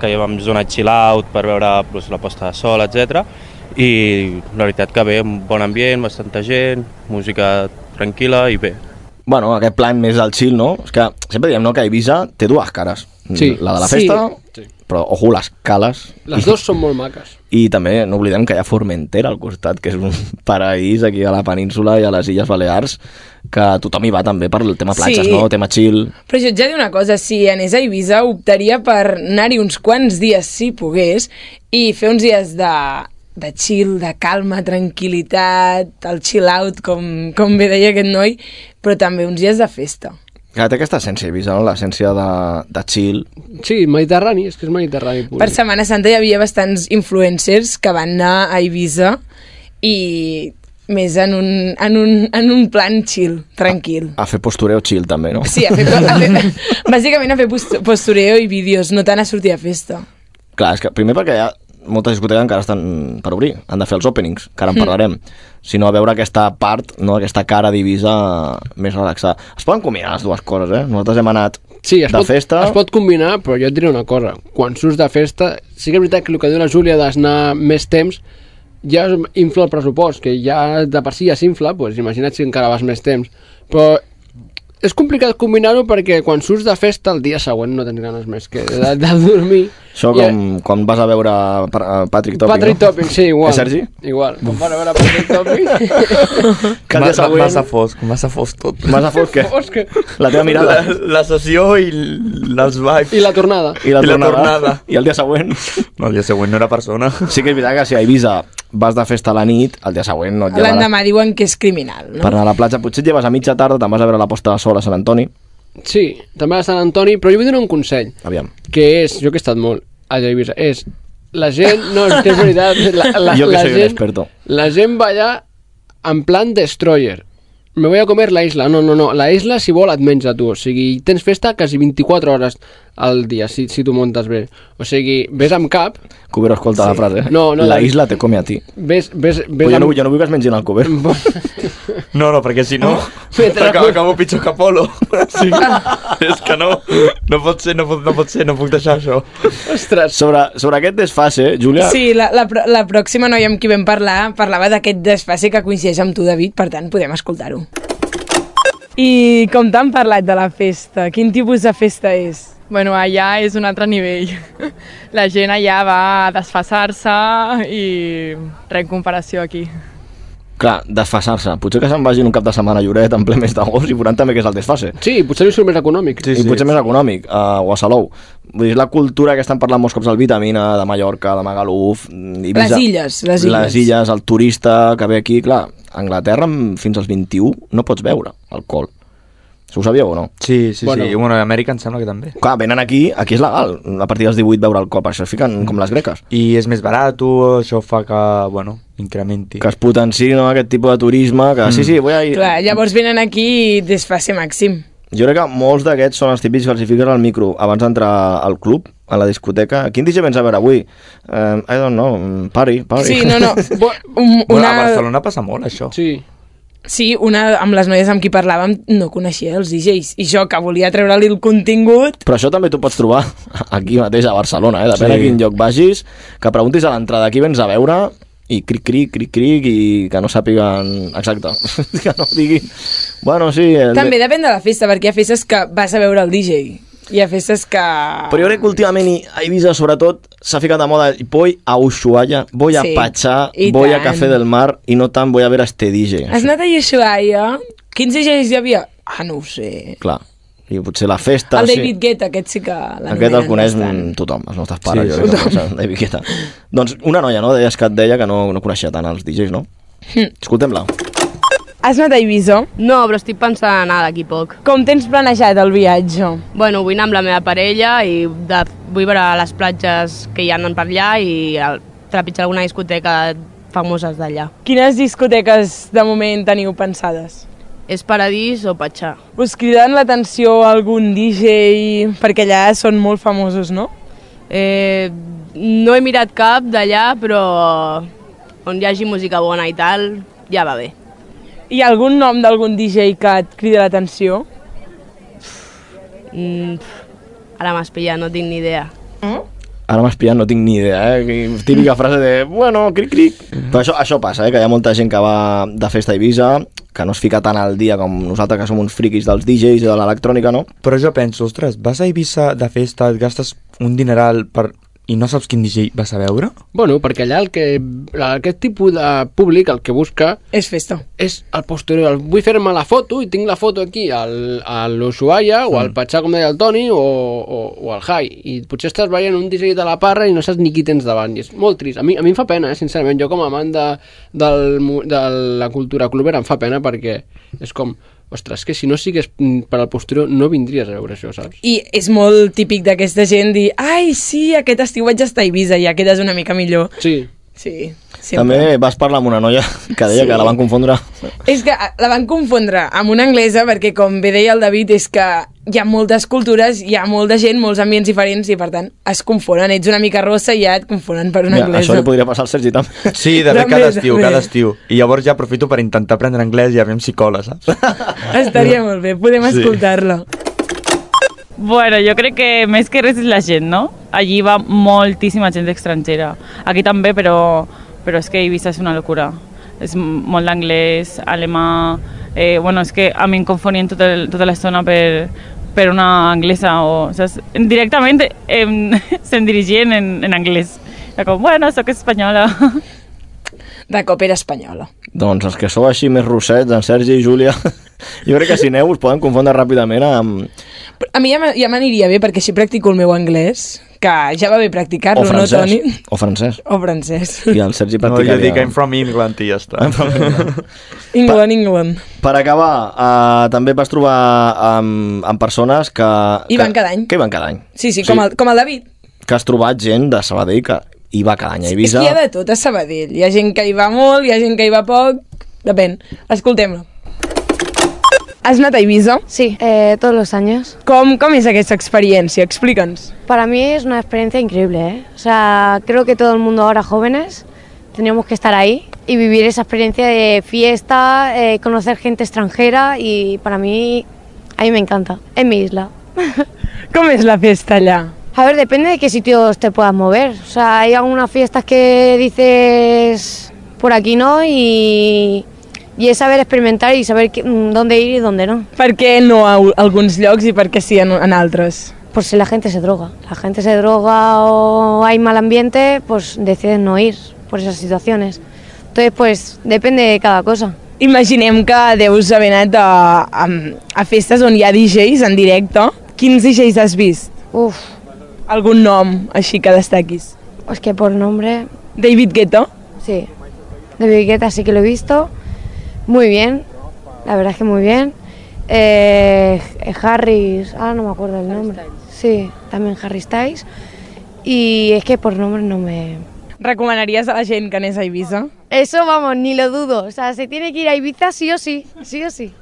K: que hi vam zona chill out per veure pues, la posta de sol, etc. I la veritat que bé, un bon ambient, bastanta gent, música tranquil·la i bé.
D: Bueno, aquest plan més del chill, no? És que sempre diem no, que Eivissa té dues cares.
H: Sí.
D: Mm, La de la
H: Sí.
D: festa,
H: Sí.
D: però ojo, les cales.
H: Les dues són molt maques.
D: I també no oblidem que hi ha Formentera al costat, que és un paraís aquí a la península i a les Illes Balears, que tothom hi va també per el tema platges,
E: Sí.
D: no? Tema chill.
E: Però jo et ja dic una cosa, si anés a Eivissa optaria per anar-hi uns quants dies, si pogués, i fer uns dies de, de chill, de calma, tranquil·litat, el chill out, com, com bé deia aquest noi, però també uns dies de festa.
D: Que té aquesta essència, Eivissa, no? L'essència de, de chill.
H: Sí, mediterrani, és que és mediterrani. Pur.
E: Per Setmana Santa hi havia bastants influencers que van anar a Eivissa i més en un, en un, en un plan chill, tranquil.
D: A fer postureo chill també, no?
E: Sí, a fer, a fer, bàsicament a fer post- postureo i vídeos, no tant a sortir a festa.
D: Clar, és que primer perquè hi ha moltes discoteques encara estan per obrir, han de fer els openings, que
H: Hmm.
D: ara en parlarem. Si no, a veure aquesta part, no, aquesta cara divisa més relaxada. Es poden combinar les dues coses, eh? Nosaltres hem anat
H: Sí, es
D: de
H: pot,
D: festa...
H: es pot combinar, però jo et diré una cosa. Quan surts de festa, sí que és veritat que el que diu la Júlia d'anar més temps ja es infla el pressupost, que ja de per si ja s'infla, doncs imagina't si encara vas més temps. Però és complicat combinar-ho perquè quan surts de festa el dia següent no tens ganes més que de, de dormir.
D: Això
H: I-
D: com, quan vas a veure pa- a Patrick Topic,
H: Patrick
D: no?
H: Topic, sí, igual.
D: Eh, Sergi?
H: Igual. Quan van a veure Patrick Topic...
D: Que el dia
A: Ma- ma-
D: següent...
A: Massa fosc, massa fosc tot.
D: Massa fosc, què?
H: Fosc.
D: La teva mirada.
A: La, la sessió i l- els vibes.
H: I la tornada.
D: I la,
A: i la
D: tornada.
A: tornada.
D: I el dia següent.
A: No, el dia següent no era persona.
D: Sí que és veritat que si a Eivissa vas de festa a la nit, el dia següent no et llevaràs.
E: L'endemà diuen que és criminal, no?
D: Per anar a la platja potser et lleves a mitja tarda, te'n vas a veure la posta de sol a Sant Antoni.
H: Sí, també a Sant Antoni, però jo vull donar un consell.
D: Aviam.
H: que és, jo que he estat molt a Eivissa, és la gent, no, és que és veritat, la, la,
D: Jo que
H: la
D: soy un
H: gent,
D: experto.
H: La gent va allà en plan destroyer. Me voy a comer la isla. No, no, no. La isla, si vol, et menja tu. O sigui, tens festa quasi 24 hores al dia, si, si tu muntes bé. O sigui, ves amb cap,
D: Cubero, escolta sí. la frase. eh?
H: No, no,
D: la
H: David.
D: isla te come a ti.
H: ves, ves,
D: Però
H: ves
D: jo,
H: amb...
D: no, jo no vull que es mengin el Cubero.
A: No, no, perquè si no...
H: Mentre-
A: acabo, acabo pitjor que Apolo. Sí. És que no, no pot ser, no pot, no pot ser, no puc deixar això.
H: Ostres,
D: Sobre, sobre aquest desfase, eh, Júlia,
E: Sí, la, la, pro- la pròxima noia amb qui vam parlar parlava d'aquest desfase que coincideix amb tu, David, per tant, podem escoltar-ho.
L: I com t'han parlat de la festa? Quin tipus de festa és? Bueno, allà és un altre nivell. La gent allà va a desfassar-se i res en comparació aquí.
D: clar, desfasar-se. Potser que se'n vagin un cap de setmana a Lloret en ple mes d'agost i veuran també que és el desfase.
H: sí, potser li surt més econòmic.
D: Sí, I potser més econòmic, uh, o a Salou. Vull dir, és la cultura que estan parlant molts cops del Vitamina, de Mallorca, de Magaluf... mm, Ibiza,
E: Les illes, les illes.
D: Les illes, el turista que ve aquí, clar, a Anglaterra amb- fins als 21 no pots beure alcohol. Si ho sabíeu o no?
A: Sí, sí,
H: Bueno.
A: bueno. sí. Bueno, a Amèrica em sembla que també.
D: Clar, venen aquí, aquí és legal, a partir dels 18 beure alcohol, per això es fiquen com les greques.
A: I és més barat, això fa que, bueno, incrementi.
D: Que es potenciï no, aquest tipus de turisme, que mm. sí, sí, vull a...
E: Clar, llavors venen aquí i desfase màxim.
D: Jo crec que molts d'aquests són els típics que els hi fiquen al micro abans d'entrar al club, a la discoteca. Quin DJ vens a veure avui? Um, I don't know, mm, party, party.
E: Sí, no, no.
H: Bo-
E: Un,
A: Bueno, a
E: una,
A: Barcelona passa molt, això.
H: Sí.
E: sí, una amb les noies amb qui parlàvem no coneixia els DJs. I jo, que volia treure-li el contingut...
D: Però això també t'ho pots trobar aquí mateix a Barcelona, eh? depèn sí.
A: Sí.
D: a quin lloc vagis, que preguntis a l'entrada qui vens a veure i cric, cric, cric, cric, i que no sàpiguen... Exacte, que no diguin... Bueno, sí... El...
E: També depèn de la festa, perquè hi ha festes que vas a veure el DJ. Hi ha festes que...
D: Però jo crec que últimament i- a Eivissa, sobretot, s'ha ficat de moda voy a Ushuaia, voy a
E: Sí,
D: sí, Pachá,
E: i
D: voy a
E: tant.
D: Café del Mar i no tant voy a ver a este DJ.
E: Has anat a Yeshua, Quins DJs hi havia? Ah, no ho sé.
D: Clar. I potser la festa...
E: el David Guetta, aquest sí que l'ha
D: Ah, Aquest el coneix mm, tothom, els nostres pares, sí,
E: Sí,
D: jo crec que
E: tothom.
D: el David Guetta. Doncs una noia, no? Deies que et deia que no, no coneixia tant els DJs, no?
M: Hm.
D: Escoltem-la.
M: Has anat a Ibiza? No, però estic pensant en anar d'aquí poc. Com tens planejat el viatge? Bueno, vull anar amb la meva parella i de, vull veure les platges que hi ha per allà i el, trepitjar alguna discoteca famoses d'allà.
E: Quines discoteques de moment teniu pensades?
M: És Paradís o Patxà?
E: Us cridaran l'atenció algun DJ? Perquè allà són molt famosos, no?
M: Eh, no he mirat cap d'allà, però on hi hagi música bona i tal, ja va bé.
E: Hi ha algun nom d'algun DJ que et crida l'atenció?
M: Mm, pff, ara m'has pillat, no tinc ni idea.
D: Ara m'has pillat, no tinc ni idea, eh? Que Típica frase de, bueno, cric, cric. Però això, això passa, eh? Que hi ha molta gent que va de festa a Ibiza, que no es fica tant al dia com nosaltres, que som uns friquis dels DJs i de l'electrònica, no?
A: Però jo penso, ostres, vas a Eivissa de festa, et gastes un dineral per... i no saps quin DJ vas a veure?
H: Bueno, perquè allà el que, aquest tipus de públic el que busca...
E: És festa.
H: És el posterior. El Vull fer-me la foto i tinc la foto aquí al, a l'Ushuaia o al Patxà, com deia el Toni, o, o, o al Jai. I potser estàs veient un disc de la parra i no saps ni qui tens davant. I és molt trist. A mi, a mi em fa pena, eh, sincerament. Jo com a amant de, del, mu- de la cultura clubera em fa pena perquè és com... Ostres, que si no sigues mm, per al posterior no vindries a veure això, saps?
E: I és molt típic d'aquesta gent dir ai, sí, aquest estiu vaig estar a Ibiza i ja quedes una mica millor.
H: Sí.
E: Sí, sempre.
D: També vas parlar amb una noia que deia
E: Sí.
D: sí. que la van confondre...
E: És que la van confondre amb una anglesa perquè, com bé deia el David, és que hi ha moltes cultures, hi ha molta gent, molts ambients diferents i, per tant, es confonen. Ets una mica rossa i ja et confonen per una
A: Ja,
E: ja, anglesa.
A: això li
D: podria passar al Sergi també.
A: Sí, de fet,
E: També,
A: cada estiu,
E: també.
A: cada estiu. I llavors ja aprofito per intentar aprendre anglès i a veure si cola, saps?
E: Estaria molt bé, podem
A: Sí.
E: escoltar-la.
N: Bueno, jo crec que més que res és la gent, no? Allí va moltíssima gent estrangera. Aquí també, però, però és que Ibiza és una locura. És m- molt d'anglès, alemà... Eh, bueno, és que a mi em confonien tota, el- tota l'estona per, per una anglesa o, saps? Directament em, se'm dirigien en, en anglès. Era com, bueno, sóc espanyola.
E: De cop era espanyola.
D: Doncs els que sou així més rossets, en Sergi i Júlia, jo crec que si aneu us poden confondre ràpidament amb...
E: A mi ja m'a- ja m'aniria bé perquè així practico el meu anglès, que ja va bé
D: O
E: practicar-lo, no,
D: francès.
E: Toni?
D: o francès.
E: O francès.
D: I el Sergi
A: No, jo
D: practicaria...
A: dic I'm from England i ja està.
E: England, England.
D: Per acabar, uh, també et vas trobar amb, amb persones que...
E: Hi van
D: que,
E: cada any.
D: Que hi van cada any.
E: Sí, sí, com,
D: Sí.
E: El, com el David.
D: Que has trobat gent de Sabadell que hi va cada any a
E: És
D: Ibiza.
E: que hi ha de tot a Sabadell. Hi ha gent que hi va molt, hi ha gent que hi va poc, depèn. Escoltem-lo.
O: ¿Has anat a Ibiza? Sí, eh, todos los años.
E: Com, com és aquesta experiència? Explica'ns.
O: Para mí es una experiencia increíble, ¿eh? O sea, creo que todo el mundo ahora jóvenes tenemos que estar ahí y vivir esa experiencia de fiesta, eh, conocer gente extranjera y para mí, a mí me encanta, en mi isla.
E: Com és la festa allà?
O: A ver, depende de qué sitios te puedas mover. O sea, hay algunas fiestas que dices por aquí no y, y es saber experimentar y saber qué- mm, dónde ir y dónde no.
E: Per què no a u- alguns llocs i per què sí en, en altres?
O: Por si la gente se droga. La gente se droga o hay mal ambiente, pues deciden no ir por esas situaciones. Entonces, pues depende de cada cosa.
E: Imaginem que deus haver anat a, a, a festes on hi ha DJs en directe. Quins DJs has vist?
O: Uf.
E: Algun nom així que destaquis?
O: Es que por nombre...
E: David Guetta.
O: Sí, de Bigueta sí que lo he visto. Muy bien, la verdad es que muy bien. Eh, Harris, ah, no me acuerdo el nombre. Sí, también Harry Styles. Y es que por nombre no me...
E: Recomanaries a la gent que anés a Ibiza?
O: Eso vamos, ni lo dudo. O sea, se tiene que ir a Ibiza sí o sí, sí o sí.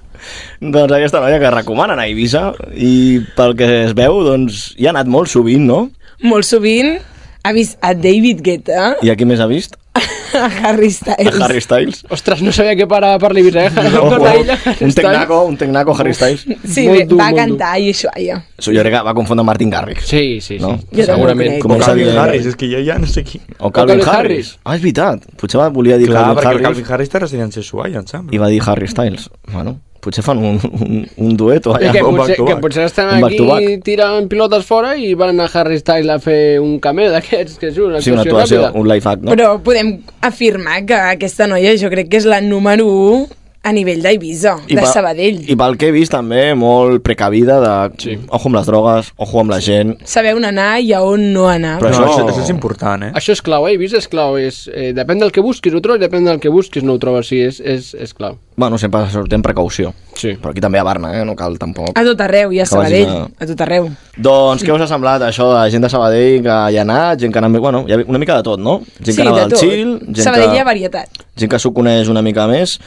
D: Doncs aquesta noia que recomanen a Ibiza i pel que es veu, doncs hi ha anat molt sovint, no?
E: Molt sovint ha vist a David Guetta,
D: I aquí més ha vist?
E: a Harry
D: A
E: Styles.
D: Harry Styles.
H: Ostres, no sabia què para per l'Ibiza, eh? No,
D: un tecnaco, un tecnaco Harry Styles.
E: Sí, bé, va cantar i això, ja.
D: Això jo crec que va confondre Martin Garrix.
H: Sí, sí, sí.
D: No?
E: Jo també Segurament.
A: crec.
D: Com
A: O
D: és
A: Calvin
D: evident.
A: Harris, és que jo ja no sé qui.
D: O Calvin, Harris. Ah, és veritat. Potser va, volia dir
A: Clar,
D: Calvin
A: perquè el
D: Harris.
A: Calvin Harris té residència a Ushuaia, em sembla.
D: I va dir Harry Styles. Bueno, potser fan un, un, un duet o allà.
H: que, potser, que potser estan
D: Un
H: aquí
D: back-to-back.
H: tirant pilotes fora i van anar a Harry Styles a fer un cameo d'aquests, que és una
D: Sí,
H: actuació,
D: una actuació,
H: ràpida.
D: un life hack, no?
E: Però podem afirmar que aquesta noia jo crec que és la número 1 a nivell d'Eivissa,
D: I
E: de
D: pa-
E: Sabadell.
D: I pel que he vist també, molt precavida de... Sí. Ojo amb les drogues, ojo amb la gent.
E: Saber on anar i a on no anar.
D: Però això...
A: No, això- això és important, eh?
H: Això és clau, eh? Vist és clau. És, eh, depèn del que busquis, ho trobes, depèn del que busquis, no ho trobes. Sí, és, és, és clau.
D: Bueno, sempre sortim precaució. Sí. Però aquí també a Barna, eh? No cal tampoc.
E: A tot arreu, i a
D: Que vagin
E: Sabadell,
D: a-
E: a tot arreu.
D: Doncs què us ha semblat això de gent de Sabadell que hi ha anat, gent que ha anat... Bueno, hi ha una mica de tot, no? Gent que anava
E: de
D: del
E: tot.
D: chill, gent
E: Sabadell hi ha
D: que,
E: varietat.
D: gent que s'ho coneix una mica més.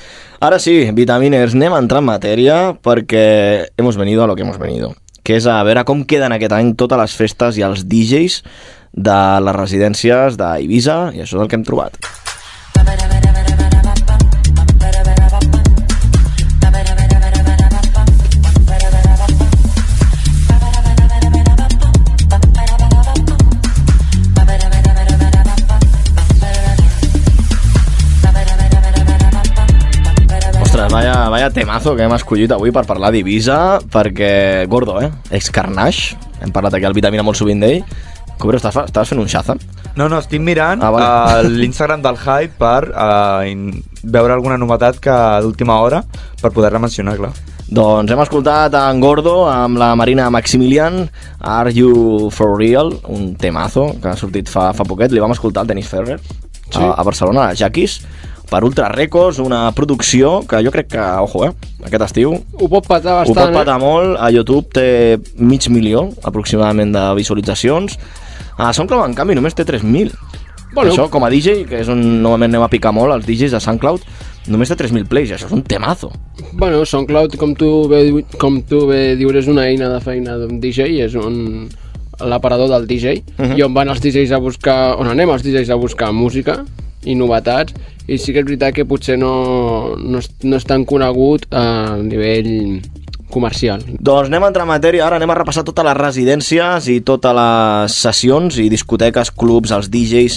D: Ara sí, Vitaminers, anem a entrar en matèria perquè hemos venido a lo que hemos venido, que és a veure com queden aquest any totes les festes i els DJs de les residències d'Eivissa i això és el que hem trobat. Ostres, vaya, vaya temazo que hem escollit avui per parlar d'Ibiza, perquè, gordo, eh? Ex Carnage, hem parlat aquí al Vitamina molt sovint d'ell. Cobro, estàs, fa- estàs fent un xaza?
A: No, no, estic mirant ah,
D: vale.
A: vale. l'Instagram del Hype per uh, in, veure alguna novetat que d'última hora per poder-la mencionar, clar.
D: Doncs hem escoltat en Gordo amb la Marina Maximilian, Are You For Real, un temazo que ha sortit fa, fa poquet, li vam escoltar al Dennis Ferrer sí. a, a Barcelona, a Jaquis, per Ultra Records, una producció que jo crec que, ojo, eh, aquest estiu
H: Ho pot patar
D: Ho pot
H: bastant, eh?
D: patar molt, a YouTube té mig milió aproximadament de visualitzacions, a SoundCloud en canvi només té 3.000.
H: Bueno.
D: Bueno. Això com a DJ, que és on normalment anem a picar molt, els DJs de SoundCloud, només té 3.000 plays, això és un temazo.
H: eh? Bueno, SoundCloud, com tu bé, diu- com tu bé dius, és una eina de feina d'un DJ, és un l'aparador del DJ, uh
D: Mhm.
H: -huh. i on van els DJs a buscar, on anem els DJs a buscar música i novetats, i sí que és veritat que potser no, no, és, no és tan conegut a nivell comercial.
D: Doncs anem a entrar en matèria, ara anem a repassar totes les residències i totes les sessions i discoteques, clubs, els DJs,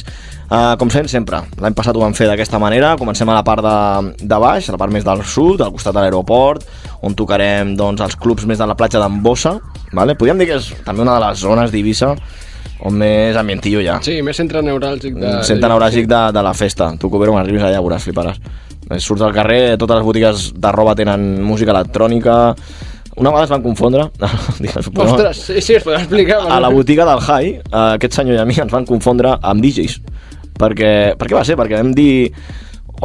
D: eh, com fem sempre. L'any passat ho vam fer d'aquesta manera, comencem a la part de, de baix, a la part més del sud, al costat de l'aeroport, on tocarem doncs, els clubs més de la platja d'Ambossa, vale? podríem dir que és també una de les zones d'Ibissa on més ambientillo hi ha.
H: Sí, més centre neuràlgic de...
D: Centre neuràgic de, de la festa. Tu, Cubero, quan arribis allà veuràs, fliparàs. Eh, Surts al carrer, totes les botigues de roba tenen música electrònica... Una vegada es van confondre... Digues, però-
H: Ostres, sí, sí, es podrà explicar.
D: a la botiga del High, eh, aquest senyor i a mi ens van confondre amb DJs. Perquè, per què va ser? Perquè vam dir...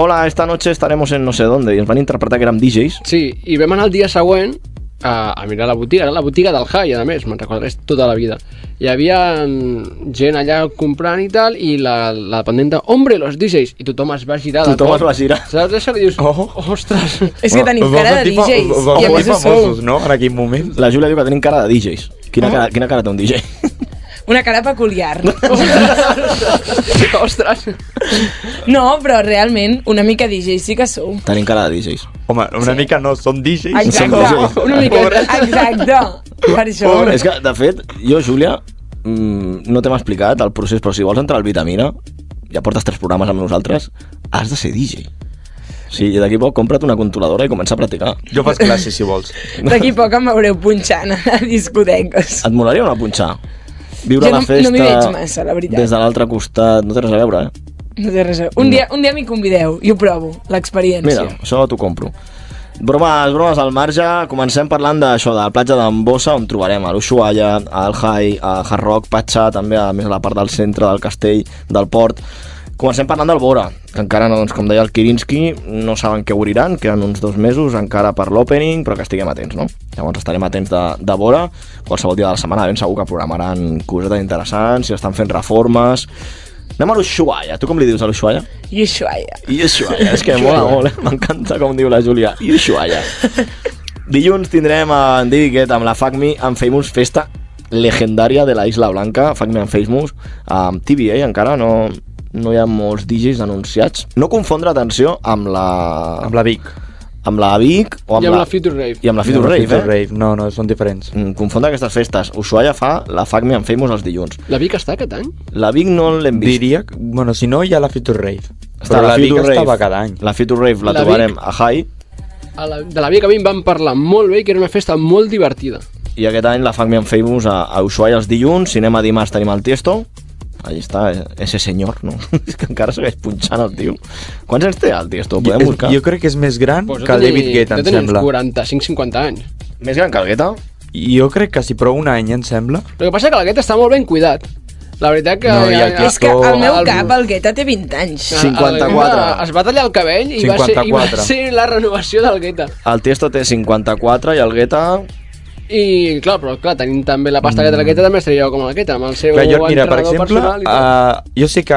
D: Hola, esta noche estaremos en no sé dónde. I ens van interpretar que érem DJs.
H: Sí, i vam anar el dia següent a, a mirar la botiga, era la botiga del High, a més, me'n recordaré tota la vida. Hi havia mm, gent allà comprant i tal, i la, la dependenta, hombre, los DJs, i tothom es va girar. de
D: Tothom
H: cop.
D: es va girar.
H: Saps això? I dius, oh. ostres.
E: És que tenim cara de DJs, i a més ho sou.
D: no?, en aquell moment. La Júlia diu que tenim cara de DJs. Quina, cara, quina cara té un DJ?
E: Una cara peculiar.
H: Ostres!
E: No, però realment, una mica DJ sí que sou.
D: Tenim cara de DJs.
A: Home, una sí. mica no, són DJs.
E: Exacte, una mica, exacte, per això.
D: És que, de fet, jo, Júlia, mm, no t'hem explicat el procés, però si vols entrar al Vitamina, ja portes tres programes amb nosaltres, has de ser DJ. O sigui, d'aquí a poc compra't una controladora i comença a practicar.
A: Jo faig classes, si vols.
E: D'aquí a poc em veureu punxant a discoteques.
D: Et molaria una punxar? Viure
E: Jo
D: la
E: no-
D: festa
E: no m'hi veig massa, la veritat.
D: des de l'altre costat, no té res a veure, eh?
E: No té res a... Un dia, un dia m'hi convideu i ho provo, l'experiència.
D: Mira, això t'ho compro. Bromes, bromes al marge, comencem parlant d'això, de la platja d'Ambossa, on trobarem a l'Ushuaia, al High, a Hard Rock, Patxa, també a més a la part del centre del castell, del port. Comencem parlant del Bora, que encara, no, doncs, com deia el Kirinski, no saben què obriran, queden uns dos mesos encara per l'opening, però que estiguem atents, no? Llavors estarem atents de, de Bora, qualsevol dia de la setmana ben segur que programaran cosetes interessants, si estan fent reformes... Anem a l'Ushuaia, tu com li dius a l'Ushuaia?
E: I això, ja.
D: I Ushuaia, és que mola molt, eh? m'encanta com diu la Júlia. I Ushuaia. Dilluns tindrem en David Guetta amb la FACMI en Famous Festa legendària de la Isla Blanca, FACMI en Famous, amb TBA encara, no, no hi ha molts DJs anunciats. No confondre, atenció, amb la... Amb
A: la Vic.
D: Amb la Vic o amb,
H: I amb la Future Rave.
D: I amb la Future Rave, eh? Mm,
A: Rave. No, no, són diferents.
D: Confondre aquestes festes. Ushuaia fa la FACMI en Famous els dilluns.
H: La Vic està aquest any?
D: La Vic no l'hem vist.
A: Diria... que- Bueno, si no, hi ha la Future Rave.
D: Està
A: Però
D: la
A: la, Vic
D: Future Rave.
A: estava cada any.
D: La Future Rave la,
H: La
D: la trobarem a High
H: A la, de la Vic a mi em van parlar molt bé i que era una festa molt divertida.
D: I aquest any la Fuck Me and Famous a, a Ushuaia els dilluns, cinema dimarts tenim el Tiesto, Allí està, eh, ese senyor, no? És que encara segueix punxant el tio. Quants anys té el tio? Esto ho podem
A: Jo-
D: buscar.
A: jo crec que és més gran
H: Pues jo
A: que el
H: tenia-
A: David Guetta,
H: jo
A: em
H: tenia uns
A: sembla.
H: 45-50 anys.
D: Més gran que el Guetta?
A: Jo crec que sí, però un any, em sembla.
H: El que passa és que el Guetta està molt ben cuidat. La veritat que...
A: No, i el
E: És que al meu cap el Guetta té 20 anys.
H: el- el Guetta Es va tallar el cabell i, va ser, i va
D: 54.
H: ser la renovació del Guetta.
D: El Tiesto té 54 i el Guetta...
H: I, clar, però clar, tenint també la pasta que té
D: Mm.
H: el Guetta, també estaria jo com el Guetta, amb el seu
A: Clar, jo, mira,
H: entrenador
A: per exemple,
H: personal. i tal.
A: uh, jo sé que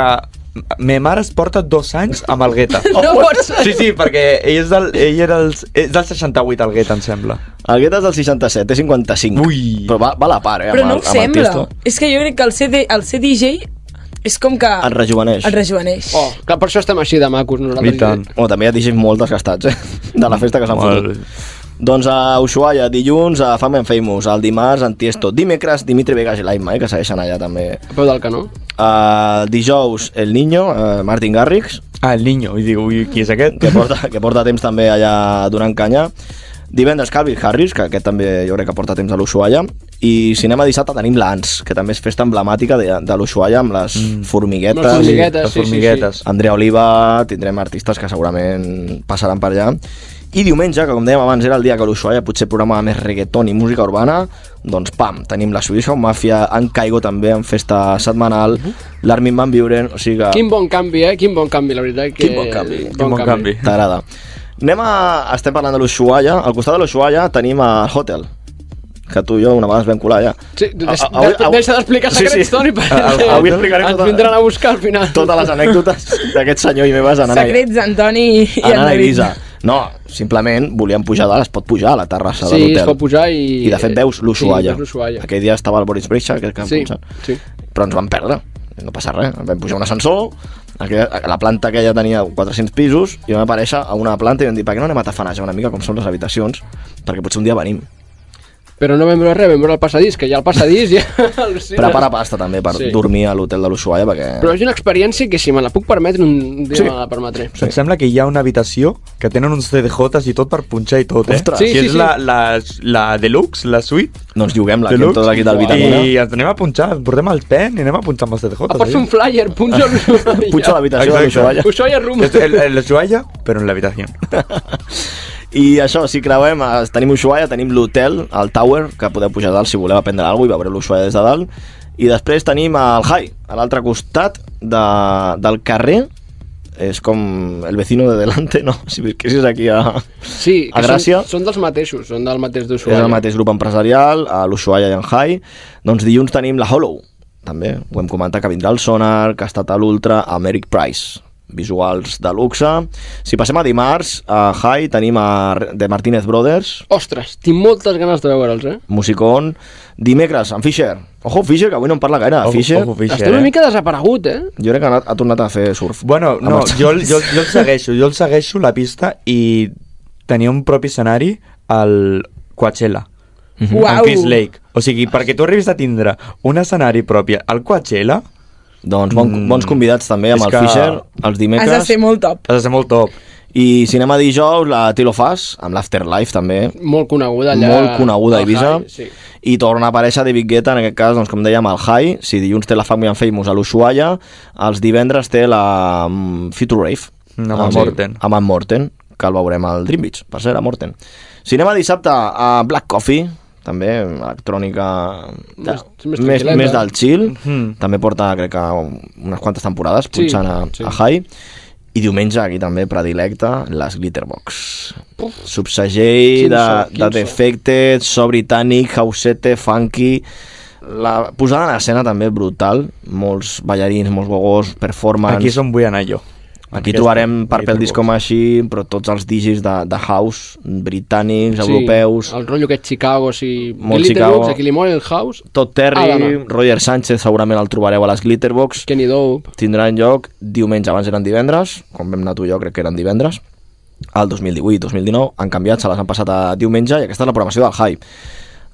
A: me mare es porta dos anys amb el Guetta.
D: Oh,
H: No pot ser.
A: Sí, sí, perquè ell, és del, ell era el, és del 68, el Guetta, em sembla.
D: El Guetta és del 67, té 55. Ui! Però va, va a la part, eh?
E: Però
D: amb
E: no
D: el,
E: ho
D: amb el
E: sembla.
D: Tiesto.
E: És que jo crec que el ser, de, el ser DJ és com que...
D: Et rejuveneix.
E: Et rejuveneix.
H: Oh, clar, per això estem així de macos nosaltres.
D: Bueno, també hi ha digits molt desgastats, eh? De la festa que s'han fotut. Doncs a Ushuaia, dilluns, a Fame and Famous, el dimarts, en Tiesto, dimecres, Dimitri Vegas i l'Aima, eh, que segueixen allà també.
H: A peu eh. del canó.
D: Uh, dijous, El Niño, uh, Martin Garrix.
A: Ah, El Niño, i diu, ui, qui és aquest?
D: Que porta, que porta temps també allà donant canya. Divendres, Calvin Harris, que aquest també jo crec que porta temps a l'Ushuaia. I cinema dissabte tenim l'Ans, que també és festa emblemàtica de, de l'Ushuaia amb les formiguetes.
H: Amb Mm. les formiguetes, Les sí, sí, formiguetes.
D: Andrea Oliva, tindrem artistes que segurament passaran per allà. I diumenge, que com dèiem abans era el dia que l'Ushuaia potser programava més reggaeton i música urbana, doncs pam, tenim la Suïssa Mafia, en Caigo també en festa setmanal, l'Armin Van Buren, o sigui que...
H: Uh-huh. Quin bon canvi, eh? Quin bon canvi, la veritat. Que... Quin bon canvi.
D: T'agrada. Anem a... Estem parlant de l'Ushuaia. Al costat de l'Ushuaia tenim el Hotel, que tu i jo una vegada ens vam colar allà.
H: Sí, tu des,
D: A- avui-
H: des-
D: avui-
H: deixa d'explicar
D: Sí, sí.
H: secrets, Toni, perquè
D: A- a- avui explicarem
H: ens
D: tota-
H: vindran a buscar al final.
D: Totes les anècdotes d'aquest senyor i meves anant a,
E: Secrets, Antoni i
D: anant a
E: David.
D: Ibiza. No, simplement volíem pujar dalt, es pot pujar a la terrassa de
H: Sí,
D: l'hotel.
H: es pot pujar i...
D: I de fet veus l'Ushuaia.
H: Sí, veus l'Ushuaia.
D: Aquell dia estava el Boris Brejcha, que que em
H: Sí,
D: pensat.
H: sí.
D: Però ens vam perdre. No passa res. Vam pujar a un ascensor, aquella, la planta que ja tenia 400 pisos, i vam aparèixer a una planta i vam dir, per què no anem a tafanejar una mica com són les habitacions? Perquè potser un dia venim.
H: Però no vam veure res, vam veure el passadís, que ja el passadís ja... al·lucines.
D: Prepara pasta també per
H: Sí.
D: dormir a l'hotel de l'Ushuaia, perquè...
H: Però és una experiència que si me la puc permetre un dia sí.
D: Sí.
H: me la permetré.
A: Em sembla que hi ha una habitació que tenen uns CDJs i tot per punxar i tot, eh?
H: Ostres. Sí,
A: si
H: sí,
A: és
H: sí.
A: la, la, la deluxe, la suite...
D: Doncs juguem-la aquí amb
A: Deluxe,
D: tot l'equip del eh? Vitamina.
A: I ens anem a punxar, portem el pen i anem a punxar amb els CDJs.
H: Ah, pots fer un flyer,
D: Ah.
H: punxa l'Ushuaia.
D: Punxa l'habitació de l'Ushuaia.
H: Ushuaia room.
A: L'Ushuaia, però en l'habitació.
D: I això, si creuem, eh, tenim Ushuaia, tenim l'hotel, el Tower, que podeu pujar a dalt si voleu aprendre alguna cosa i veure l'Ushuaia des de dalt. I després tenim el High, a l'altre costat de, del carrer, és com el vecino de delante, no? Si visquessis aquí a,
H: Sí,
D: a
H: que
D: Gràcia.
H: Són, són dels mateixos, són del mateix
D: És
H: d'Ushuaia.
D: el mateix grup empresarial, a l'Ushuaia i en High. Doncs dilluns tenim la Hollow, també. Ho hem comentat que vindrà el Sonar, que ha estat a l'Ultra, a Merrick Price. Visuals de luxe. Si passem a dimarts, a High tenim a R- The Martínez Brothers,
H: Ostres, tinc moltes ganes de veure'ls, eh?
D: Musicón. Dimecres, en Fisher. Ojo, Fisher, que avui no en parla gaire.
A: Ojo-
D: Fisher.
A: ojo, Fisher,
H: Està una mica desaparegut, eh?
D: Jo crec que ha, anat- ha tornat a fer surf.
A: Bueno,
D: Amb
A: no,
D: els-
A: jo, el- jo, jo el segueixo, jo el segueixo la pista i tenia un propi escenari al Coachella.
E: Mhm.
A: Amb
E: Uau.
A: Chris Lake. O sigui, perquè tu arribis a tindre un escenari propi al Coachella...
D: Doncs bon,
A: Mm.
D: bons convidats també amb el Fisher, els dimecres.
E: Has de ser molt top.
A: Has de ser molt top.
D: I cinema dijous, la Tilo Fas, amb l'Afterlife també.
H: Molt coneguda allà.
D: Molt coneguda
H: al
D: a Ibiza.
H: High, Sí.
D: I torna a aparèixer David Guetta, en aquest cas, doncs, com dèiem, al High. Si dilluns té la Family and Famous a l'Ushuaia, els divendres té la mm, Future Rave. Ah,
A: Amb en Morten.
D: Amb en Morten, que el veurem al Dream Beach, per ser, a Morten. Cinema dissabte a Black Coffee, també electrònica
H: Més- més
D: més,
H: tranquil·leta.
D: més del chill
A: Hmm.
H: Mhm.
D: també porta crec que unes quantes temporades
H: Sí,
D: punxant a,
H: sí.
D: a High i diumenge aquí també predilecta les Glitterbox subsegell
H: Quin
D: de,
H: so, quin
D: de Defected, so britànic, hausete, funky... La posada en escena també brutal, molts ballarins, molts gogós, performance...
A: Aquí és on vull anar jo.
D: Aquí
A: Aquesta,
D: trobarem per pel
A: Glitterbox.
D: disco així, però tots els digis de, de house, britànics,
H: Sí,
D: europeus,
H: El rotllo aquest Chicago, sí.
D: Molt
H: Little
D: Chicago.
H: Box, Aquí li mola el House.
D: Todd Terry,
H: Ah, demà.
D: Roger Sánchez, segurament el trobareu a les Glitterbox.
H: Kenny Dope.
D: Tindran lloc diumenge, abans eren divendres, com vam anar tu i jo, crec que eren divendres. El 2018-2019 han canviat, se les han passat a diumenge i aquesta és la programació del Hype.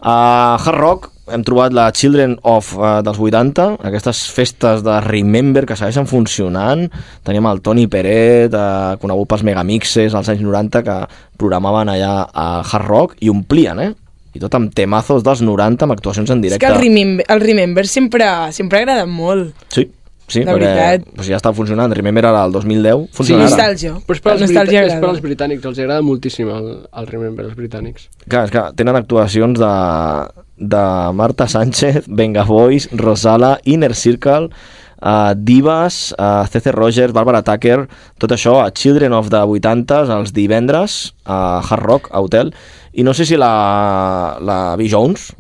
D: A Hard Rock hem trobat la Children of eh, dels 80, aquestes festes de Remember que segueixen funcionant. Teníem el Toni Peret, eh, conegut pels Megamixes als anys 90, que programaven allà a Hard Rock i omplien, eh? I tot amb temazos dels 90, amb actuacions en
E: És
D: directe.
E: que el Remember, el Remember sempre, sempre agrada molt.
D: Sí. Sí,
E: de veritat.
D: Pues ja està funcionant. Remember ara, el 2010, funciona ara.
H: Però és per, als brita-
E: Nostàlgia
H: és
E: agrada.
H: per als britànics, els agrada moltíssim el, el Remember, els britànics.
D: Clar, és que tenen actuacions de, de Marta Sánchez, Venga Boys, Rosala, Inner Circle, uh, Divas, uh, CC Rogers, Barbara Tucker, tot això a Children of the 80s, els divendres, a Hard Rock, a Hotel, i no sé si la, la B. Jones,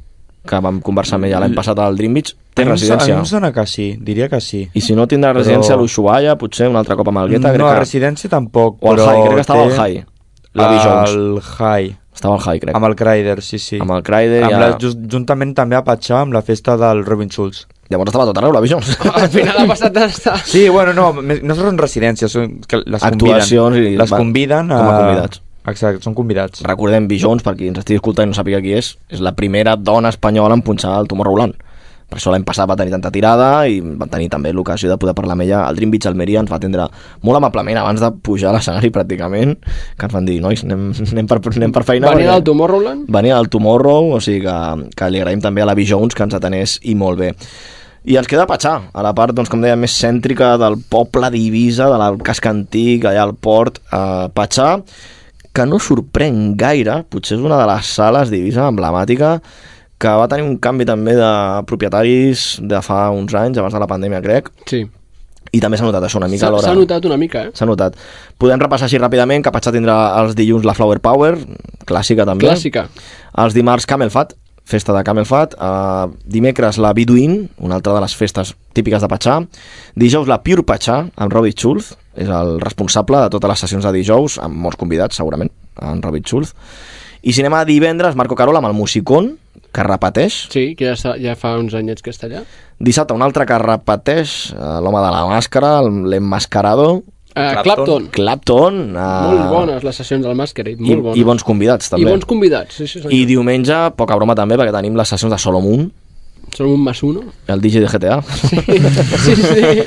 D: que vam conversar amb ella l'any passat al Dream Beach, té
A: Mm. A mi em so-
D: residència.
A: A mi em sona que sí, diria que sí.
D: I si no tindrà
A: Però-
D: residència a l'Ushuaia, potser un altre cop a Malgueta,
A: no,
D: crec
A: a
D: que...
A: residència tampoc,
D: O al
A: però...
D: High, crec que estava al
A: té-
D: High, la B. Jones.
A: Al High.
D: Estava al High, crec.
A: Amb el Crider, sí, sí.
D: Amb el Crider
A: Amb
D: ja-
A: la, just, juntament també a Patxà amb la festa del Robin Schulz.
D: Llavors estava tot arreu, la B. Jones.
H: Al final ha passat d'estar...
A: Sí, bueno, no, me- no són residències, són que les
D: actuacions
A: conviden.
D: i
A: les
D: va-
A: conviden
D: com a convidats.
A: Exacte, són convidats.
D: Recordem Bijons, per qui ens estigui escoltant i no sàpiga qui és, és la primera dona espanyola en punxar el Tomorrowland. Per això l'any passat va tenir tanta tirada i van tenir també l'ocasió de poder parlar amb ella. El Dream Beach Almeria ens va atendre molt amablement abans de pujar a l'escenari pràcticament, que ens van dir, nois, anem, anem, per, anem per feina.
H: Venia
D: perquè-
H: del Tomorrowland?
D: venia del Tomorrow, o sigui que, que li agraïm també a la B. Jones que ens atenés i molt bé. I ens queda Patxà, a la part, doncs, com deia, més cèntrica del poble d'Ibisa, del casc antic, allà al port, eh, Patxà, que no sorprèn gaire, potser és una de les sales d'Ibisa emblemàtica, que va tenir un canvi també de propietaris de fa uns anys, abans de la pandèmia, crec.
H: Sí.
D: I també s'ha notat això una mica
H: S'ha
D: a l'hora.
H: s'ha notat una mica, eh?
D: S'ha notat. Podem repassar així ràpidament, que Patxà tindrà els dilluns la Flower Power, clàssica també.
H: Clàssica.
D: Els dimarts Camel Fat, festa de Camel Fat. Uh, dimecres la Biduin, una altra de les festes típiques de Patxà. Dijous la Pure Patxà, amb Robert Schulz, és el responsable de totes les sessions de dijous, amb molts convidats, segurament, en Robert Schulz. I cinema divendres, Marco Carola amb el Musicón, que repeteix,
H: Sí, que ja, està, ja fa uns anyets que està allà.
D: Dissabte, un altre que repeteix, eh, l'home de la màscara, el- l'emmascarado...
H: Eh, Clapton.
D: Clapton. eh,
H: Molt bones les sessions del Masquerade,
D: I,
H: molt bones.
D: I bons convidats, també.
H: I bons convidats, sí, sí,
D: I
H: senyor.
D: diumenge, poca broma també, perquè tenim les sessions de Solomon,
H: Som un más uno.
D: el DJ de GTA. Sí, sí.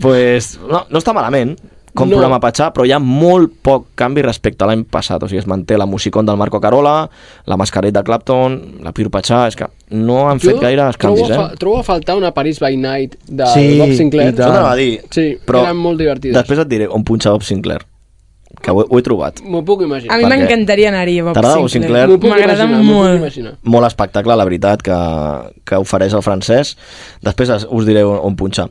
D: pues, no, no està malament com
H: No.
D: no. programa Patxà, però hi ha molt poc canvi respecte a l'any passat. O sigui, es manté la Musicon del Marco Carola, la Mascaret de Clapton, la Pure Patxà... És que no han fet gaires canvis,
H: trobo, a fa-
D: eh?
H: trobo a faltar una Paris by Night de
D: Sí,
H: Bob Sinclair.
D: i tant. Jo t'anava a dir,
H: Sí,
D: però
H: eren molt divertides.
D: Després et diré on punxa Bob Sinclair, que ho, he- ho he trobat.
H: M'ho puc imaginar.
E: A mi
D: Perquè-
E: m'encantaria anar-hi a Bob
D: T'agrada Bob Sinclair?
H: M'ho puc
E: M'agrada
H: imaginar, m'ho puc
E: molt.
H: imaginar.
D: molt espectacle, la veritat, que, que ofereix el francès. Després es- us diré on, on punxar.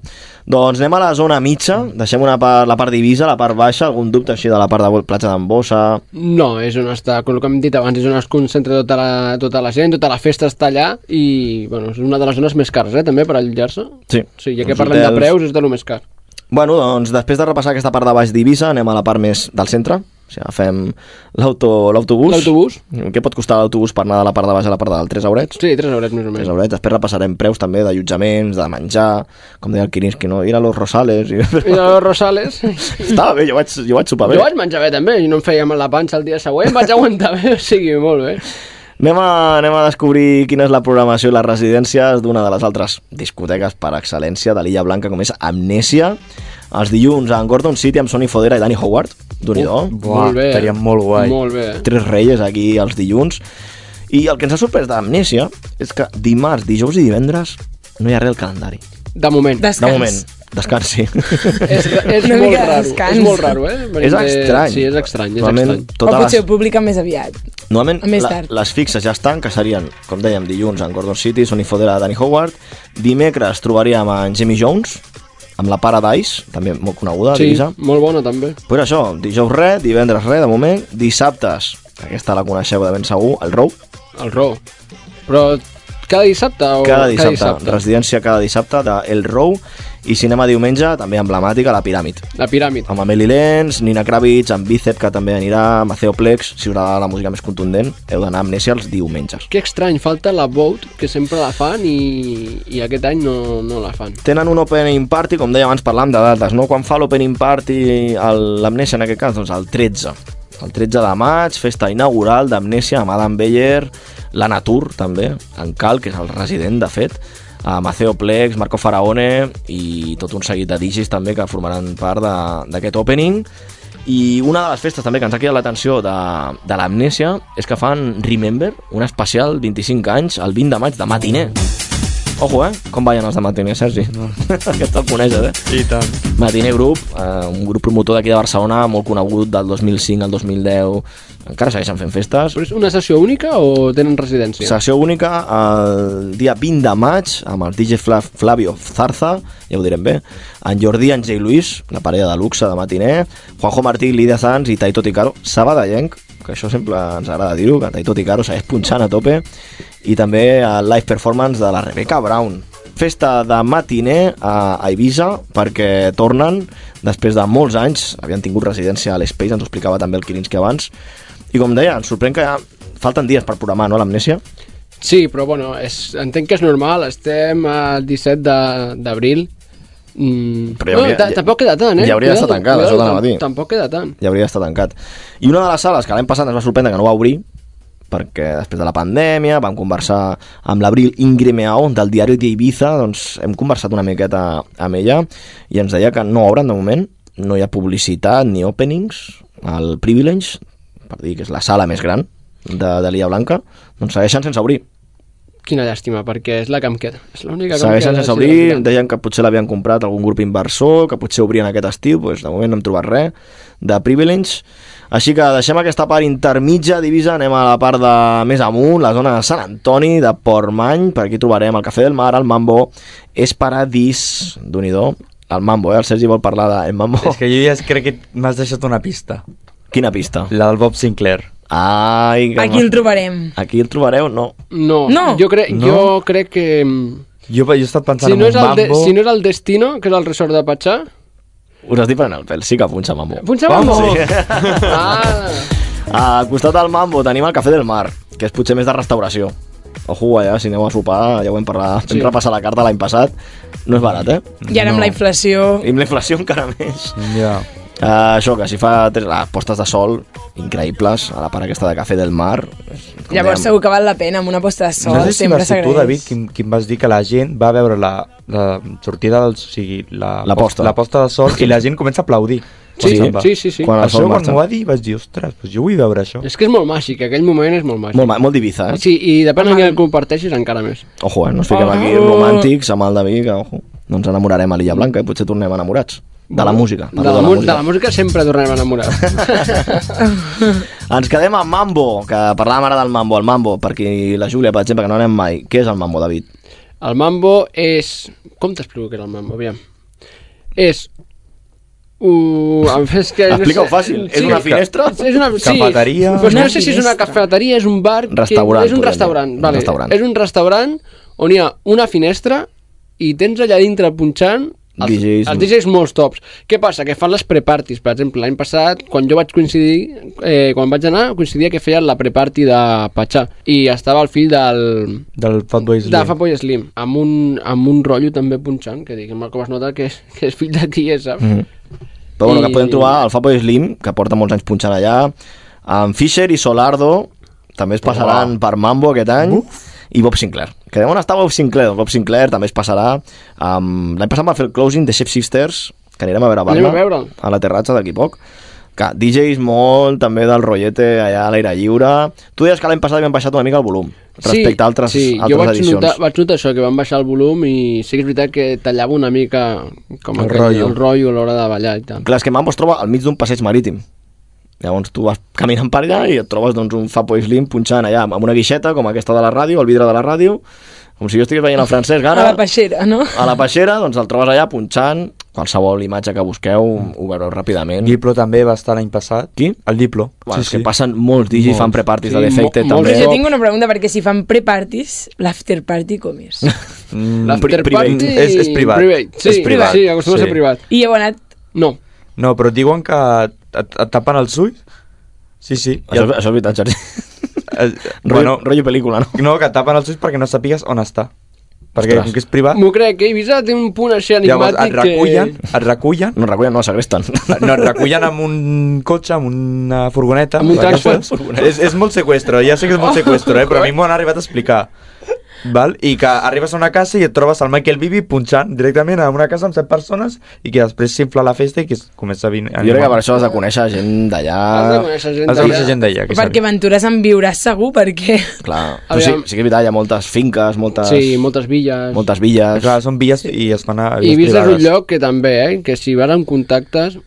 D: Doncs anem a la zona mitja, deixem una part, la part divisa, la part baixa, algun dubte així de la part de platja d'Embossa...
H: No, és on està, com el que hem dit abans, és on es concentra tota la, tota la gent, tota la festa està allà i, bueno, és una de les zones més cares, eh, també, per allotjar-se.
D: Sí.
H: Sí, ja que
D: Uns
H: parlem de
D: hotels.
H: preus, és de lo més car.
D: Bueno, doncs després de repassar aquesta part de baix d'Ibissa, anem a la part més del centre. O sigui, agafem l'auto- l'autobús.
H: L'autobús.
D: Què pot costar l'autobús per anar de la part de baix a la part de dalt? 3 haurets?
H: Sí, 3 haurets més o menys.
D: 3 haurets. Després repassarem preus també d'allotjaments, de menjar, com deia el Quirinski, no? Ir a los Rosales... I...
H: I de los Rosales...
D: Estava bé, jo vaig, jo vaig sopar bé.
H: Jo vaig menjar bé també, i no em feia mal la panxa el dia següent, vaig aguantar bé, o sigui, molt bé.
D: Anem a, anem a descobrir quina és la programació i les residències d'una de les altres discoteques per excel·lència de l'Illa Blanca, com és Amnèsia. Els dilluns en Gordon City amb Sonny Fodera i Danny Howard. d'un
A: buah, molt bé. estaria molt guai. Molt bé.
D: Tres reies aquí els dilluns. I el que ens ha sorprès d'Amnèsia és que dimarts, dijous i divendres no hi ha res al calendari.
H: De moment.
D: De moment. Descans, sí.
H: És, és
E: Una
H: molt
E: mica de
H: raro,
E: descans.
H: és molt raro, eh? Venim
D: És
H: de-
D: estrany.
H: Sí, és estrany, és
D: Realment,
H: estrany.
D: totes
E: o potser
D: les-
E: ho publica més aviat.
D: Normalment
E: Més
D: la,
E: tard.
D: les fixes ja estan, que serien, com dèiem, dilluns en Gordon City, Sonny Fodera, Danny Howard. Dimecres trobaríem en Jimmy Jones, amb la Paradise, també molt coneguda,
H: Sí,
D: divisa.
H: molt bona també.
D: Però això, dijous res, divendres res, de moment. Dissabtes, aquesta la coneixeu de ben segur, el Row.
H: El Row. Però cada dissabte o
D: Cada dissabte, residència cada dissabte de El Row. I cinema diumenge, també emblemàtica, la Piràmid.
H: La Piràmid.
D: Amb Amelie Lenz, Nina Kravitz, amb Bicep, que també anirà, Maceo Plex, si us agrada la música més contundent, heu d'anar a Amnèsia els diumenges.
H: Que estrany, falta la Boat, que sempre la fan i, i aquest any no, no la fan.
D: tenen un opening party, com deia abans parlàvem de dates, no? Quan fa l'opening party el- l'Amnesia en aquest cas? Doncs el 13. El 13 de maig, festa inaugural d'Amnesia amb Adam Beyer, la Natur també, en Cal, que és el resident de fet, a Maceo Plex, Marco Faraone i tot un seguit de DJs també que formaran part de- d'aquest opening. I una de les festes també que ens ha cridat l'atenció de, de l'Amnesia és que fan Remember, un especial 25 anys, el 20 de maig de matiner. Ojo, eh? Com ballen els de Matiner, Sergi? No. que te'l coneixes, eh?
A: I tant.
D: Matiner Group, eh, un grup promotor d'aquí de Barcelona, molt conegut del 2005 al 2010. Encara segueixen fent festes.
H: Però és una sessió única o tenen residència?
D: Sessió única el dia 20 de maig amb el DJ Fla Flavio Zarza, ja ho direm bé, en Jordi, en Jay Luis, la parella de luxe de matiner, Juanjo Martí, Lídia Sanz i Taito Ticaro, Sabadellenc, que això sempre ens agrada dir-ho, que Taito Ticaro segueix punxant a tope, i també el live performance de la Rebecca Brown. Festa de matiner a a Eivissa perquè tornen després de molts anys, havien tingut residència a l'Space, ens ho explicava també el Quirinski abans, i com deia, ens sorprèn que falten dies per programar, no, l'amnèsia?
H: Sí, però bueno, és, entenc que és normal, estem al 17 de- d'abril. Mm.
D: Però ja
H: bueno,
D: hauria-
H: ta-
D: ja-
H: tampoc queda tant, eh?
D: ja hauria d'estar
H: Cuidado,
D: tancada, això
H: cuidado,
D: t'anava a dir.
H: tam- Tampoc queda tant.
D: ja hauria d'estar tancat. I una de les sales que l'any passat ens va sorprendre que no va obrir, perquè després de la pandèmia vam conversar amb l'Abril Ingrimeao del diari d'Ibiza, doncs hem conversat una miqueta amb ella i ens deia que no obren de moment, no hi ha publicitat ni openings, el Privilege, per dir que és la sala més gran de, de l'Illa Blanca, doncs segueixen sense obrir.
H: Quina llàstima, perquè és la que em queda. És l'única que em
D: Segueixen
H: queda.
D: sense
H: sí, la
D: obrir,
H: veritat.
D: deien que potser l'havien comprat algun grup inversor, que potser obrien aquest estiu, doncs de moment no hem trobat res de Privilege. Així que deixem aquesta part intermitja divisa, anem a la part de més amunt, la zona de Sant Antoni, de Portmany, per aquí trobarem el Cafè del Mar, el Mambo, és paradís, d'un i do, el Mambo, eh? el Sergi vol parlar del Mambo.
A: És que jo ja crec que m'has deixat una pista.
D: Quina pista?
A: La del Bob Sinclair.
D: Ai,
E: Aquí el trobarem.
D: Aquí el trobareu? No.
H: No,
E: No.
H: Jo, crec,
A: No.
H: jo crec que... mm,
A: Jo, jo he estat pensant
H: Si no,
A: en
H: és
A: un
H: el de,
A: mambo...
H: si no és el Destino, que és el resort de Patxà...
D: Us estic prenent el pèl, sí que punxa Mambo.
H: Punxa Mambo! Ah.
D: Al costat del Mambo tenim el Cafè del Mar, que és potser més de restauració. Ojo, allà, si aneu a sopar, ja ho hem parlat, sí.
E: Sí.
D: vam repassar la carta l'any passat. No és barat, eh?
E: I ara amb la inflació...
D: I amb la inflació encara més.
A: Ja.
D: Uh, això, que si fa tres, les postes de sol increïbles a la part aquesta de Cafè del Mar. Com
E: Llavors segur que val la pena amb una posta de sol,
A: no sé si
E: sempre
A: vas ser tu,
E: s'agraeix.
A: David, qui, qui em vas dir que la gent va veure la, la sortida del... O sigui, la,
D: La posta.
A: la posta de sol i la gent comença a aplaudir.
H: Sí,
A: quan se'n va.
H: sí, sí, sí. Quan el sol
A: això quan
H: marxa.
A: m'ho va dir vaig dir, ostres, doncs jo vull veure això.
H: És que és molt màgic, aquell moment és molt màgic.
D: Molt, ma- molt divisa, eh?
H: Sí, i depèn de qui el comparteixis encara més.
D: Ojo, eh? No ens fiquem
H: Oh.
D: aquí romàntics amb el David, que ojo. No ens enamorarem a l'Illa Blanca, eh? Potser tornem enamorats. De la música.
H: De la, mu- de la música sempre tornem a enamorar.
D: Ens quedem amb Mambo, que parlàvem ara del Mambo, el Mambo, perquè la Júlia, per exemple, que no anem mai. Què és el Mambo, David?
H: El mambo és... Com t'explico què és el mambo? Aviam. És... Uh, a més que no
D: Explica-ho
H: sé-
D: fàcil. És una finestra?
H: És una, sí. Però
D: Cafeteria?
H: és que
D: Una
H: no sé si és una
D: finestra.
H: cafeteria, és un bar... que-
D: Restaurant,
H: És un
D: podríem
H: restaurant,
D: dir. Un
H: vale.
D: restaurant.
H: És un restaurant on hi ha una finestra i tens allà dintre punxant els
D: DJs.
H: els DJs molts tops. Què passa? Que fan les preparties. Per exemple, l'any passat, quan jo vaig coincidir, eh, quan vaig anar, coincidia que feien la preparty de Patxà. I estava el fill del,
A: Del Fatboy Slim.
H: de Fatboy Slim, amb un, amb un rotllo també punxant, que diguem com es nota que és, que és fill de qui és, saps?
D: Mm. Però bueno, que
H: I-
D: podem trobar el Fapo Slim, que porta molts anys punxant allà, en Fisher i Solardo, també es passaran per Mambo aquest any, i Bob Sinclair. Que on està Bob Sinclair? Doncs Bob Sinclair també es passarà... Um, L'any passat va fer el closing de Shape Sisters, que anirem a veure a
H: Anem
D: Barna,
H: a veure'l.
D: a la terratxa d'aquí poc. Que DJs molt, també del rollete allà a l'aire lliure. Tu deies que l'any passat havien baixat una mica el volum, respecte a altres,
H: sí,
D: altres
H: jo vaig
D: edicions.
H: Notar, vaig notar això, que van baixar el volum i sí que és veritat que tallava una mica com
D: El
H: aquell-
D: rotllo.
H: el rotllo a l'hora de ballar i tal.
A: Mm,
D: Clar, és que Mambo es troba al mig d'un passeig marítim. Llavors tu vas caminant per allà i et trobes doncs, un Fapo Slim punxant allà amb una guixeta com aquesta de la ràdio, el vidre de la ràdio, com si jo estigués veient el Francesc
E: A
D: ara,
E: la peixera, no?
D: a la peixera, doncs el trobes allà punxant, qualsevol imatge que busqueu ho veureu ràpidament.
A: Diplo també va estar l'any passat.
D: Qui?
A: El Diplo.
D: Bueno, és que passen molts DJs, fan preparties de Defected també.
E: Però jo tinc una pregunta, perquè si fan pre-parties, l'after party com és?
H: L'after party
A: És, és Mm, privat.
H: private, sí,
A: és privat.
H: sí, acostuma a ser privat.
E: I heu anat...
H: No.
A: No, però diuen que et, et tapen els ulls. Sí, sí.
D: Això, això és veritat, Jordi.
A: El,
D: Rollo- rollo pel·lícula, no?
A: No, que et tapen els ulls perquè no sàpigues on està. Perquè
D: Ostres.
A: com que és privat,
H: M'ho crec, que Ibiza té un punt així
A: Ah. llavors
H: enigmàtic
A: et recullen,
H: que...
A: et recullen...
D: No recullen, no, segresten.
A: No, et recullen amb un cotxe, amb una furgoneta.
H: Amb un
A: per
H: tractor.
A: exemple. És, és molt seqüestro, ja sé que és molt seqüestro, eh? però a mi m'ho han arribat a explicar. val? i que arribes a una casa i et trobes el Michael Bibi punxant directament a una casa amb set persones i que després s'infla la festa i que es comença a venir...
D: Jo crec que per això has de conèixer gent d'allà...
A: Has de conèixer gent Ah. Has de conèixer d'allà. gent d'allà, que
E: Perquè aventures en viuràs segur, perquè...
D: Clar, però sí,
E: Aviam.
D: sí que és veritat, hi ha moltes finques, moltes...
H: Sí, moltes villes.
D: Moltes villes.
A: Clar, són villes i es fan a...
H: I vist és un lloc que també, eh, que si vas amb contactes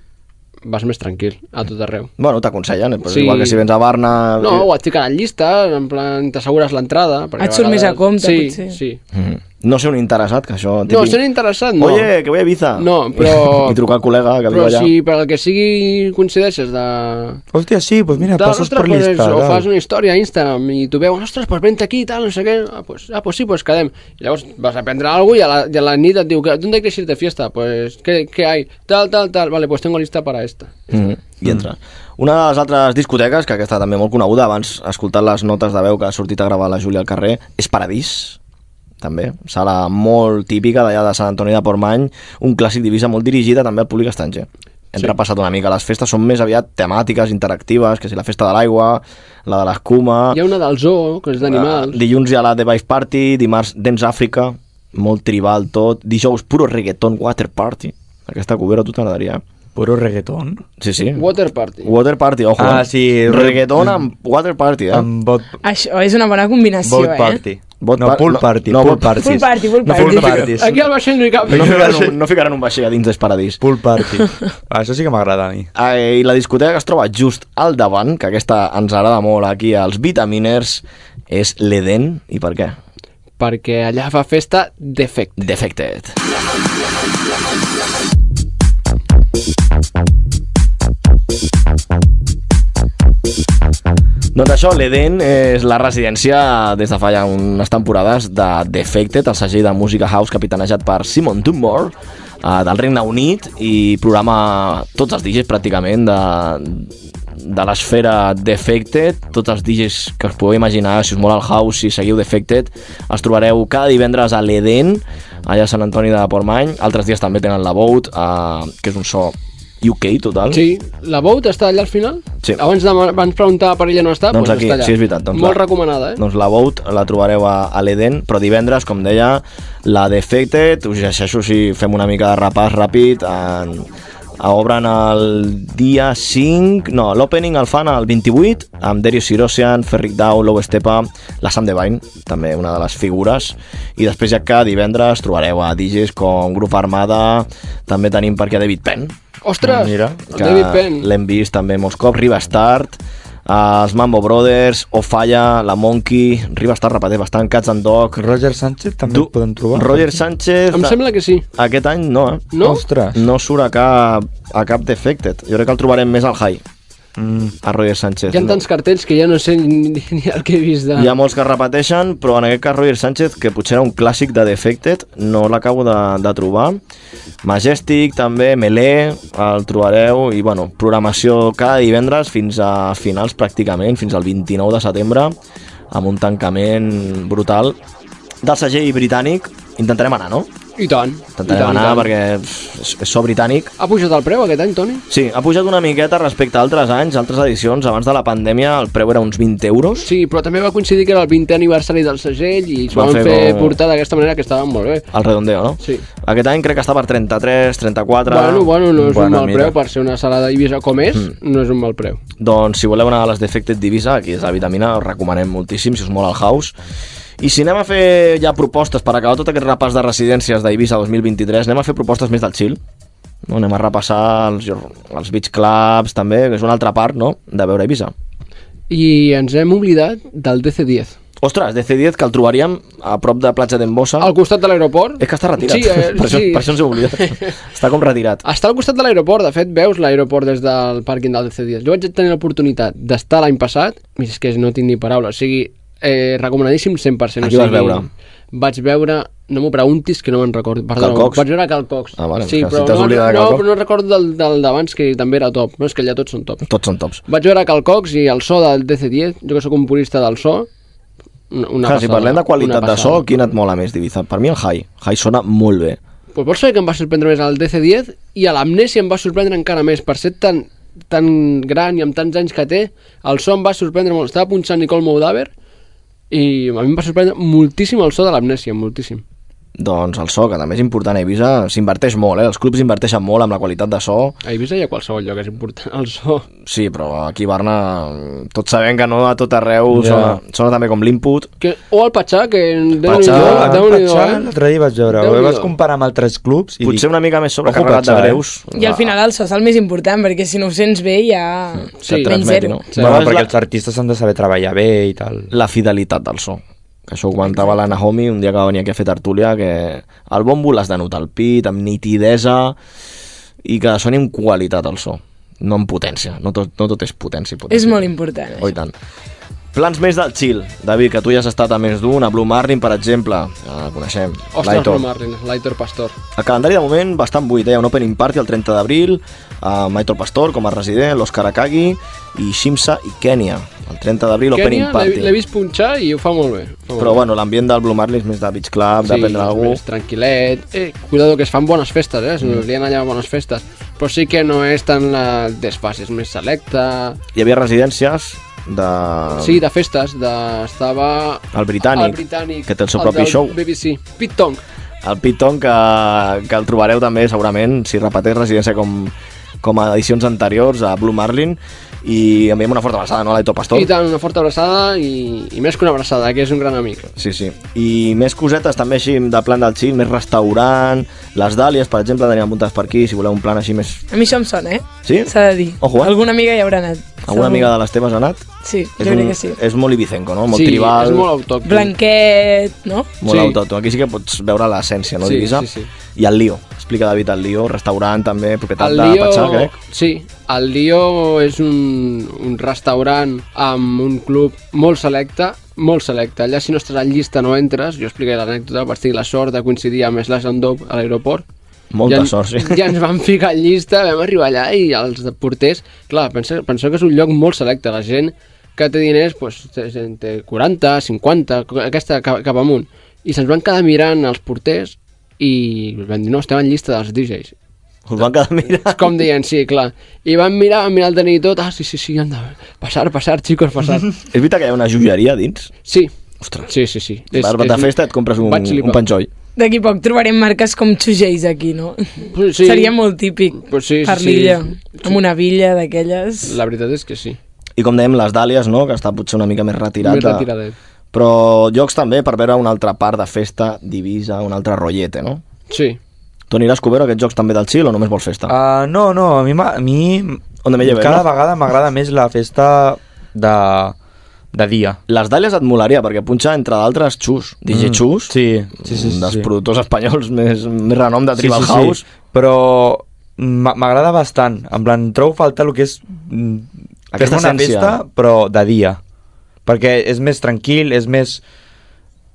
H: vas més tranquil a tot arreu.
D: Bueno, t'aconsellen, però
H: Sí.
D: sí. igual que si vens a Barna... eh,
H: No, o et fiquen en llista, en plan, t'assegures l'entrada. perquè
E: Et surt
H: vegades-
E: més a compte,
H: sí,
E: potser.
H: Sí,
D: Mm. No sé un interessat, que això...
H: No, ser interessat no.
D: Oye, que voy a Ibiza.
H: No, però-
D: I trucar al col·lega que viu
H: Però
D: allà.
H: si per el que sigui coincideixes de...
A: Hòstia, sí, doncs mira,
H: Tal,
A: passes
H: ostres,
A: per
H: pues,
A: llista.
H: o
A: tal.
H: fas una història a Instagram i tu veus, ostres, pues vente aquí, tal, no sé què, ah, pues, ah, pues sí, pues quedem. I llavors vas a prendre alguna cosa i a la, i a la nit et diu, que- ¿dónde quieres ir de fiesta? Pues, ¿qué, qué hay? Tal, tal, tal, vale, pues tengo lista para esta.
D: Mm. I entra. Una de les altres discoteques, que aquesta també molt coneguda, abans he escoltat les notes de veu que ha sortit a gravar la Júlia al carrer, és Paradís, també. Sala molt típica d'allà de Sant Antoni de Portmany, un clàssic divisa molt dirigida també al públic estranger. Hem
H: Sí.
D: sí. repassat una mica. Les festes són més aviat temàtiques, interactives, que si la festa de l'aigua, la de l'escuma...
H: Hi ha una del zoo, que és d'animals.
D: Eh, dilluns hi ha la The Vice Party, dimarts Dance Africa, molt tribal tot, dijous puro reggaeton water party. Aquesta cubera a tu t'agradaria. eh?
A: Puro reggaeton?
D: Sí, sí.
H: Water party.
D: Water party, ojo.
A: Ah,
D: eh.
A: sí, re-
D: Reggaeton amb water party, eh? Amb
A: bot,
E: Això és una bona combinació, eh?
D: Bot
A: No, pool party, pool parties. Pool party, pool No, pool parties. parties.
H: Aquí al vaixell no hi cap.
D: No ficaran, un, no ficaran un vaixell a dins dels paradís. Eh,
A: Pool party. Ah, Això sí que m'agrada a mi.
D: I la discoteca que es troba just al davant, que aquesta ens agrada molt aquí als Vitaminers, és l'Eden. I per què?
H: Perquè allà fa festa Defected.
D: Defected. Doncs això, l'Eden és la residència des de fa ja unes temporades de Defected, el segell de música house capitanejat per Simon Dunmore, eh, del Regne Unit, i programa tots els DJs pràcticament de, de l'esfera Defected, tots els DJs que us podeu imaginar, si us mola el house, si seguiu Defected, els trobareu cada divendres a l'Eden, allà a Sant Antoni de Portmany, altres dies també tenen la Boat, eh, que és un so UK total.
H: Sí, la boat està allà al final?
D: Sí.
H: Abans, de, abans preguntar per ella no està,
D: Doncs
H: doncs
D: aquí,
H: està allà.
D: sí, és veritat, doncs
H: Molt
D: clar.
H: recomanada, eh?
D: Doncs la Boat la trobareu a, a l'Eden, però divendres, com deia, la Defected, us llegeixo si fem una mica de repàs ràpid, en, a- obren el dia 5, no, l'opening el fan el 28, amb Darius Sirosian, Ferric Dau, Lou Estepa, la Sam Devine, també una de les figures, i després ja que divendres trobareu a DJs com Grup Armada, també tenim per aquí a David Penn,
H: Ostres,
D: Doncs Mira,
H: el
D: que
H: David Penn.
D: L'hem vist també molts cops. Riva Start, eh, els Mambo Brothers, Ofalla, La Monkey, Riva Start repeteix bastant, Cats and Dog...
A: Roger Sánchez també el podem trobar.
D: Roger Sánchez...
H: Em sembla que sí.
D: Aquest any no, eh?
H: No?
A: Ostres.
D: No surt a cap, a cap defected. Jo crec que el trobarem més al high. Mm. A Roger Sánchez.
H: Hi ha tants cartells que ja no sé ni, ni, ni el que he vist de...
D: Hi ha molts que es repeteixen, però en aquest cas Roger Sánchez, que potser era un clàssic de Defected, no l'acabo de, de trobar. Majestic, també, Melé, el trobareu, i bueno, programació cada divendres fins a finals pràcticament, fins al 29 de setembre, amb un tancament brutal del segell britànic. Intentarem anar, no?
H: I tant. I
D: Intentarem
H: tant,
D: anar
H: i tant.
D: perquè pff, és- és so britànic
H: Ha pujat el preu aquest any, Toni?
D: Sí, ha pujat una miqueta respecte a altres anys, altres edicions. Abans de la pandèmia el preu era uns 20 euros.
H: Sí, però també va coincidir que era el 20è aniversari del segell i es
D: Van
H: van,
D: fer
H: fer
D: com-
H: portar d'aquesta manera que estaven molt bé.
D: El redondeo, no?
H: Sí.
D: Aquest any crec que està per 33, 34...
H: Bueno, bueno, no és
D: Bueno,
H: un mal
D: mira. Mm.
H: preu per ser una sala d'Eivissa com és, no és un mal preu.
D: Doncs si voleu anar a les Defected Divisa, aquí és la vitamina, us recomanem moltíssim, si us mola el house. I si anem a fer ja propostes per acabar tot aquest repàs de residències d'Eivissa 2023, anem a fer propostes més del chill. No, anem a repassar els, els beach clubs també, que és una altra part, no?, de veure Eivissa.
H: I ens hem oblidat del DC-10.
D: Ostres, DC10, que el trobaríem a prop de Platja d'Embossa. Al
H: costat de l'aeroport.
D: Ah. És que està retirat,
H: Sí, eh,
D: per, això,
H: sí. Ah.
D: per això ens hem oblidat. està com retirat.
H: Està al costat de l'aeroport, de fet, veus l'aeroport des del pàrquing del DC10. Jo vaig tenir l'oportunitat d'estar l'any passat, mira, és que no tinc ni paraula, o sigui, eh, recomanadíssim 100%.
D: Aquí
H: o
D: vas
H: sigui,
D: veure?
H: Vaig veure, no m'ho preguntis que no me'n recordo, perdó,
D: Cal Cox?
H: vaig veure Cal Cox.
D: Ah, vale,
H: sí,
D: és que
H: però
D: si t'has
H: no,
D: oblidat de
H: no,
D: Cal Cox.
H: però no recordo del, del d'abans, que també era top, no, és que allà tots són top.
D: Tots són tops.
H: Vaig veure Cal Cox i el so del DC10, jo que sóc un purista del so, una, una
D: Clar, si
H: passada,
D: parlem de qualitat
H: una
D: de so,
H: passada.
D: quin et mola més d'Ibiza? Per mi el high. High sona molt bé.
H: Pues vols saber que em va sorprendre més el DC-10 i a l'amnèsia em va sorprendre encara més per ser tan, tan gran i amb tants anys que té el so em va sorprendre molt estava punxant Nicole Moudaver i a mi em va sorprendre moltíssim el so de l'amnèsia, moltíssim.
D: Doncs el so, que també és important a Eivissa, s'inverteix molt, eh? Els clubs inverteixen molt amb la qualitat de so.
H: A Eivissa hi ha qualsevol lloc, és important el so.
D: Sí, però aquí a Barna tots sabem que no a tot arreu
H: Ja.
D: yeah. sona, sona també com l'input.
H: Que, o el Patxà, que déu nhi
D: Patxà, a mi Patxà,
A: L'altre dia vaig veure,
H: Déu-n'hi-do.
A: ho vas comparar amb altres clubs i
D: Potser
A: dic,
D: una mica més
A: "Ojo,
D: sobrecarregat de
A: Patxà, eh?"
D: greus.
E: I al final el so és el més important, perquè si no ho sents bé ja... menys zero.
A: Bueno,
D: Llavors
A: perquè
D: la-
A: els artistes han de saber treballar bé i tal.
D: La fidelitat del so. Que això ho comentava la Naomi un dia que va venir aquí a fer tertúlia, que el bombo l'has de notar al pit, amb nitidesa, i que soni amb qualitat el so, no amb potència. No tot, no tot és potència i potència.
E: És molt important.
D: Oh, i tant. Plans més del chill. David, que tu ja has estat a més d'un, a Blue Marlin, per exemple. Ja la coneixem.
H: Ostres, no Marlin, l'Aitor Pastor.
D: El calendari de moment bastant buit, eh? Hi ha un opening party el 30 d'abril, amb Aitor Pastor com a resident, l'Òscar Akagi i Shimsa i Kènia. El 30 d'abril opening
H: Kenia l'he l'he
D: party.
H: vist punxar i ho fa molt bé. Fa molt
D: Però
H: bé.
D: bueno, l'ambient del Blue Marlin és més de beach club,
H: Sí,
D: de prendre algú...
H: més tranquil·let... Eh, cuidado, que es fan bones festes, eh? Es mm. li han allà bones festes. Però sí que no és tan la desfase, és més selecta...
D: Hi havia residències de...
H: Sí, de festes, de... estava...
D: El Ah. britànic,
H: el britànic
D: que té el seu propi
H: del
D: show.
H: BBC, Pit Tong.
D: El Piton, que, que el trobareu també, segurament, si repeteix residència com, com a edicions anteriors a Blue Marlin i enviem una forta abraçada no, a l'Aitor Pastor
H: I tant, una forta abraçada i, i més que una abraçada, que és un gran amic.
D: Sí, sí. I més cosetes també així de plan del xil, més restaurant, les dàlies, per exemple, tenim apuntades per aquí, si voleu un plan així més...
E: A mi això em sona, eh?
D: Sí?
E: S'ha de dir.
D: Ojo, eh?
E: Alguna amiga hi haurà anat.
D: Alguna
E: segur.
D: amiga de les teves ha anat?
E: Sí,
D: És
E: jo crec
D: un-
E: que sí.
D: És molt ibicenco, no? Molt
H: sí,
D: tribal.
H: és molt autòcton.
E: Blanquet, no?
D: Molt autòcton. Aquí sí que pots veure l'essència, no,
H: Sí,
D: d'Eivissa?
H: sí, sí.
D: I el Lío. Explica, David, el Lío, restaurant també, propietat
H: El
D: de
H: Lío,
D: Patxar, crec.
H: sí, el Lío és un, un restaurant amb un club molt selecte, molt selecte. Allà si no estàs en llista no entres, jo explicaré l'anècdota, vaig tenir la sort de coincidir amb Slash and Dope a l'aeroport.
D: Molta
H: en-
D: sort, sí.
H: Ja ens vam ficar en llista, vam arribar allà i els porters... Clar, penseu, penseu que és un lloc molt selecte, la gent que té diners pues, té gent té 40, 50, aquesta cap, cap amunt. I se'ns van quedar mirant els porters i van dir, no, estem en llista dels DJs.
D: Us van quedar mirant.
H: És com deien, sí, clar. I van mirar, van mirar el DNI i tot, ah, sí, sí, sí, anda, passar, passar, xicos, passar.
D: És veritat que hi ha una joieria dins?
H: Sí.
D: Ostres.
H: Sí, sí, sí.
D: Per de festa et compres un,
H: Vaig flipar.
D: un penjoll.
E: D'aquí poc trobarem marques com Xugeis aquí, no?
H: sí.
E: Seria molt típic
H: Pues sí, sí,
E: per
H: sí.
E: l'illa, amb una villa d'aquelles.
H: La veritat és que sí.
D: I com dèiem, les dàlies, no?, que està potser una mica més retirat.
H: Més
D: de-
H: retiradet.
D: Però llocs també per veure una altra part de festa, divisa, un altre rollete, no?
H: Sí.
D: Tu aniràs cobert a aquests jocs també del Xil o només vols festa?
H: Ah.
A: Uh, no, no, a mi, m'a- a mi
D: On me lleves,
A: cada
D: no?
A: vegada m'agrada més la festa de, de dia.
D: Les dàlies et molaria, perquè punxa, entre d'altres, Xus, DJ
A: Mm,
D: Xus,
A: sí, sí, sí,
D: un
A: sí,
D: dels
A: sí.
D: productors espanyols més, més renom de Tribal House.
A: Sí. Però m'a- m'agrada bastant. En plan, trobo falta el que és... mm, que és
D: Aquesta
A: una
D: essència.
A: festa, però de dia. Perquè és més tranquil, és més...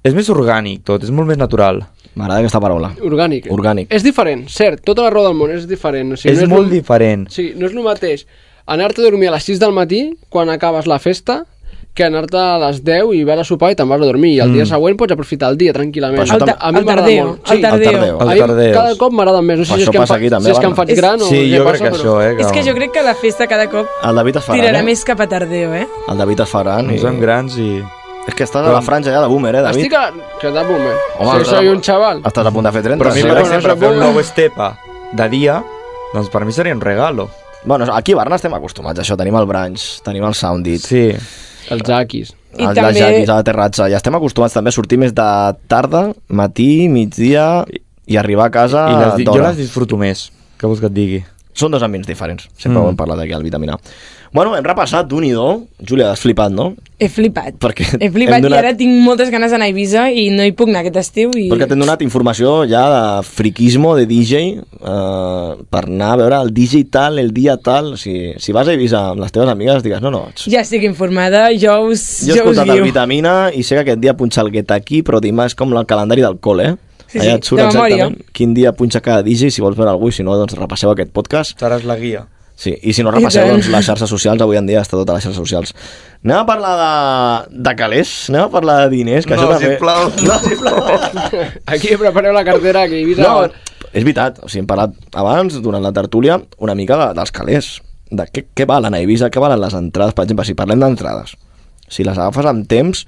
A: És més orgànic tot, és molt més natural.
D: M'agrada aquesta paraula.
H: Orgànic.
D: Orgànic.
H: És diferent, cert, tota la roda del món és diferent. O
A: Sí,
H: sigui,
A: és
H: no és
A: molt
H: lo-
A: diferent.
H: Sí, no és el mateix anar-te a dormir a les 6 del matí, quan acabes la festa, que anar-te a les 10 i vas a sopar i te'n vas a dormir. I el
A: Mm.
H: mm. dia següent pots aprofitar el dia tranquil·lament.
A: Per això El tam- ta-
H: a mi
A: el
H: m'agrada
A: tardeo,
H: molt.
A: el tardeo. El tardeo.
H: A
A: El
H: mi
A: tardeo.
H: cada cop m'agrada més. No
D: Per
H: sé si
D: això
H: és, que em,
D: passa
H: fa,
D: aquí, també,
H: si és que em
D: Barbara.
H: faig gran o
D: Sí,
H: què
D: jo crec
H: passa,
D: que
H: però...
D: això, eh, que-
E: És que jo crec que la festa cada cop
D: El David es farà,
E: tirarà
D: eh?
E: més cap a tardeo, eh?
D: El David es farà.
A: Ens fem grans i...
D: És que estàs a la
A: Però-
D: franja ja de boomer, eh, David?
H: Estic a... que de boomer.
D: Home,
H: Home, Ah.
D: però-
H: si soy un xaval.
D: Estàs a punt de fer 30.
A: Però a mi,
D: sí.
A: per
D: Bueno,
A: exemple,
D: no
A: fer un
D: sóc-
A: nou estepa de dia, doncs per mi seria un regalo.
D: Bueno, aquí a Barna estem acostumats a això. Tenim el Branch, tenim el Soundit.
A: Sí.
H: Els Jaquis.
D: I
H: I també-
D: els també... jaquis a la terratxa. Ja estem acostumats també a sortir més de tarda, matí, migdia i arribar a casa
A: I les, di- jo
D: d'hora.
A: les disfruto més, que vols que et digui.
D: Són dos ambients diferents. Sempre
A: Mm.
D: mm. ho hem parlat aquí al Vitamina. Bueno, hem repassat d'un i do. Júlia, has flipat, no?
E: He flipat.
D: Perquè
E: He flipat donat... i ara tinc moltes ganes d'anar a Eivissa i no hi puc anar aquest estiu i...
D: Perquè t'hem donat informació ja de friquismo, de DJ, eh, per anar a veure el DJ tal, el dia tal. Si, si vas a Eivissa amb les teves amigues, digues, no, no, ets-
E: Ja estic informada, jo us,
D: jo he
E: jo us
D: escoltat el
E: guio.
D: Vitamina i sé que aquest dia punxa el guet aquí, però dimarts com el calendari del col·le, eh?
E: Sí,
D: Allà
E: sí,
D: et surt
E: de memòria.
D: exactament quin dia punxa cada DJ, si vols veure algú, i si no, doncs repasseu aquest podcast.
A: Seràs la guia.
D: Sí, i si no
A: I
D: repasseu,
A: tant.
D: doncs, les xarxes socials, avui en dia està tot a les xarxes socials. Anem a parlar de, de calés, anem a parlar de diners, que això també...
A: No,
H: Aquí prepareu la cartera, que Ibiza...
D: No, és veritat, o sigui, hem parlat abans, durant la tertúlia, una mica de, dels calés, de què, què valen a Eivissa, què valen les entrades, per exemple, si parlem d'entrades. Si les agafes amb temps,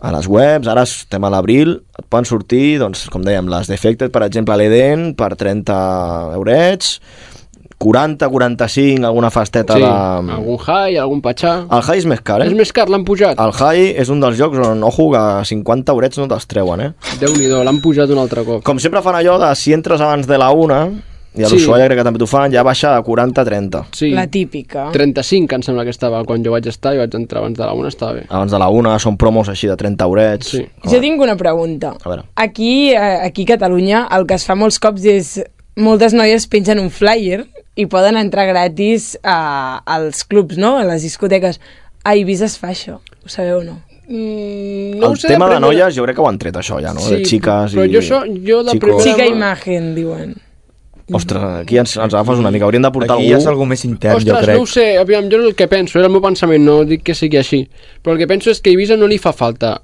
D: a les webs, ara estem a l'abril, et poden sortir, doncs, com dèiem, les Defected, per exemple, a l'Eden, per 30 eurets, 40, 45, alguna festeta
H: Sí,
D: de...
H: algun high, algun patxà...
D: El high és més car, eh?
H: És més car, l'han pujat.
D: El high és un dels jocs on, ojo, que 50 eurets no te'ls treuen, eh?
H: Déu-n'hi-do, l'han pujat un altre cop.
D: Com sempre fan allò de si entres abans de la una, i a
H: Sí.
D: l'Ushuaia crec que també t'ho fan, ja baixa a 40-30.
H: Sí.
E: La típica.
H: 35, em sembla que estava quan jo vaig estar, jo vaig entrar abans de la una, estava bé.
D: Abans de la una són promos així de 30 eurets. Sí.
E: Jo tinc una pregunta.
D: A veure.
E: Aquí, eh, aquí a Catalunya, el que es fa molts cops és... Moltes noies pengen un flyer i poden entrar gratis a, als clubs, no? A les discoteques. A Ibiza es fa això, ho sabeu o no?
H: Mm,
D: No el tema de noies jo crec que ho han tret això ja, no? de xiques
E: però
D: i...
E: jo això-
H: jo de
D: xicos.
E: Chica imagen, diuen.
D: Ostres, aquí ens, ens agafes una mica. Hauríem de portar
A: Aquí
D: algú...
A: ja és algú més intern,
H: Ostres, no ho sé, aviam, jo el que penso, era el meu pensament, no dic que sigui així, però el que penso és que a Ibiza no li fa falta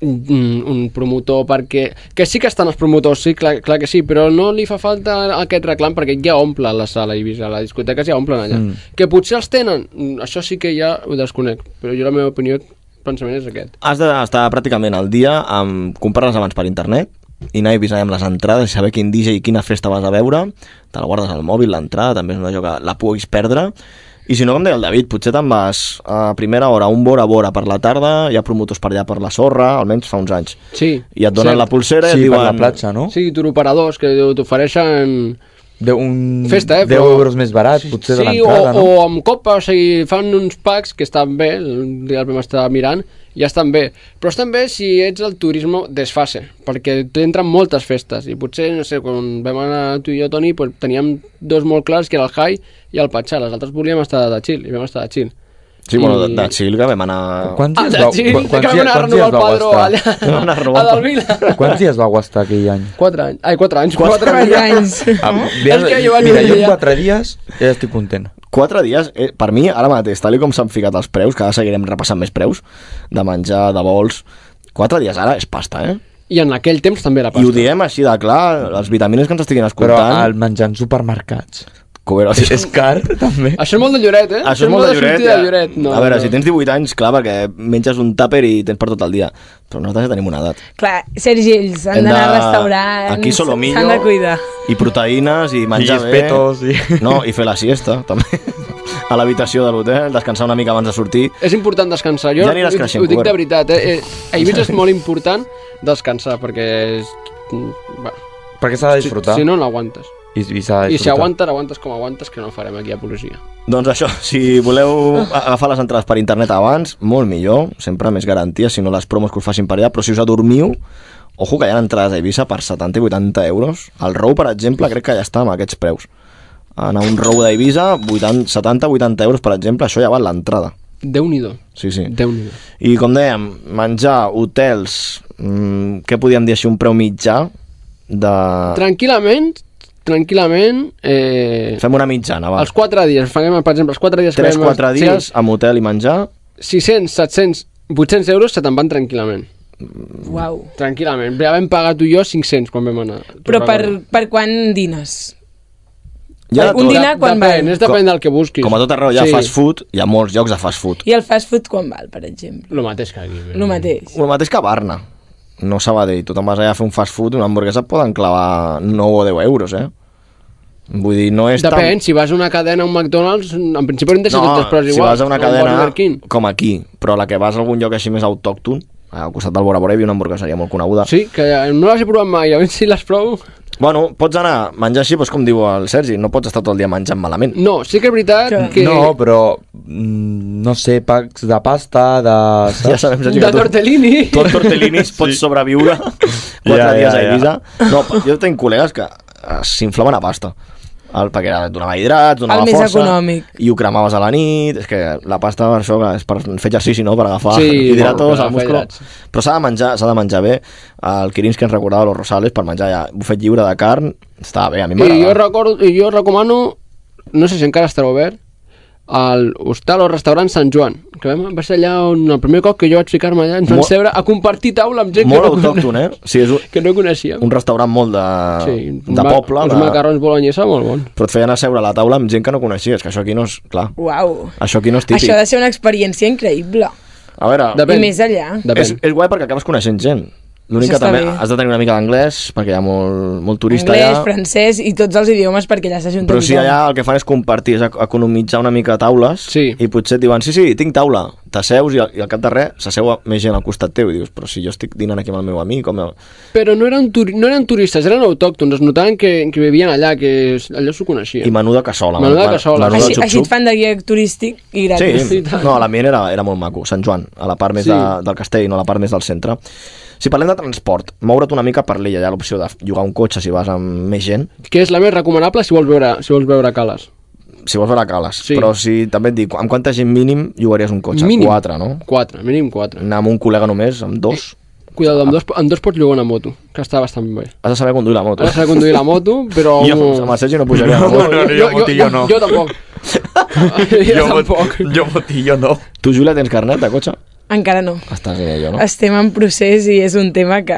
H: un, un promotor perquè... Que sí que estan els promotors, sí, clar, clar que sí, però no li fa falta aquest reclam perquè ja omple la sala a Ibiza, les discoteques ja omplen allà.
D: Mm.
H: Mm. Que potser els tenen, mm, això sí que ja ho desconec, però jo la meva opinió, el pensament és aquest.
D: Has d'estar pràcticament al dia amb comprar-les abans per internet i anar avisant amb les entrades i saber quin DJ i quina festa vas a veure. Te la guardes al mòbil, l'entrada, també és una joc que la puguis perdre. I si no, com deia el David, potser te'n vas a primera hora, un vora vora per la tarda, hi ha promotors per allà per la sorra, almenys fa uns anys.
H: Sí.
D: I et donen
H: Cert.
D: la pulsera i et diuen...
A: no?
H: Sí, turoperadors, que t'ofereixen...
A: De un...
H: Festa, eh,
A: 10
H: però-
A: euros més barat, potser de
H: Sí, o,
A: l'entrada, no?
H: o amb copa, o sigui, fan uns packs que estan bé, el dia el primer estava mirant, i estan bé. Però estan bé si ets del turisme desfase, perquè t'entren moltes festes, i potser, no sé, quan vam anar tu i jo, Toni, pues, teníem dos molt clars, que era el high i el patxà, les altres volíem estar de chill, i vam estar de chill.
D: Sí, bueno, de, de Xil, que vam anar...
A: Quants
H: Ah,
A: dies
H: de
A: vau-
H: chill,
A: quants
H: que vam
A: dies-
H: anar a
A: quants dies
H: renovar el
A: vau
H: padró
A: estar?
H: allà,
A: Vam anar a
H: a
A: renovar el
H: Dalvila.
A: Quants dies vau estar aquell any?
H: Quatre anys, ai, quatre anys, quatre,
E: anys.
A: Ah,
H: és que jo vaig
A: mira, jo
H: dir
A: en
H: ja.
A: quatre dies ja estic content.
D: Quatre dies, eh, per mi, ara mateix, tal i com s'han ficat els preus, que ara seguirem repassant més preus, de menjar, de vols... Quatre dies ara és pasta, eh?
H: I en aquell temps també era
D: pasta. I ho diem així de clar, les vitamines que ens estiguin escoltant... Però
A: al menjar en supermercats...
D: Cobera,
A: És, és car, també.
H: Això és molt de lloret, eh?
D: Això és molt de lloret,
H: sortir
D: ja.
H: de lloret. No,
D: a veure,
H: no.
D: si tens 18 anys, clar, perquè menges un tàper i tens per tot el dia. Però nosaltres ja tenim una edat.
E: Clar, Sergi, ells han
D: Hem
E: d'anar
D: de-
E: al restaurant,
D: aquí solomillo.
E: s'han de cuidar.
D: I proteïnes, i menjar
A: I
D: bé.
H: eh?
A: espetos, i-
D: No, i fer la siesta, també. A l'habitació de l'hotel, descansar una mica abans de sortir.
H: És important descansar. Jo
D: Ja aniràs
H: ho-
D: creixent,
H: Ho dic de
D: Cubero.
H: veritat, eh? eh, A Ibiza és molt important descansar, perquè... És... mm, Bueno,
A: Perquè s'ha de disfrutar.
H: Si, si no, no aguantes.
A: I, i s'ha de
H: I si
A: disfrutar.
H: aguantes, aguantes com aguantes, que no farem aquí a policia.
D: Doncs això, si voleu agafar les entrades per internet abans, molt millor, sempre més garantia, si no les promos que us facin per allà, però si us adormiu, ojo que hi ha entrades a Eivissa per 70 i 80 euros. El Rou, per exemple, crec que ja està amb aquests preus. Anar a un Rou d'Eivissa, 70-80 euros, per exemple, això ja val l'entrada.
H: Déu-n'hi-do.
D: Sí, sí.
H: déu nhi
D: I com dèiem, menjar, hotels, mm, què podíem dir així, un preu mitjà de...
H: Tranquil·lament, tranquil·lament... Eh,
D: Ah. Fem una mitjana, va.
H: els 4 dies, fem, per exemple, els 4 dies... que vam-
D: 3-4 dies
H: Sí,
D: amb hotel i menjar.
H: 600, 700, 800 euros se te'n van tranquil·lament.
D: Mm.
E: Uau.
H: Tranquil·lament. Ja vam pagar tu i jo 500 quan vam anar.
E: Però per, per quan dines?
D: Hi ha de
E: un
D: tot.
E: dinar quan
H: Depèn,
E: val?
H: és depèn del que busquis.
D: Com a tot arreu hi ha
H: Sí.
D: sí. fast food, hi ha molts llocs de fast food.
E: I el fast food quan val, per exemple?
H: Lo mateix que aquí. eh.
E: Lo mateix.
D: El mateix que a Barna. No Sabadell, tu te'n vas allà a fer un fast food, una hamburguesa et poden clavar 9 o 10 euros, eh? Vull dir, no és
H: Depèn, si vas a una cadena, a un McDonald's, en principi hauríem de
D: tan...
H: ser
D: No,
H: tots els preus
D: si
H: iguals.
D: vas a
H: o
D: una
H: un Burger King.
D: cadena com aquí, però la que vas a algun lloc així més autòcton, al costat del Bora Bora hi havia una hamburgueseria molt coneguda.
H: Sí, que eh, no l'has provat mai, a veure si les provo.
D: Bueno, pots anar a menjar així, doncs com diu el Sergi, no pots estar tot el dia menjant malament.
H: No, sí que és veritat que...
A: No, però, mm, no sé, packs de pasta, de...
D: Ja sabem, Sergi, que
H: de
D: tu-
H: tortellini.
D: tu amb tortellinis pots sobreviure quatre ja,
A: Ja, ja,
D: dies a
A: ja.
D: Eivissa. No, però jo tinc col·legues que eh, s'inflaven a pasta el, perquè et donava hidrats, donava
E: El més
D: força
E: econòmic.
D: i ho cremaves a la nit és que la pasta per això que és per fer exercici no? per agafar
H: Sí, per
D: hidratos
H: agafar
D: al músculo
H: hidrats.
D: però s'ha de menjar s'ha de menjar bé el Quirins que ens recordava los Rosales per menjar ja bufet lliure de carn estava bé, a mi
H: I jo,
D: m'agrada
H: recordo, I jo recomano, no sé si encara estarà obert, al hostal o restaurant Sant Joan, que vam, va ser allà on el primer cop que jo vaig ficar-me allà, ens vam
D: Molt-
H: seure a compartir taula amb gent que,
D: molt
H: no,
D: autòcton, eh? Sí, és un,
H: que no coneixíem.
D: un restaurant molt de, de
H: ma-
D: poble
H: Uns
D: de,
H: macarrons bolonyesa molt bons.
D: però et feien a seure a la taula amb gent que no coneixies que això aquí no és, clar,
E: Uau.
D: això aquí no és Mm. Ah, típic
E: Això ha de ser una experiència increïble.
D: A veure...
E: Depèn. I més enllà. Depèn.
D: És, és guai perquè acabes coneixent gent. L'únic
E: Això
D: que
E: està
D: també
E: bé.
D: has de tenir una mica d'anglès, perquè hi ha molt, molt turista
E: Anglès,
D: allà.
E: francès i tots els idiomes perquè allà s'ajunta
D: Però si
E: tothom.
D: allà el que fan és compartir, és ec- economitzar una mica taules sí. i potser et diuen, sí, sí, tinc taula, t'asseus i, al- i al cap de res s'asseu a- més gent al costat teu i dius, però si jo estic dinant aquí amb el meu amic o meu...
H: Però no eren, turi no eren turistes, eren autòctons, es notaven que, que vivien allà, que es- allò s'ho coneixien.
D: i menuda cassola.
H: Menuda
D: la-
H: cassola.
D: La, la,
E: Així, així et fan de guia turístic i gratis.
D: Sí, no, l'ambient era, era molt maco, Sant Joan, a la part més
E: Sí.
D: sí. de, del castell, no a la part més del centre. Si parlem de transport, moure't una mica per l'illa, hi ha l'opció de llogar un cotxe si vas amb més gent,
H: Que és la més recomanable si vols veure, si vols veure cales.
D: si vols veure cales,
H: Sí.
D: sí. però si també et dic, amb quanta gent mínim llogaries un cotxe?
H: Mínim.
D: Quatre, no? Mm.
H: Quatre, mínim quatre.
D: Anar amb un col·lega només, amb dos.
H: Eh. Cuidado,
D: Ah.
H: amb dos, amb dos pots llogar una moto, que està bastant bé.
D: Has de saber conduir la moto.
H: Has de conduir la moto, però...
D: Jo, amb el Sergi no pujaré a la moto.
H: jo, jo, jo, jo, jo tampoc.
D: jo, tampoc. Jo botillo no. Tu, Júlia, tens carnet de cotxe?
E: Encara no.
D: Estàs bé, jo,
H: Eh.
D: no?
E: Estem en procés i és un tema que...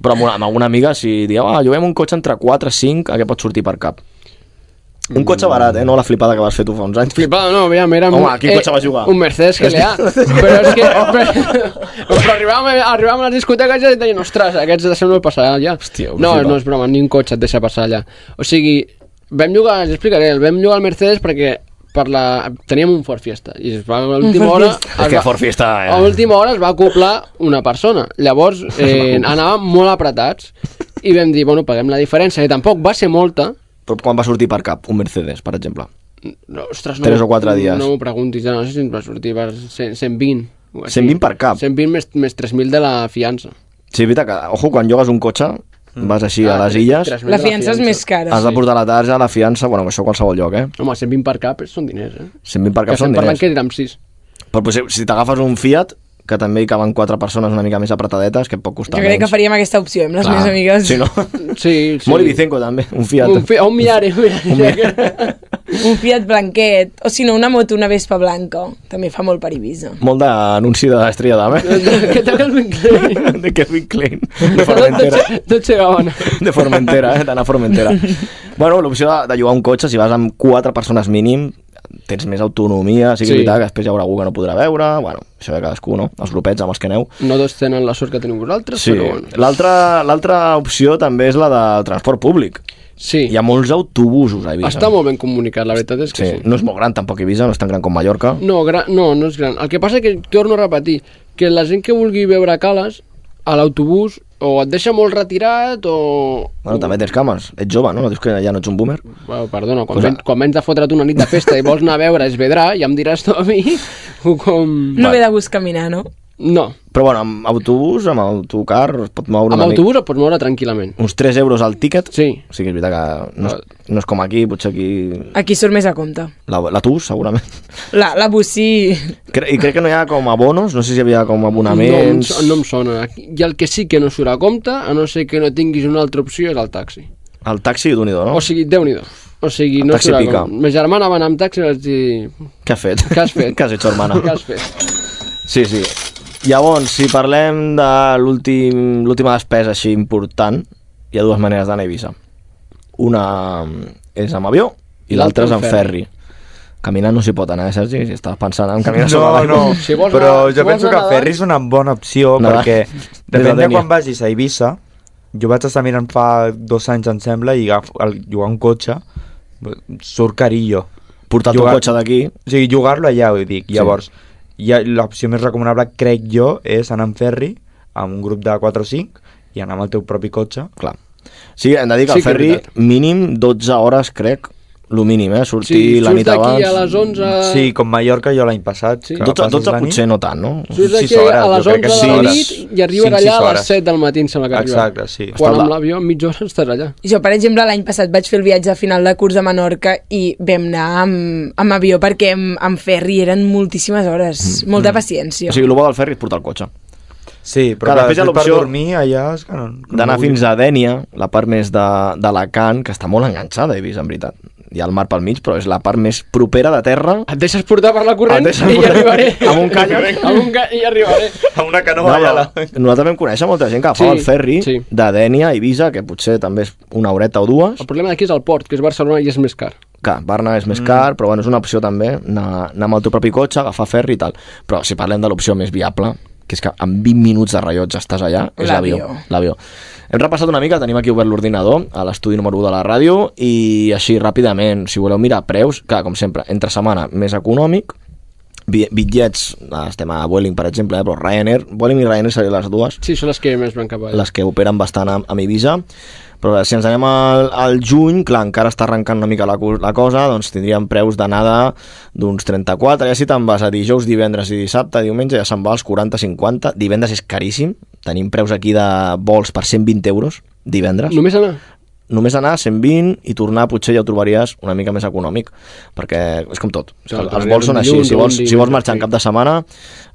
D: Però amb, una, amb alguna amiga, si dieu, ah, lloguem un cotxe entre 4 i 5, a què pot sortir per cap?
H: Mm.
D: Un cotxe barat, eh? No la flipada que vas fer tu fa uns anys.
H: Flipada, no, aviam, era...
D: Home, a quin cotxe vas jugar?
H: Un Mercedes que li ha... Però és que... Però, però arribàvem, arribàvem a les discoteques i deien, ostres, aquests deixem-nos passar allà. Hòstia, no,
D: flipa.
H: no és broma, ni un cotxe et deixa passar allà. O sigui, vam llogar, els explicaré, el vam llogar al Mercedes perquè per la... teníem un Ford Fiesta i es va, a l'última
D: Ford
H: hora...
D: Fiesta.
H: es
D: És que
H: va-
D: Ford Fiesta, eh.
H: A l'última hora es va acoplar una persona. Llavors eh, anàvem molt apretats i vam dir, bueno, paguem la diferència, que tampoc va ser molta,
D: Però quan va sortir per cap? Un Mercedes, per exemple.
H: no, ostres, no,
D: Tres
H: m'ho-
D: o quatre dies.
H: No m'ho preguntis, ja no sé si ens va sortir per 100, 120. o així.
D: 120 per cap.
H: 120 més, més 3.000 de la fiança.
D: Sí, és veritat que, ojo, quan llogues un cotxe, vas així a les illes,
H: Mm. Ah, tres mil.
E: La fiança és més cara.
D: has de portar la tarja, la fiança, bueno, això a qualsevol lloc, eh?
H: Home, 120 per cap són diners, eh?
D: 120 per
H: que
D: cap són
H: estem parlant
D: diners.
H: que érem 6.
D: Però potser, si t'agafes un Fiat, que també hi caben quatre persones una mica més apretades, que et pot
E: Jo
D: costar
E: crec que
D: menys.
E: faríem aquesta opció amb les
D: Clar.
E: meves amigues.
D: Sí, no?
H: Sí,
E: sí.
D: Molt Ibicenco, també, un Fiat.
H: Un, fi, un millar, un millar.
E: Un Fiat blanquet, o si no, una moto, una Vespa blanca. També fa molt per Ibiza.
D: Molt d'anunci de l'estrella d'Am, eh?
H: Que té el Klein.
D: De Kevin Klein. De Formentera.
H: Tot llegaven.
D: De Formentera, eh? D'anar a Formentera. Bueno, l'opció de, de llogar un cotxe, si vas amb quatre persones mínim, tens més autonomia, sí que
H: Sí.
D: sí. és veritat que després hi haurà algú que no podrà veure, bueno, això de cadascú, no? Els grupets amb els que aneu.
H: No tots tenen la sort que teniu vosaltres,
D: Sí.
H: però bueno.
D: L'altra l'altra opció també és la del transport públic.
H: Sí.
D: Hi ha molts autobusos a Ibiza.
H: Està molt ben comunicat, la veritat és que sí.
D: sí. No és molt gran tampoc Ibiza, no és tan gran com Mallorca.
H: No, gran, no, no és gran. El que passa que, torno a repetir, que la gent que vulgui veure cales, a l'autobús, o et deixa molt retirat, o...
D: Bueno, també tens cames. Ets jove, no? No dius que ja no ets un boomer?
H: Bueno, perdona, quan,
D: Pues,
H: ven, quan vens de fotre't una nit de festa i vols anar a veure Esvedrà, ja em diràs tu a mi, o com...
E: No ve de gust caminar, no?
H: No.
D: Però bueno, amb autobús, amb autocar, es pot moure
H: Amb
D: una mica.
H: autobús et pots moure tranquil·lament.
D: Uns 3 euros al tiquet.
H: Sí.
D: Sí que és veritat que no és, no és com aquí, potser aquí...
E: Aquí surt més a compte.
D: La, la TUS, segurament.
E: La, la bucí...
D: Cre I crec que no hi ha com abonos, no sé si hi havia com
H: No, em,
D: abonaments...
H: so- no em sona. I el que sí que no surt a compte, a no ser que no tinguis una altra opció, és el taxi.
D: El taxi, d'un i do, no?
H: O sigui, déu nhi O sigui, no
D: taxi
H: surt a
D: pica.
H: compte. Ma germana va anar amb taxi i vaig dir...
D: Què has fet?
H: Què has fet?
D: Què has hecho, hermana?
H: Què has fet?
D: Sí, sí. Llavors, si parlem de l'últim- l'última despesa així important, hi ha dues maneres d'anar a Eivissa. Una mm, és amb avió i l'altra és amb ferri. Caminant no s'hi pot anar, eh, Sergi? Si estàs pensant en caminar sobre
A: No,
D: l'aigua.
A: no, si però jo penso que ferri és una bona opció
D: Nedar.
A: perquè
D: Des de
A: depèn de
D: Dénia.
A: quan vagis a Eivissa jo vaig estar mirant fa dos anys em sembla i agafo, el, llogar un cotxe surt carillo
D: portar
A: tu
D: un cotxe d'aquí
A: o sigui, jugar-lo allà, ho dic
D: Sí.
A: llavors, ja, l'opció més recomanable crec jo és anar amb ferri amb un grup de 4 o 5 i anar amb el teu propi cotxe
D: Clar. Sí, hem de dir que
A: Sí
D: el
A: que és
D: ferri
A: veritat.
D: mínim 12 hores, crec, lo mínim, eh? Sortir
H: Sí,
D: la
H: surts
D: nit
H: d'aquí
D: abans.
H: a les
D: Eh.
H: 11.
A: Sí, com Mallorca jo l'any passat. Sí.
D: 12 12 potser no tant, no?
H: Surts d'aquí a les 11 de la nit i arribes allà a les 7 del matí, em sembla que arriba.
A: Exacte, sí.
H: Quan
A: Està
H: amb
A: la-
H: l'avió en mitja hora estàs allà.
E: Jo, per exemple, l'any passat vaig fer el viatge a final de curs a Menorca i vam anar amb, amb avió perquè amb, amb ferri eren moltíssimes hores, mm. molta paciència.
D: O sigui, el bo del ferri és portar el cotxe.
A: Sí, però clar, després per dormir allà és que no... que no
D: d'anar
A: vull.
D: fins a Dènia, la part més de- d'Alacant, que està molt enganxada, he vist, en veritat. Hi ha el mar pel mig, però és la part més propera de terra.
H: Et deixes portar per la corrent
D: deixes
H: i hi
D: portar-
H: arribaré.
D: Amb un kayak.
H: Amb un ca... i arribaré.
A: Amb una
D: No, però nosaltres vam conèixer molta gent que agafava
H: Oh, Sí,
D: el ferri de Dènia a Eivissa, que potser també és una horeta o dues.
H: El problema d'aquí és el port, que és Barcelona i és més car.
D: que Barna és més mm. car, però bueno, és una opció també anar, anar amb el teu propi cotxe, agafar ferri i tal. Però si parlem de l'opció més viable, que és que en 20 minuts de rellotge estàs allà, és l'avió.
P: L'avió.
D: L'avió. Hem repassat una mica, tenim aquí obert l'ordinador, a l'estudi número 1 de la ràdio, i així ràpidament, si voleu mirar preus, clar, com sempre, entre setmana més econòmic, bi- bitllets, eh, estem a Vueling, per exemple, eh, però Ryanair, Vueling i Ryanair serien les dues,
H: Sí, són les que més van cap a...
D: les que operen bastant amb, amb Ibiza però si ens anem al, al juny, clar, encara està arrencant una mica la, cu- la cosa, doncs tindríem preus d'anada d'uns 34, ja si te'n vas a dijous, divendres i dissabte, diumenge ja se'n va als 40-50, divendres és caríssim, tenim preus aquí de vols per 120 euros, divendres.
H: Només anar?
D: Només anar 120 i tornar potser ja ho trobaries una mica més econòmic, perquè és com tot.
H: Clar,
D: Els- els
H: tornaries
D: vols són
H: un
D: així,
H: dilluns
D: si
H: o un
D: vols, si vols
H: divendres,
D: marxar en cap de setmana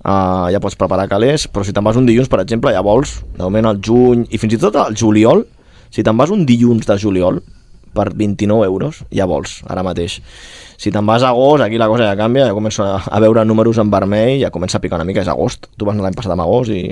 D: uh, ja pots preparar calés, però si te'n vas un dilluns, per exemple, ja vols, de moment al juny i fins i tot al juliol, si te'n vas un dilluns de juliol per 29 euros, ja vols, ara mateix. Si te'n vas a agost, aquí la cosa ja canvia, ja comença a, a veure números en vermell, ja comença a picar una mica, és agost. Tu vas anar l'any passat amb agost i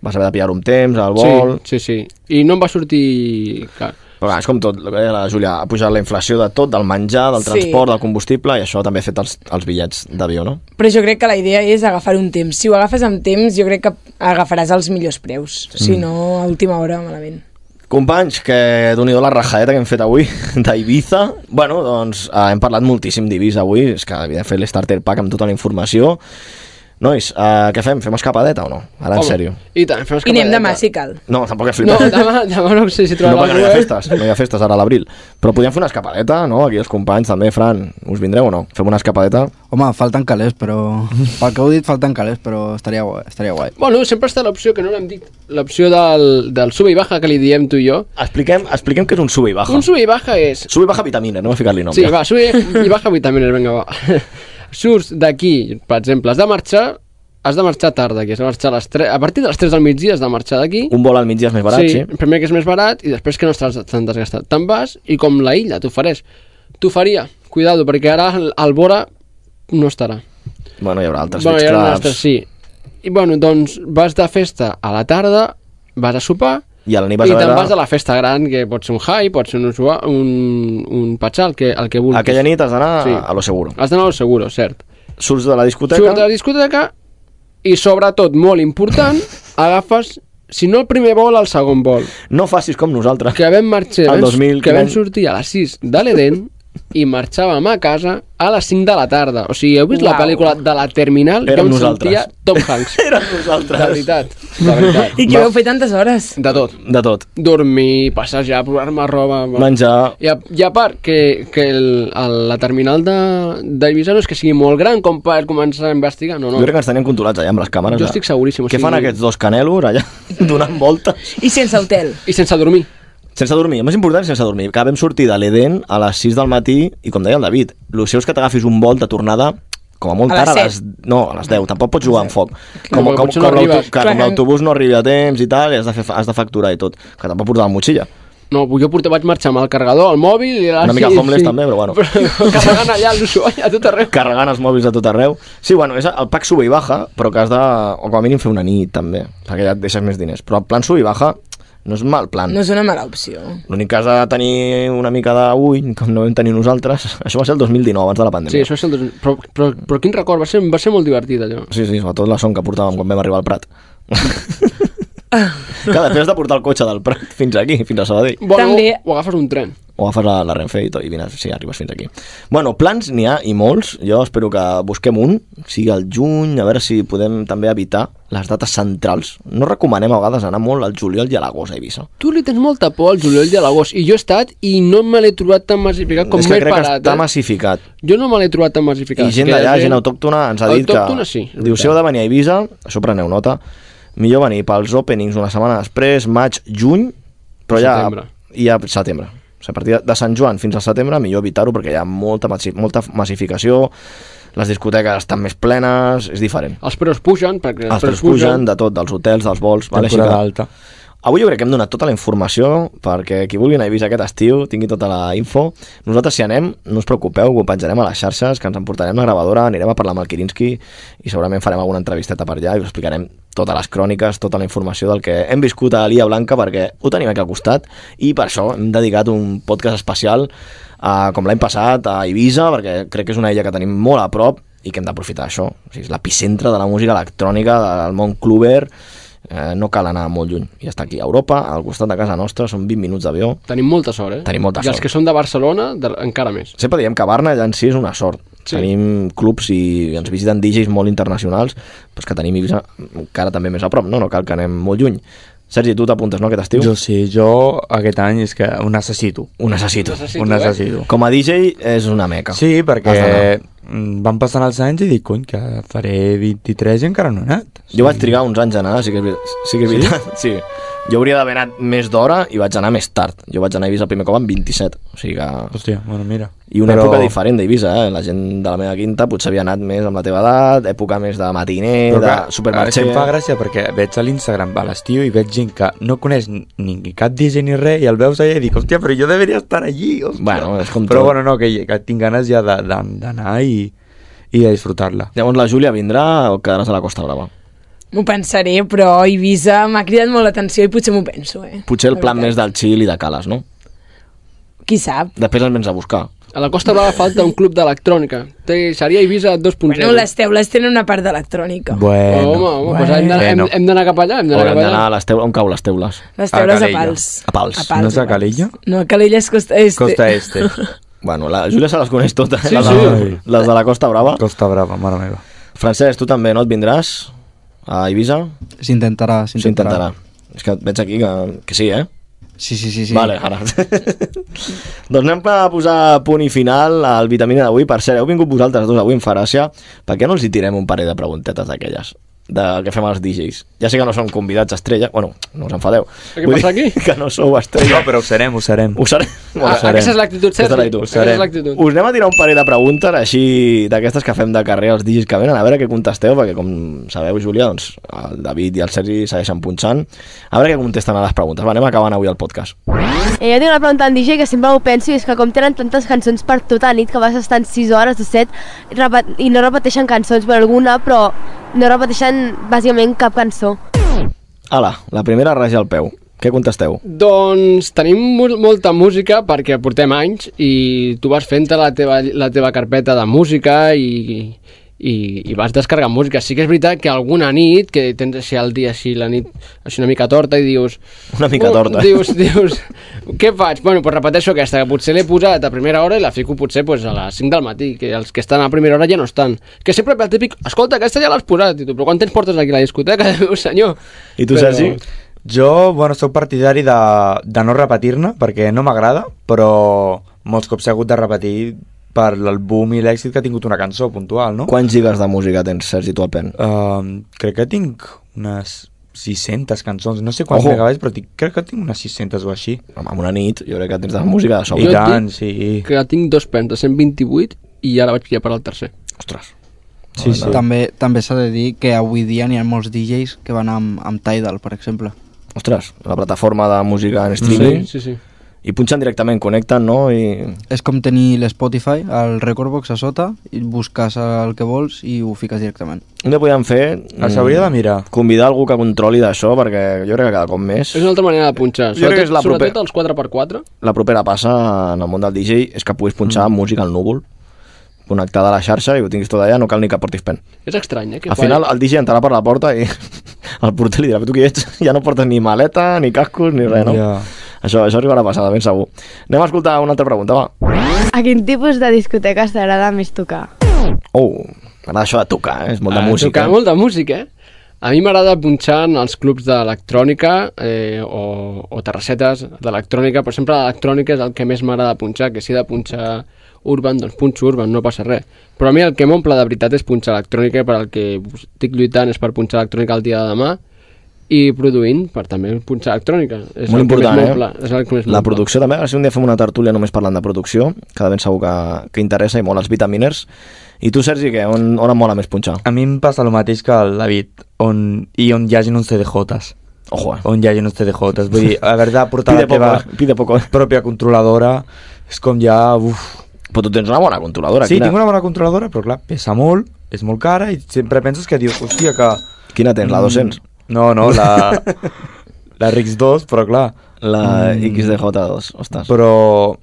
D: vas haver de pillar un temps, al vol...
H: Sí, sí, sí. I no em va sortir... Clar.
D: Però clar, és com tot, el que deia la Júlia, ha pujat la inflació de tot, del menjar, del
E: Sí.
D: transport, del combustible, i això també ha fet els, els bitllets d'avió, no?
E: Però jo crec que la idea és agafar un temps. Si ho agafes amb temps, jo crec que agafaràs els millors preus. Si
D: Mm.
E: no, a última hora, malament.
D: Companys, que d'un i do la rajadeta que hem fet avui d'Ibiza. Bueno, doncs eh, hem parlat moltíssim d'Ibiza avui, és que havia fet l'Starter Pack amb tota la informació. Nois, eh, què fem? Fem escapadeta o no? Ara, en
H: Home,
D: sèrio.
H: I tant, fem
E: I anem
H: escapadeta.
E: demà, si cal.
D: No, tampoc és
H: No,
D: flipant.
H: demà, demà no sé si
D: No,
H: trobarà
D: perquè no hi ha festes, no hi ha festes ara a l'abril. Però podíem fer una escapadeta, no? Aquí els companys també, Fran, us vindreu o no? Fem una escapadeta?
F: Home, falten calés, però... Pel que heu dit, falten calés, però estaria guai. Estaria guai.
H: Bueno, sempre està l'opció que no l'hem dit, l'opció del, del sube i baja que li diem tu i jo.
D: Expliquem, expliquem què és un sube i baja.
H: Un sube i baja és...
D: Sube i baja vitamina, no va ficar-li nom.
H: sí, va, sube i baja vitamines, vinga, va. Surts d'aquí, per exemple, has de marxar, has de marxar tard d'aquí, has de marxar a les 3, a partir de les 3 del migdia has de marxar d'aquí.
D: Un vol al migdia és més barat, sí.
H: sí. primer que és més barat i després que no estàs tan desgastat. Te'n vas i com la illa t'ofereix, t'oferia, cuidado, perquè ara el, el Bora no estarà.
D: Bueno, hi haurà altres
H: bueno,
D: beach
H: hi ha
D: clubs.
H: nostres, sí. I bueno, doncs vas de festa a la tarda, vas a sopar,
D: I a la nit
H: i
D: vas a
H: te'n
D: veure...
H: vas a la festa gran, que pot ser un high, pot ser un, usua, un, un patxar, el que, el que vulguis.
D: Aquella nit has d'anar
H: Sí.
D: a lo seguro.
H: Has d'anar a lo seguro, cert.
D: Surts de la discoteca...
H: Surts de la discoteca i, sobretot, molt important, agafes, si no el primer vol, el segon vol.
D: No facis com nosaltres.
H: Que vam marxar,
D: El
H: vam-
D: 2000,
H: que vam
D: quin any?
H: sortir a les 6 de l'Eden i marxàvem a casa a les 5 de la tarda. O sigui, heu vist la
D: Uau.
H: pel·lícula de la Terminal?
D: Érem
H: Jo em
D: nosaltres.
H: sentia Tom Hanks.
D: Érem nosaltres.
H: De veritat, de veritat.
E: I que veu fer tantes hores.
H: De tot.
D: De tot.
H: Dormir, passejar, provar-me roba...
D: Menjar...
H: I a, I a part, que, que el, el, la terminal de- d'Eivissa no és que sigui molt gran com per començar a investigar, no, no.
D: Jo crec que ens tenien controlats allà amb les càmeres.
H: Jo
D: eh?
H: estic seguríssim, o
D: Què fan
H: sigui-
D: aquests dos canelos allà donant voltes?
E: I sense hotel.
H: I sense dormir.
D: Sense dormir, el més important és sense dormir. Que vam sortir de l'Eden a les 6 del matí i com deia el David, el seu és que t'agafis un vol de tornada com a molt
H: A
D: tard
H: les
D: a les... No, a les 10, tampoc pots jugar amb foc. Com, com,
H: perquè
D: com,
H: potser no
D: l'auto-
H: arribes.
D: clar, com
H: Clar.
D: l'autobús no arriba a temps i tal, i has de, fer, has de facturar i tot. Que tampoc portar la motxilla.
H: No, jo portava, vaig marxar amb el carregador, el mòbil... I la,
D: Una mica homeless també, però bueno.
H: Carregant allà l'usuari a tot arreu.
D: Carregant els mòbils a tot arreu. Sí, bueno, és el pack sube i baja, però que has de, o com a mínim, fer una nit també, perquè ja et deixes més diners. Però el plan sube i baja no és mal plan.
E: No és una mala opció.
D: L'únic que has de tenir una mica d'ull, com no vam tenir nosaltres, això va ser el 2019, abans de la
H: Sí,
D: pandèmia.
H: això és el... dos- Però, però, però quin record, va ser, va ser molt divertit allò.
D: Sí, sí, sobretot la son que portàvem quan vam arribar al Prat. que després has de portar el cotxe del Prat fins aquí, fins a Sabadell.
H: Bueno, També... O, o agafes un tren.
D: O agafes la, la Renfe i tot, i vines, sí, arribes fins aquí. Bueno, plans n'hi ha i molts. Jo espero que busquem un, sigui al juny, a veure si podem també evitar les dates centrals. No recomanem a vegades anar molt al juliol i a l'agost a Eivissa.
H: Tu li tens molta por al juliol i a l'agost, i jo he estat i no me l'he trobat tan massificat com
D: És que
H: m'he
D: crec
H: parat.
D: que està
H: eh?
D: massificat.
H: Jo no me l'he trobat tan massificat.
D: I gent
H: Que
D: d'allà,
H: la
D: gent autòctona, ens ha dit que...
H: Autòctona, sí, és
D: Diu, si heu de venir a Eivissa, això preneu nota, millor venir pels openings una setmana després, maig, juny, però ja...
H: Setembre.
D: I ja setembre. O sigui, a partir de Sant Joan fins al setembre, millor evitar-ho perquè hi ha molta, massi- molta massificació, les discoteques estan més plenes, és diferent.
H: Els preus pugen, perquè
D: Els preus pugen de tot, dels hotels, dels vols... Vale, així
A: Temporada
D: que- Avui jo crec que hem donat tota la informació perquè qui vulgui anar a Eivissa aquest estiu tingui tota la info. Nosaltres si anem, no us preocupeu, ho penjarem a les xarxes, que ens emportarem la gravadora, anirem a parlar amb el Kirinski i segurament farem alguna entrevisteta per allà i us explicarem totes les cròniques, tota la informació del que hem viscut a l'Ia Blanca perquè ho tenim aquí al costat i per això hem dedicat un podcast especial eh, com l'any passat a Eivissa perquè crec que és una illa que tenim molt a prop i que hem d'aprofitar això, o sigui, és l'epicentre de la música electrònica del món cluber eh, no cal anar molt lluny i està aquí a Europa, al costat de casa nostra són 20 minuts d'avió,
H: Tenim molta sort, eh?
D: tenim molta
H: I els
D: sort
H: que són de Barcelona, de, encara més.
D: sempre diem que Barna ja en si és una sort. Sí. Tenim clubs i ens visiten DJs molt internacionals, però és que tenim Ibiza encara també més a prop, no? No cal que anem molt lluny. Sergi, tu t'apuntes, no, aquest estiu?
A: Jo sí, jo aquest any és que ho necessito.
D: Ho necessito. Necessito,
A: Ho
D: eh?
A: necessito.
D: Com a DJ és una meca.
A: Sí, perquè
D: Has
A: mm, van passant els anys i dic, cony, que faré 23 i encara no he anat.
D: Jo vaig trigar uns anys a anar, sí que és, veri- sí que és
A: Sí?
D: veritat. Sí? Jo hauria d'haver anat més d'hora i vaig anar més tard. Jo vaig anar a Ibiza el primer cop amb 27, o sigui que...
A: Hòstia, bueno, mira.
D: I una
A: Però-
D: època diferent d'Eivissa, eh? La gent de la meva quinta potser havia anat més amb la teva edat, època més de matiner,
A: Però
D: de
A: clar,
D: supermarxer...
A: això em fa gràcia perquè veig a l'Instagram a l'estiu i veig gent que no coneix ni cap DJ ni res i el veus allà i dic, hòstia, però jo deveria estar allí, hòstia.
D: Bueno, és com
A: Però
D: tot.
A: bueno, no, que, que tinc ganes ja de- de- d'anar i, i de disfrutar-la.
D: Llavors la Júlia vindrà o quedaràs a la Costa Brava?
E: M'ho pensaré, però Eivissa m'ha cridat molt l'atenció i potser m'ho penso, eh?
D: Potser el
E: La
D: plan més
E: veritat.
D: del Xil i de Cales, no?
E: Qui sap?
D: Després el vens a buscar.
H: A la Costa Brava falta un club d'electrònica. Té- Seria Eivissa 2.0.
E: No, les teules tenen una part d'electrònica.
A: Bueno,
H: Oh, home, home, bueno. Doncs hem d'anar- hem,
A: Bueno.
H: hem d'anar cap allà, hem
D: O
H: d'anar
D: hem
H: cap allà.
D: d'anar a les teules... On cau les teules?
E: Les teules a, pals.
D: A pals.
E: A pals,
A: No és a Calella?
E: No, Calella és costa este.
D: bueno, la Júlia se les coneix totes. eh?
E: Sí,
D: les,
A: sí.
D: De, les de la Costa Brava.
A: Costa Brava, mare meva.
D: Francesc, tu també no et vindràs a Eivissa?
F: S'intentarà,
D: S'intentarà.
F: s'intentarà.
D: És que et veig aquí que, que sí, eh?
F: Sí, sí, sí. sí.
D: Vale, ara. doncs anem a posar punt i final al vitamina d'avui. Per cert, heu vingut vosaltres dos avui en Faràcia. Per què no els hi tirem un parell de preguntetes d'aquelles? de que fem els DJs. Ja sé que no som convidats estrella, bueno, no us enfadeu.
H: Què passa aquí?
D: Que no sou estrella.
A: No, però ho serem, ho serem.
D: Ho serem.
H: Ah, aquesta és l'actitud, Sergi. Aquesta és l'actitud.
D: Us anem a tirar un parell de preguntes així d'aquestes que fem de carrer als digis que venen, a veure què contesteu, perquè com sabeu, Júlia, doncs el David i el Sergi segueixen punxant. A veure què contesten a les preguntes. Va, anem acabant avui el podcast.
P: Eh, jo tinc una pregunta en DJ que sempre m'ho penso i és que com tenen tantes cançons per tota la nit que vas estant 6 hores o 7 repet i no repeteixen cançons per alguna però no repeteixen bàsicament cap cançó.
D: Ala, la primera raja al peu. Què contesteu?
H: Doncs tenim mol- molta música perquè portem anys i tu vas fent la teva, la teva carpeta de música i, i, i vas descarregant música. Sí que és veritat que alguna nit, que tens així el dia així, la nit així una mica torta i dius...
D: Una mica
H: "Oh",
D: torta.
H: Dius, dius, què faig? Bueno, doncs repeteixo aquesta, que potser l'he posat a primera hora i la fico potser doncs, a les 5 del matí, que els que estan a primera hora ja no estan. Que sempre ve el típic, escolta, aquesta ja l'has posat, i tu, però quan tens portes aquí a la discoteca? Dius, senyor... Però-
A: Jo, bueno, sóc partidari de, de no repetir-ne, perquè no m'agrada, però molts cops he hagut de repetir per el boom i l'èxit que ha tingut una cançó puntual, no?
D: Quants gigas de música tens, Sergi, tu al pen?
A: Uh, crec que tinc unes 600 cançons, no sé quants
D: Ojo.
A: megabytes, però tinc, crec que tinc unes 600 o així.
D: En una nit, jo crec que tens de música de sobre.
A: I
H: Jo
A: tant,
H: tinc-
A: sí.
H: que tinc dos pens de 128 i ara vaig pillar per al tercer.
D: Ostres.
A: Sí, sí.
F: També, també s'ha de dir que avui dia n'hi ha molts DJs que van amb, amb Tidal, per exemple.
D: Ostres, la plataforma de música en streaming.
H: Sí, sí, sí.
D: I punxen directament, connecten, no? I...
F: És com tenir l'Spotify, el Recordbox a sota, i busques el que vols i ho fiques directament.
D: Un dia podríem fer... mm,
F: Els hauria de
A: mirar.
D: Convidar algú que controli d'això, perquè jo crec que cada cop més...
H: És una altra manera de punxar.
D: Jo crec que és la
H: sobretot
D: proper-
H: els 4x4.
D: La propera passa en el món del DJ és que puguis punxar mm. música al núvol, connectada a la xarxa i ho tinguis tot allà, no cal ni que portis pen.
H: És estrany, eh? Que
D: Al final el DJ entrarà per la porta i el porter li dirà, tu qui ets? Ja no portes ni maleta, ni cascos, ni res, no?
A: Ja.
D: Això, això arribarà a passar, de ben segur. Anem a escoltar una altra pregunta, va.
P: A quin tipus de discoteques t'agrada més tocar?
D: Oh, m'agrada això de tocar, eh? és molt de
H: Ah,
D: música.
H: Tocar molt de música, eh? A mi m'agrada punxar en els clubs d'electrònica eh, o, o terrassetes d'electrònica, però sempre l'electrònica és el que més m'agrada punxar, que si he de punxar urban, doncs punxo urban, no passa res. Però a mi el que m'omple de veritat és punxar electrònica, i per al que estic lluitant és per punxar electrònica el dia de demà, i produint per també punxar electrònica. És
D: molt
H: el que més
D: important,
H: m'omple,
D: eh?
H: És el que més
D: la
H: m'omple.
D: producció també, ara si un dia fem una tertúlia només parlant de producció, que de ben segur que, que interessa i molt els vitaminers. I tu, Sergi, què? On, on et mola més punxar?
A: A mi em passa el mateix que el David, on, i on hi hagin uns CDJs.
D: Ojo, eh?
A: On hi hagin uns CDJs. Vull dir, haver de portar
D: Pide
A: la teva
D: poco, pide poco.
A: pròpia controladora és com ja... Uf.
D: Però tu tens una bona controladora.
A: Sí,
D: quina-
A: tinc una bona controladora, però clar, pesa molt, és molt cara i sempre penses que dius, hòstia, que...
D: Quina tens, la 200?
A: No, no, la, la RX2, però clar...
D: La
A: XDJ2, ostres. Però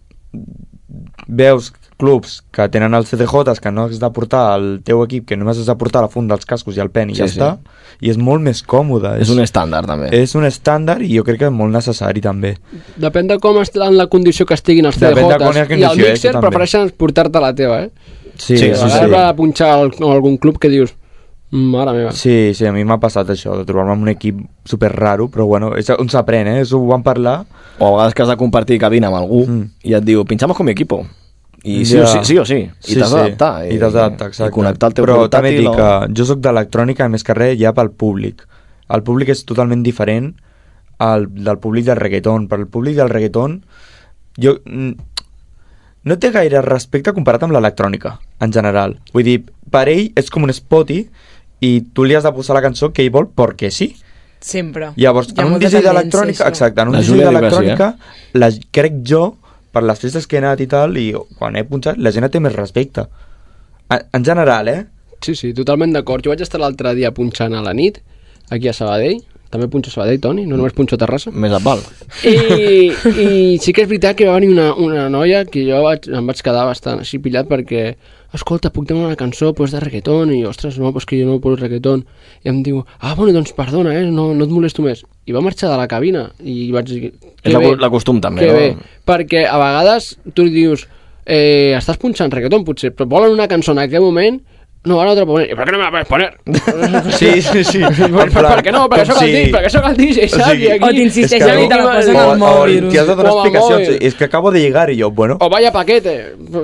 A: veus clubs que tenen els CDJs que no has de portar al teu equip, que només has de portar la funda, els cascos i el pen i
D: Sí,
A: sí, ja
D: sí.
A: està, i és molt més còmode.
D: És un estàndard, també.
A: És un estàndard i jo crec que és molt necessari, també.
H: Depèn de com està en la condició que estiguin els
A: Depèn de com
H: CDJs i
A: és la
H: el
A: condició, eh,
H: mixer
A: això també.
H: prefereixen portar-te la teva, eh?
A: Sí,
H: a
A: sí,
H: vegades
A: sí.
H: va a punxar al, a algun club que dius, "Mm, mare meva.
A: Sí, sí, a mi m'ha passat això, de trobar-me amb un equip super raro, però bueno, és on s'aprèn, eh? Això ho vam parlar.
D: O a vegades que has de compartir cabina amb algú mm. i et diu, pinchamos con mi equipo. I sí, o sí, sí o sí. I t'has d'adaptar. eh,
A: I t'has d'adaptar, exacte.
D: I connectar el teu
A: Però
D: portàtil.
A: també dic
D: o-
A: que jo sóc d'electrònica, més que res, ja pel públic. El públic és totalment diferent al, del públic del reggaeton. Per al públic del reggaeton, jo... mm, No té gaire respecte comparat amb l'electrònica, en general. Vull dir, per ell és com un spotty i tu li has de posar la cançó que ell vol perquè sí.
E: Sempre.
A: Llavors,
E: Hi ha
A: en un
E: molta
A: DJ
E: tendència,
A: d'electrònica,
E: això.
A: exacte, en un
D: La
A: DJ
D: Júlia diu que sí, eh?
A: d'electrònica, la, crec jo, per les festes que he anat i tal, i quan he punxat, la gent et té més respecte. En, en general, eh?
H: Sí, sí, totalment d'acord. Jo vaig estar l'altre dia punxant a la nit, aquí a Sabadell. També punxo a Sabadell, Toni, no només punxo a Terrassa.
D: Més a pal.
H: I, I sí que és veritat que va venir una, una noia que jo vaig, em vaig quedar bastant així pillat perquè escolta, puc demanar una cançó pues, de reggaeton i ostres, no, pues que jo no poso reggaeton i em diu, ah, bueno, doncs perdona, eh, no, no et molesto més i va marxar de la cabina i vaig dir
D: És
H: "Que
D: la-
H: bé,
D: la costum, també,
H: que
D: no?
H: bé, perquè a vegades tu li dius eh, estàs punxant reggaeton potser, però volen una cançó en aquell moment no, ara no te la ponen. "I per què no me la puedes poner?
A: Sí, sí, sí.
H: per, per, per què no? Perquè
A: Com
H: sóc el
A: si-
H: DJ, perquè sóc el DJ, saps? I aquí-
E: O t'insisteixen i te la posen
A: o,
E: al mòbil.
A: o t'hi has de donar
H: O al
A: explicacions.
H: mòbil.
A: És que acabo de llegar i jo, bueno...
H: O vaya paquete.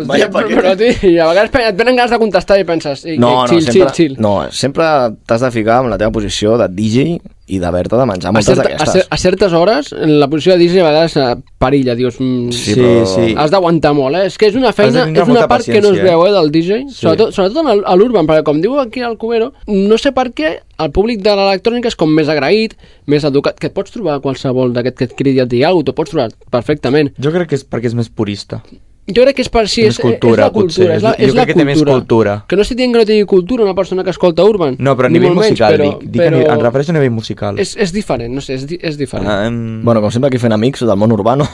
H: Vaya paquete. Però, tio, i a vegades pe- et venen ganes de contestar i penses... I, i,
D: No, no,
H: chill,
D: sempre,
H: chill, chill.
D: no, sempre t'has de ficar en la teva posició de DJ i d'haver-te de menjar
H: A,
D: moltes
H: certa, a, cer
D: d'aquestes.
H: a certes hores, en la posició de DJ a vegades eh, perilla, dius... Mm,
D: Sí, però- sí.
H: Has d'aguantar molt, eh? És que és una
D: Has
H: feina,
D: de tindre
H: és una
D: molta
H: part que no es
D: paciència, eh?
H: veu, eh, del DJ.
D: Sí.
H: Sobretot, sobretot en el- a l'Urban, perquè com diu aquí al Cubero, no sé per què el públic de l'electrònica és com més agraït, més educat, que et pots trobar qualsevol d'aquest que et cridi a dir alguna cosa, t'ho pots trobar perfectament.
A: Jo crec que és perquè és més purista.
H: Jo crec que és per si
A: Més
H: és, és
A: cultura,
H: la cultura,
A: potser.
H: és la,
A: Jo
H: és la
A: crec que té més cultura.
H: Que no estic dient que no tingui cultura una persona que escolta Urban.
A: No, però a
H: ni
A: nivell
H: molt menys,
A: musical,
H: però,
A: dic, dic a
H: però
A: nivell- em refereixo a nivell musical. Em-
H: És, és diferent, no sé, és, di- és diferent.
A: eh,
D: Ah, Bueno, com sempre aquí fent amics del món urbano.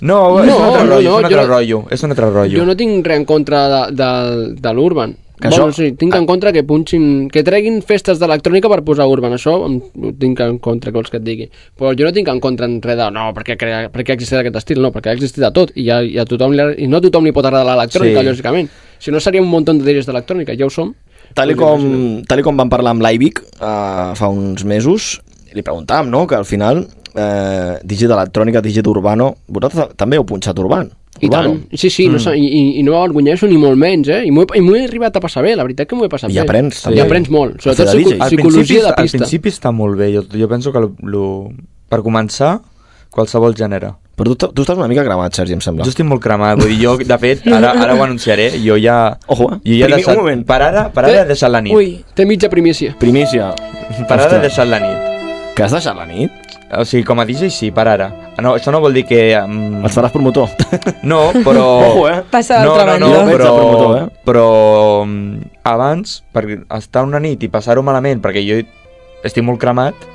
A: No,
H: és No, un altre no, rotllo,
A: és un
H: no,
A: altre
H: jo-
A: rotllo, és un altre rotllo.
H: jo no tinc res en contra de, de, de l'Urban.
A: Que
H: Bueno,
A: això- Ah.
H: sí, tinc en contra que punxin, que treguin festes d'electrònica per posar Urban, això em, ho tinc en contra que vols que et digui. Però jo no tinc en contra en res de, no, perquè, crea, perquè ha existit aquest estil, no, perquè ha existit de tot, i, ja, i, a tothom li, ha- i no a tothom li pot agradar l'electrònica,
D: Sí.
H: sí. lògicament. Si no seria un munt de DJs d'electrònica, ja ho som.
D: Tal i com, tal i com vam parlar amb l'Aivic eh, fa uns mesos, li preguntàvem, no?, que al final eh, DJ d'electrònica, DJ d'urbano, vosaltres també heu punxat urban.
H: I tant, sí, sí,
A: Mm.
H: no, sé, i, i- i no m'avergonyeixo ni molt menys, eh? I m'ho he, i m'ho he arribat a passar bé, la veritat que m'ho he passat
D: I
H: bé.
D: aprens, també.
H: I aprens molt, sobretot
A: Al
H: psico
A: principi-
H: psicologia de
A: al
H: pista.
A: principi està molt bé, jo, jo penso que lo, lo, per començar, qualsevol gènere.
D: Però tu, tu estàs una mica cremat, Sergi, em sembla.
A: Jo estic molt cremat, vull dir, jo, de fet, ara, ara ho anunciaré, jo ja... Ojo, eh? Jo ja he
D: Primi-
A: deixat,
D: un moment.
A: Per ara, per
E: Eh?
A: ara he deixat la nit.
H: Ui, té mitja primícia.
D: Primícia. Mm.
A: Per ara
D: Ostres.
A: he deixat la nit.
D: Que has deixat la nit?
A: O sigui, com a DJ sí, per ara. Ah, No, això no vol dir que... Um...
D: Et faràs promotor.
A: No, però...
D: Ojo, eh?
E: Passa
A: no,
E: d'altra
A: no, no,
E: banda.
A: però,
D: promotor, eh?
A: però mm, abans, per estar una nit i passar-ho malament, perquè jo estic molt cremat...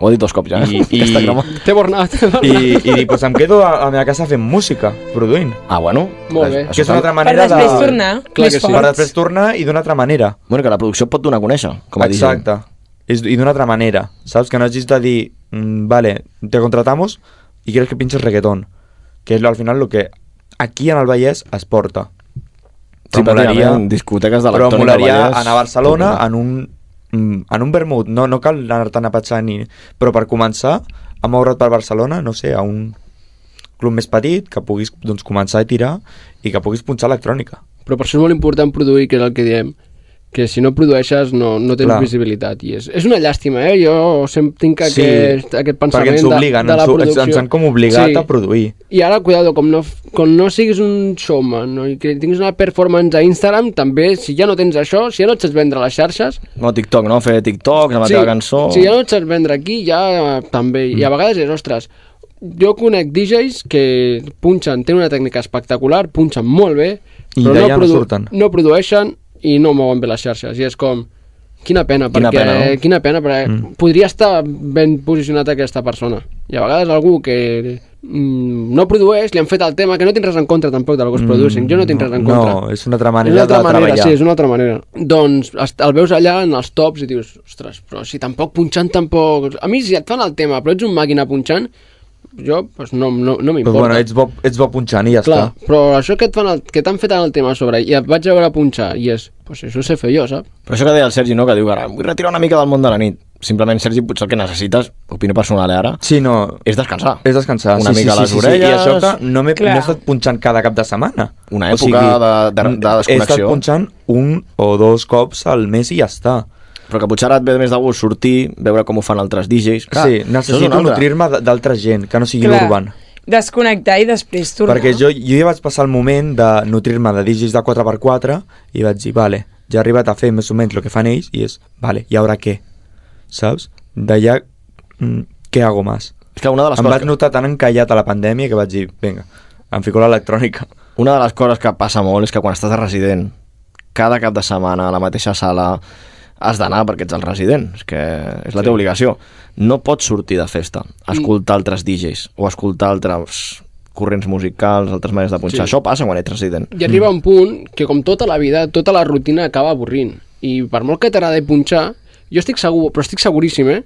D: Ho he dit dos cops ja,
A: I,
D: eh?
A: i,
D: Està cremat.
H: Té bornat.
A: i, i dic, pues em quedo a, a la meva casa fent música, produint.
D: Ah, bueno.
H: Molt bé.
A: Que és una altra
H: Per
A: manera
H: després
A: de...
H: tornar Clar més que sí. forts.
A: Per després tornar i d'una altra manera.
D: Bueno, que la producció et pot donar a conèixer, com a DJ.
A: Exacte. És, I d'una altra manera. Saps? Que no hagis de dir, mm, vale, te contratamos i creus que pinches reggaetón. Que és al final el que aquí en el Vallès es porta.
D: Sí, pràcticament, discoteques
A: però
D: d'electrònica
A: molaria
D: al Vallès,
A: anar a Barcelona
D: poca.
A: en un, mm, en un vermut. No, no cal anar-te'n a patxar ni... Però per començar, a moure't per Barcelona, no sé, a un club més petit, que puguis doncs, començar a tirar i que puguis punxar electrònica.
H: Però per això és molt important produir, que és el que diem, que si no produeixes no, no tens
A: Clar.
H: Clar. visibilitat. I és, és una llàstima, eh? Jo sempre tinc
A: Sí,
H: aquest, aquest
A: perquè
H: pensament
A: ens obliguen,
H: de, de la
A: ens ho- ens-
H: producció.
A: ens han com obligat a produir.
H: I ara, cuidado, com no, f- com no siguis un showman, no? I que tinguis una performance a Instagram, també, si ja no tens això, si ja no et saps vendre a les xarxes,
D: No, TikTok, no? Fer TikTok, amb la teva cançó...
H: si ja no et saps vendre aquí, ja eh, també. I a vegades és, ostres, jo conec DJs que punxen, tenen una tècnica espectacular, punxen molt bé,
A: I
H: però
A: d'allà
H: no,
A: no
H: produ
A: surten.
H: no produeixen i no mouen bé les xarxes. I és com, Quina pena,
D: Quina
H: perquè, quina pena,
D: pena, no?
H: no? quina pena, perquè mm. podria estar ben posicionat aquesta persona. I a vegades algú que mm, no produeix, li han fet el tema, que no tinc res en contra tampoc del que es
A: Mm,
H: produeixen, jo no tinc res en contra.
A: No, és una altra manera
H: una altra
A: de
H: manera,
A: treballar.
H: sí, és una altra manera. Doncs est- el veus allà en els tops i dius, ostres, però si tampoc punxant tampoc... A mi si et fan el tema, però ets un màquina punxant, jo pues no, no, no
A: Però
H: m'importa.
A: Doncs bueno, ets bo, ets bo punxant i ja
H: Clar,
A: està.
H: però això que et fan el, que t'han fet en el tema a sobre i et vaig a veure punxar i és, pues això ho sé fer jo, saps?
D: Però això que deia el Sergi, no? Que diu que ara em vull retirar una mica del món de la nit. Simplement, Sergi, potser el que necessites, opinió personal eh, ara,
A: sí, no.
D: és descansar.
A: És descansar.
D: Una
A: sí,
D: mica
A: sí,
D: a les
A: sí,
D: orelles...
A: Sí, sí. I això que no m'he no he estat punxant cada cap de setmana.
D: Una època de- de- de
A: He estat
D: desconnexió.
A: punxant un o dos cops al mes i ja està.
D: Però que potser ara et ve més de gust sortir, veure com ho fan altres DJs. Clar, això
A: sí,
D: és una
A: necessito
D: altra.
A: nutrir-me d- d'altra gent, que no sigui
E: Clar.
A: l'urban.
E: Desconnectar i després tornar.
A: Perquè jo, jo ja vaig passar el moment de nutrir-me de DJs de 4x4 i vaig dir, vale, ja he arribat a fer més o menys el que fan ells i és, vale, i ara què? Saps? D'allà, mm, què hago más?
D: És que una de les
A: em
D: coses
A: vaig notar tan encallat a la pandèmia que vaig dir, vinga, em fico l'electrònica.
D: Una de les coses que passa molt és que quan estàs de resident, cada cap de setmana a la mateixa sala has d'anar perquè ets el resident, és que és la teva obligació. No pots sortir de festa, a escoltar altres DJs o escoltar altres corrents musicals, altres maneres de punxar.
H: Sí.
D: Sí. Això passa quan ets resident.
H: I
A: Mm.
H: arriba un punt que com tota la vida, tota la rutina acaba avorrint. I per molt que t'agradi punxar, jo estic segur, però estic seguríssim, eh?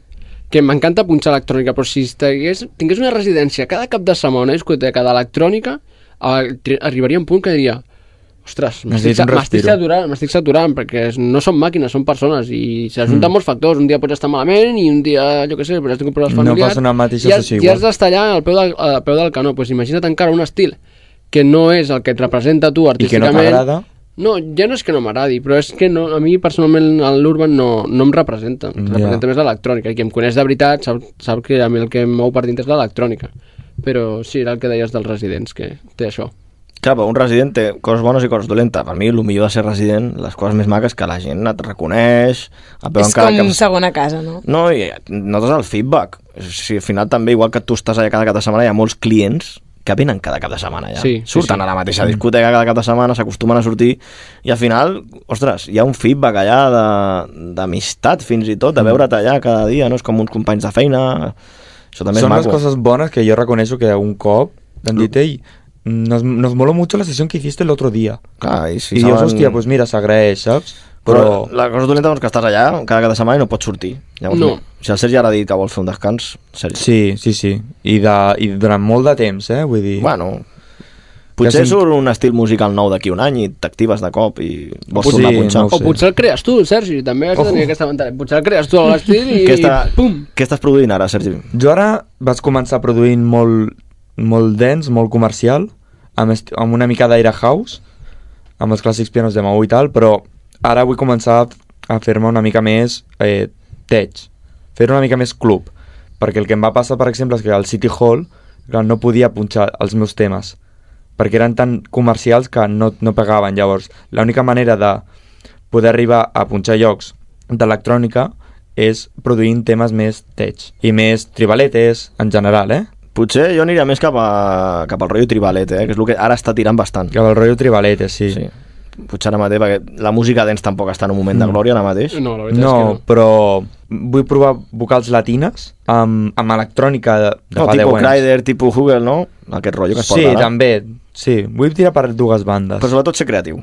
H: que m'encanta punxar electrònica, però si tingués, tingués una residència cada cap de setmana, una discoteca d'electrònica, eh, tri- arribaria un punt que diria ostres, m'estic
A: Necessito un
H: sa- m'estic
A: respiro."
H: saturant, m'estic saturant, perquè és- no són màquines, són persones, i s'ajunten
A: Mm.
H: molts factors, un dia pots estar malament, i un dia, jo què sé, però has tingut problemes
A: No
H: familiars...
A: passa una mateixa
H: i has-
A: sessió
H: I
A: igual.
H: has d'estar allà al peu, del, al peu del canó, pues imagina't encara un estil que no és el que et representa tu
A: I que no
H: artísticament.
A: t'agrada,
H: No, ja no és que no m'agradi, però és que no, a mi personalment l'urban no, no em representa. Em
A: Ja.
H: representa més l'electrònica. I qui em coneix de veritat sap, sap que a mi el que em mou per dintre és l'electrònica. Però sí, era el que deies dels residents, que té això.
D: Clar, però un resident té coses bones i coses dolentes. Per mi, el millor de ser resident, les coses més maques que la gent et reconeix, et veuen
E: és
D: cada
E: com
D: cap...
E: un segon a casa, no?
D: No, i notes el feedback. O sigui, al final també, igual que tu estàs allà cada cap de setmana, hi ha molts clients que venen cada cap de setmana ja.
H: Sí, sí,
D: Surten
H: sí.
D: a la mateixa discoteca cada cap de setmana, s'acostumen a sortir i al final, ostres, hi ha un feedback allà de- d'amistat fins i tot, de veure't allà cada dia, no? És com uns companys de feina... Això també
A: Son
D: és
A: las
D: maco.
A: cosas buenas que yo reconozco que un cop, dandite, y nos, nos moló mucho la sesión que hiciste el otro día.
D: Clar, i si
A: y dios,
D: saben-
A: hostia, pues mira, se agradece, ¿sabes?
D: Però,
A: Pero,
D: la cosa dolenta doncs, que estàs allà cada cada setmana i no pots sortir. Llavors,
A: No.
D: Si el Sergi ara ha dit que vol fer un descans, Sergi.
A: sí, sí, sí. Y, da, y durante molt de temps, eh? Vull dir...
D: Bueno, Potser surt un estil musical nou d'aquí un any i t'actives de cop i vols
A: Potser-
D: tornar a
A: sí, Oh.
D: punxar.
A: no ho
H: O potser el crees tu, Sergi, també has de tenir
A: Ojo.
H: aquesta avantatge. Potser el crees tu a l'estil i...
D: Què, està, què estàs produint ara, Sergi?
A: Jo ara vaig començar produint molt, molt dens, molt comercial, amb, est- amb una mica d'aire house, amb els clàssics pianos de Mau i tal, però ara vull començar a fer-me una mica més eh, tech, fer una mica més club, perquè el que em va passar, per exemple, és que al City Hall clar, no podia punxar els meus temes, perquè eren tan comercials que no, no pegaven. Llavors, l'única manera de poder arribar a punxar llocs d'electrònica és produint temes més tech i més tribaletes en general, eh?
D: Potser jo aniria més cap, a, cap al rotllo tribalet, eh? que és el que ara està tirant bastant.
A: Cap al rotllo tribalet, sí.
D: sí. Potser ara mateix, perquè la música dents tampoc està en un moment de glòria ara mateix.
H: No, la
A: No, però vull provar vocals latines amb, amb electrònica de, de
D: no
A: fa 10
D: tipus
A: anys.
D: Crider, tipus Hugel, no? Aquest rotllo que es
A: Sí,
D: porta ara.
A: també, sí. Vull tirar per dues bandes.
D: Però sobretot ser creatiu.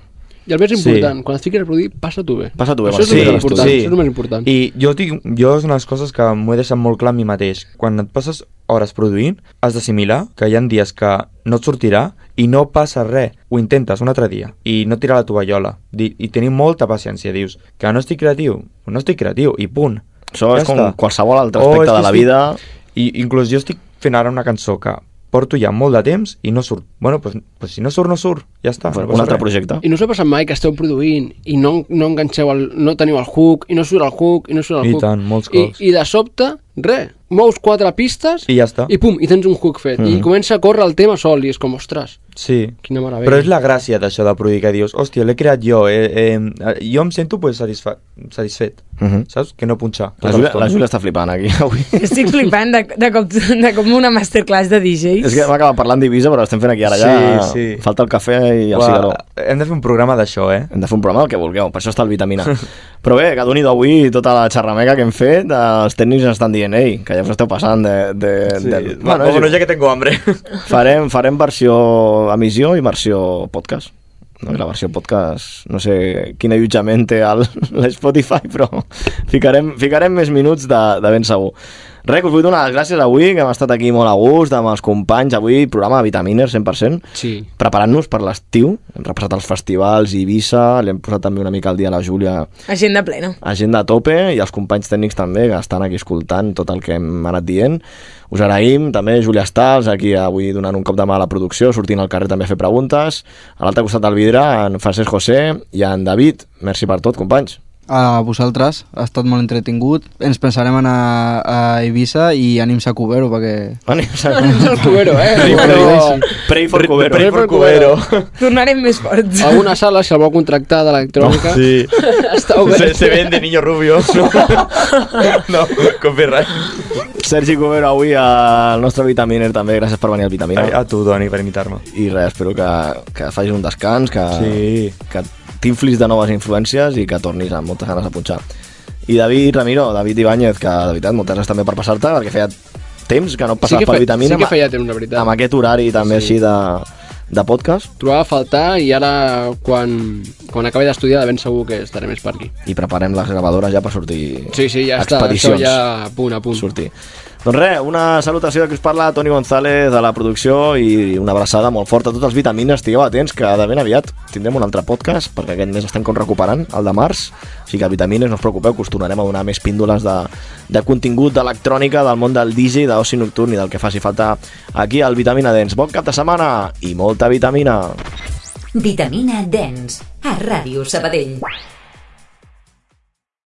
H: I el més
A: Sí.
H: important, quan et fiques a produir, passa-t'ho bé. Això és
A: sí,
H: el més important.
A: sí.
H: Això és el més important.
A: I jo, tinc, jo és una de les coses que m'ho he deixat molt clar a mi mateix. Quan et passes hores produint, has d'assimilar que hi ha dies que no et sortirà i no passa res. Ho intentes un altre dia i no tirar la tovallola. Di I tenir molta paciència. Dius que no estic creatiu, no estic creatiu i punt.
D: Això és com qualsevol altre
A: O
D: aspecte
A: és
D: de
A: que
D: la
A: estic-
D: vida.
A: I inclús jo estic fent ara una cançó que porto ja molt de temps i no surt. Bueno, pues, pues si no surt, no surt. Ja està. no passa res.
H: I no us ha passat mai que esteu produint i no, no enganxeu, el, no teniu el hook, i no surt el hook, i no surt el
A: I
H: hook.
A: tant, molts
H: I,
A: cops.
H: I de sobte Re, mous quatre pistes
A: I ja està.
H: i pum, i tens un hook fet. I
A: Mhm.
H: comença a córrer el tema sol i és com, ostres,
A: Sí.
H: quina meravella.
A: Però és la gràcia d'això de produir, que dius, hòstia, l'he creat jo, eh, eh, jo em sento pues, satisfa satisfet,
D: Mhm.
A: saps? Que no punxar.
H: tota
D: La Júlia, la Júlia està flipant aquí avui.
E: Estic flipant de, de, cop, de com una masterclass de DJs.
D: És que hem acabat parlant d'Ibisa, però estem fent aquí ara
A: Sí,
D: ja...
A: sí.
D: Falta el cafè i el
A: Uah,
D: cigaró.
A: Hem de fer un programa d'això, eh?
D: Hem de fer un programa del que vulgueu, per això està el Vitamina. però bé, que doni d'avui tota la xerrameca que hem fet, eh, els tècnics ens estan dient, ei, que ja us esteu passant de... de,
A: Sí.
D: Eh, del...
A: Va,
D: és
A: bueno,
D: igual.
A: ja que tengo hambre.
D: farem, farem versió emissió i versió podcast. No, la versió podcast, no sé quin allotjament té el- l'Spotify, però ficarem, ficarem més minuts de, de ben segur. Res, que us vull donar les gràcies avui, que hem estat aquí molt a gust, amb els companys, avui programa Vitaminer 100%,
H: sí.
D: preparant-nos per l'estiu, hem repassat els festivals, Ibiza, li hem posat també una mica al dia a la Júlia
E: Agenda plena.
D: agenda a tope i els companys tècnics també que estan aquí escoltant tot el que hem anat dient. Us agraïm també Júlia Stals aquí avui donant un cop de mà a la producció, sortint al carrer també a fer preguntes. A l'altre costat del vidre en Francesc José i en David. Merci per tot, companys.
F: A vosaltres, ha estat molt entretingut. Ens pensarem anar a Eivissa i anim a Cubero, perquè...
D: Anim a
H: Anem al Cubero, eh?
F: Pray for
H: Cubero.
D: Pray
H: Pray
D: for Cubero.
H: for Cubero.
E: Tornarem més forts.
H: Alguna sala, si el vol contractar d'electrònica, no,
A: Sí.
H: està obert.
A: Se, se vende niño rubio. no, copyright.
D: Sergi Cubero avui al nostre Vitaminer també, gràcies per venir al Vitaminer.
A: A, a tu, Doni, per invitar-me.
D: I res, espero que, que facis un descans, que,
A: Sí.
D: que t'inflis de noves influències i que tornis amb moltes ganes a punxar. I David Ramiro, David Ibáñez, que de veritat, moltes gràcies també per passar-te, perquè feia temps que no et passaves
H: que
D: per
H: fe-
D: vitamina.
H: sí que
D: amb-
H: feia temps, la veritat.
D: Amb aquest horari també
H: Sí.
D: sí. així de, de podcast.
H: Trobava a faltar i ara, quan, quan acabi d'estudiar, de ben segur que estaré més per aquí.
D: I preparem les gravadores ja per sortir
H: Sí, sí, ja està, això
D: expedicions.
H: ja a punt, a punt.
D: Sortir. Doncs res, una salutació que us parla Toni González de la producció i una abraçada molt forta a tots els vitamines. Estigueu atents que de ben aviat tindrem un altre podcast perquè aquest mes estem com recuperant, el de març. Així que vitamines, no us preocupeu que us tornarem a donar més píndoles de, de contingut d'electrònica, del món del DJ, d'oci nocturn i del que faci falta aquí al Vitamina Dens. Bon cap de setmana i molta vitamina!
C: Vitamina Dens, a Ràdio Sabadell.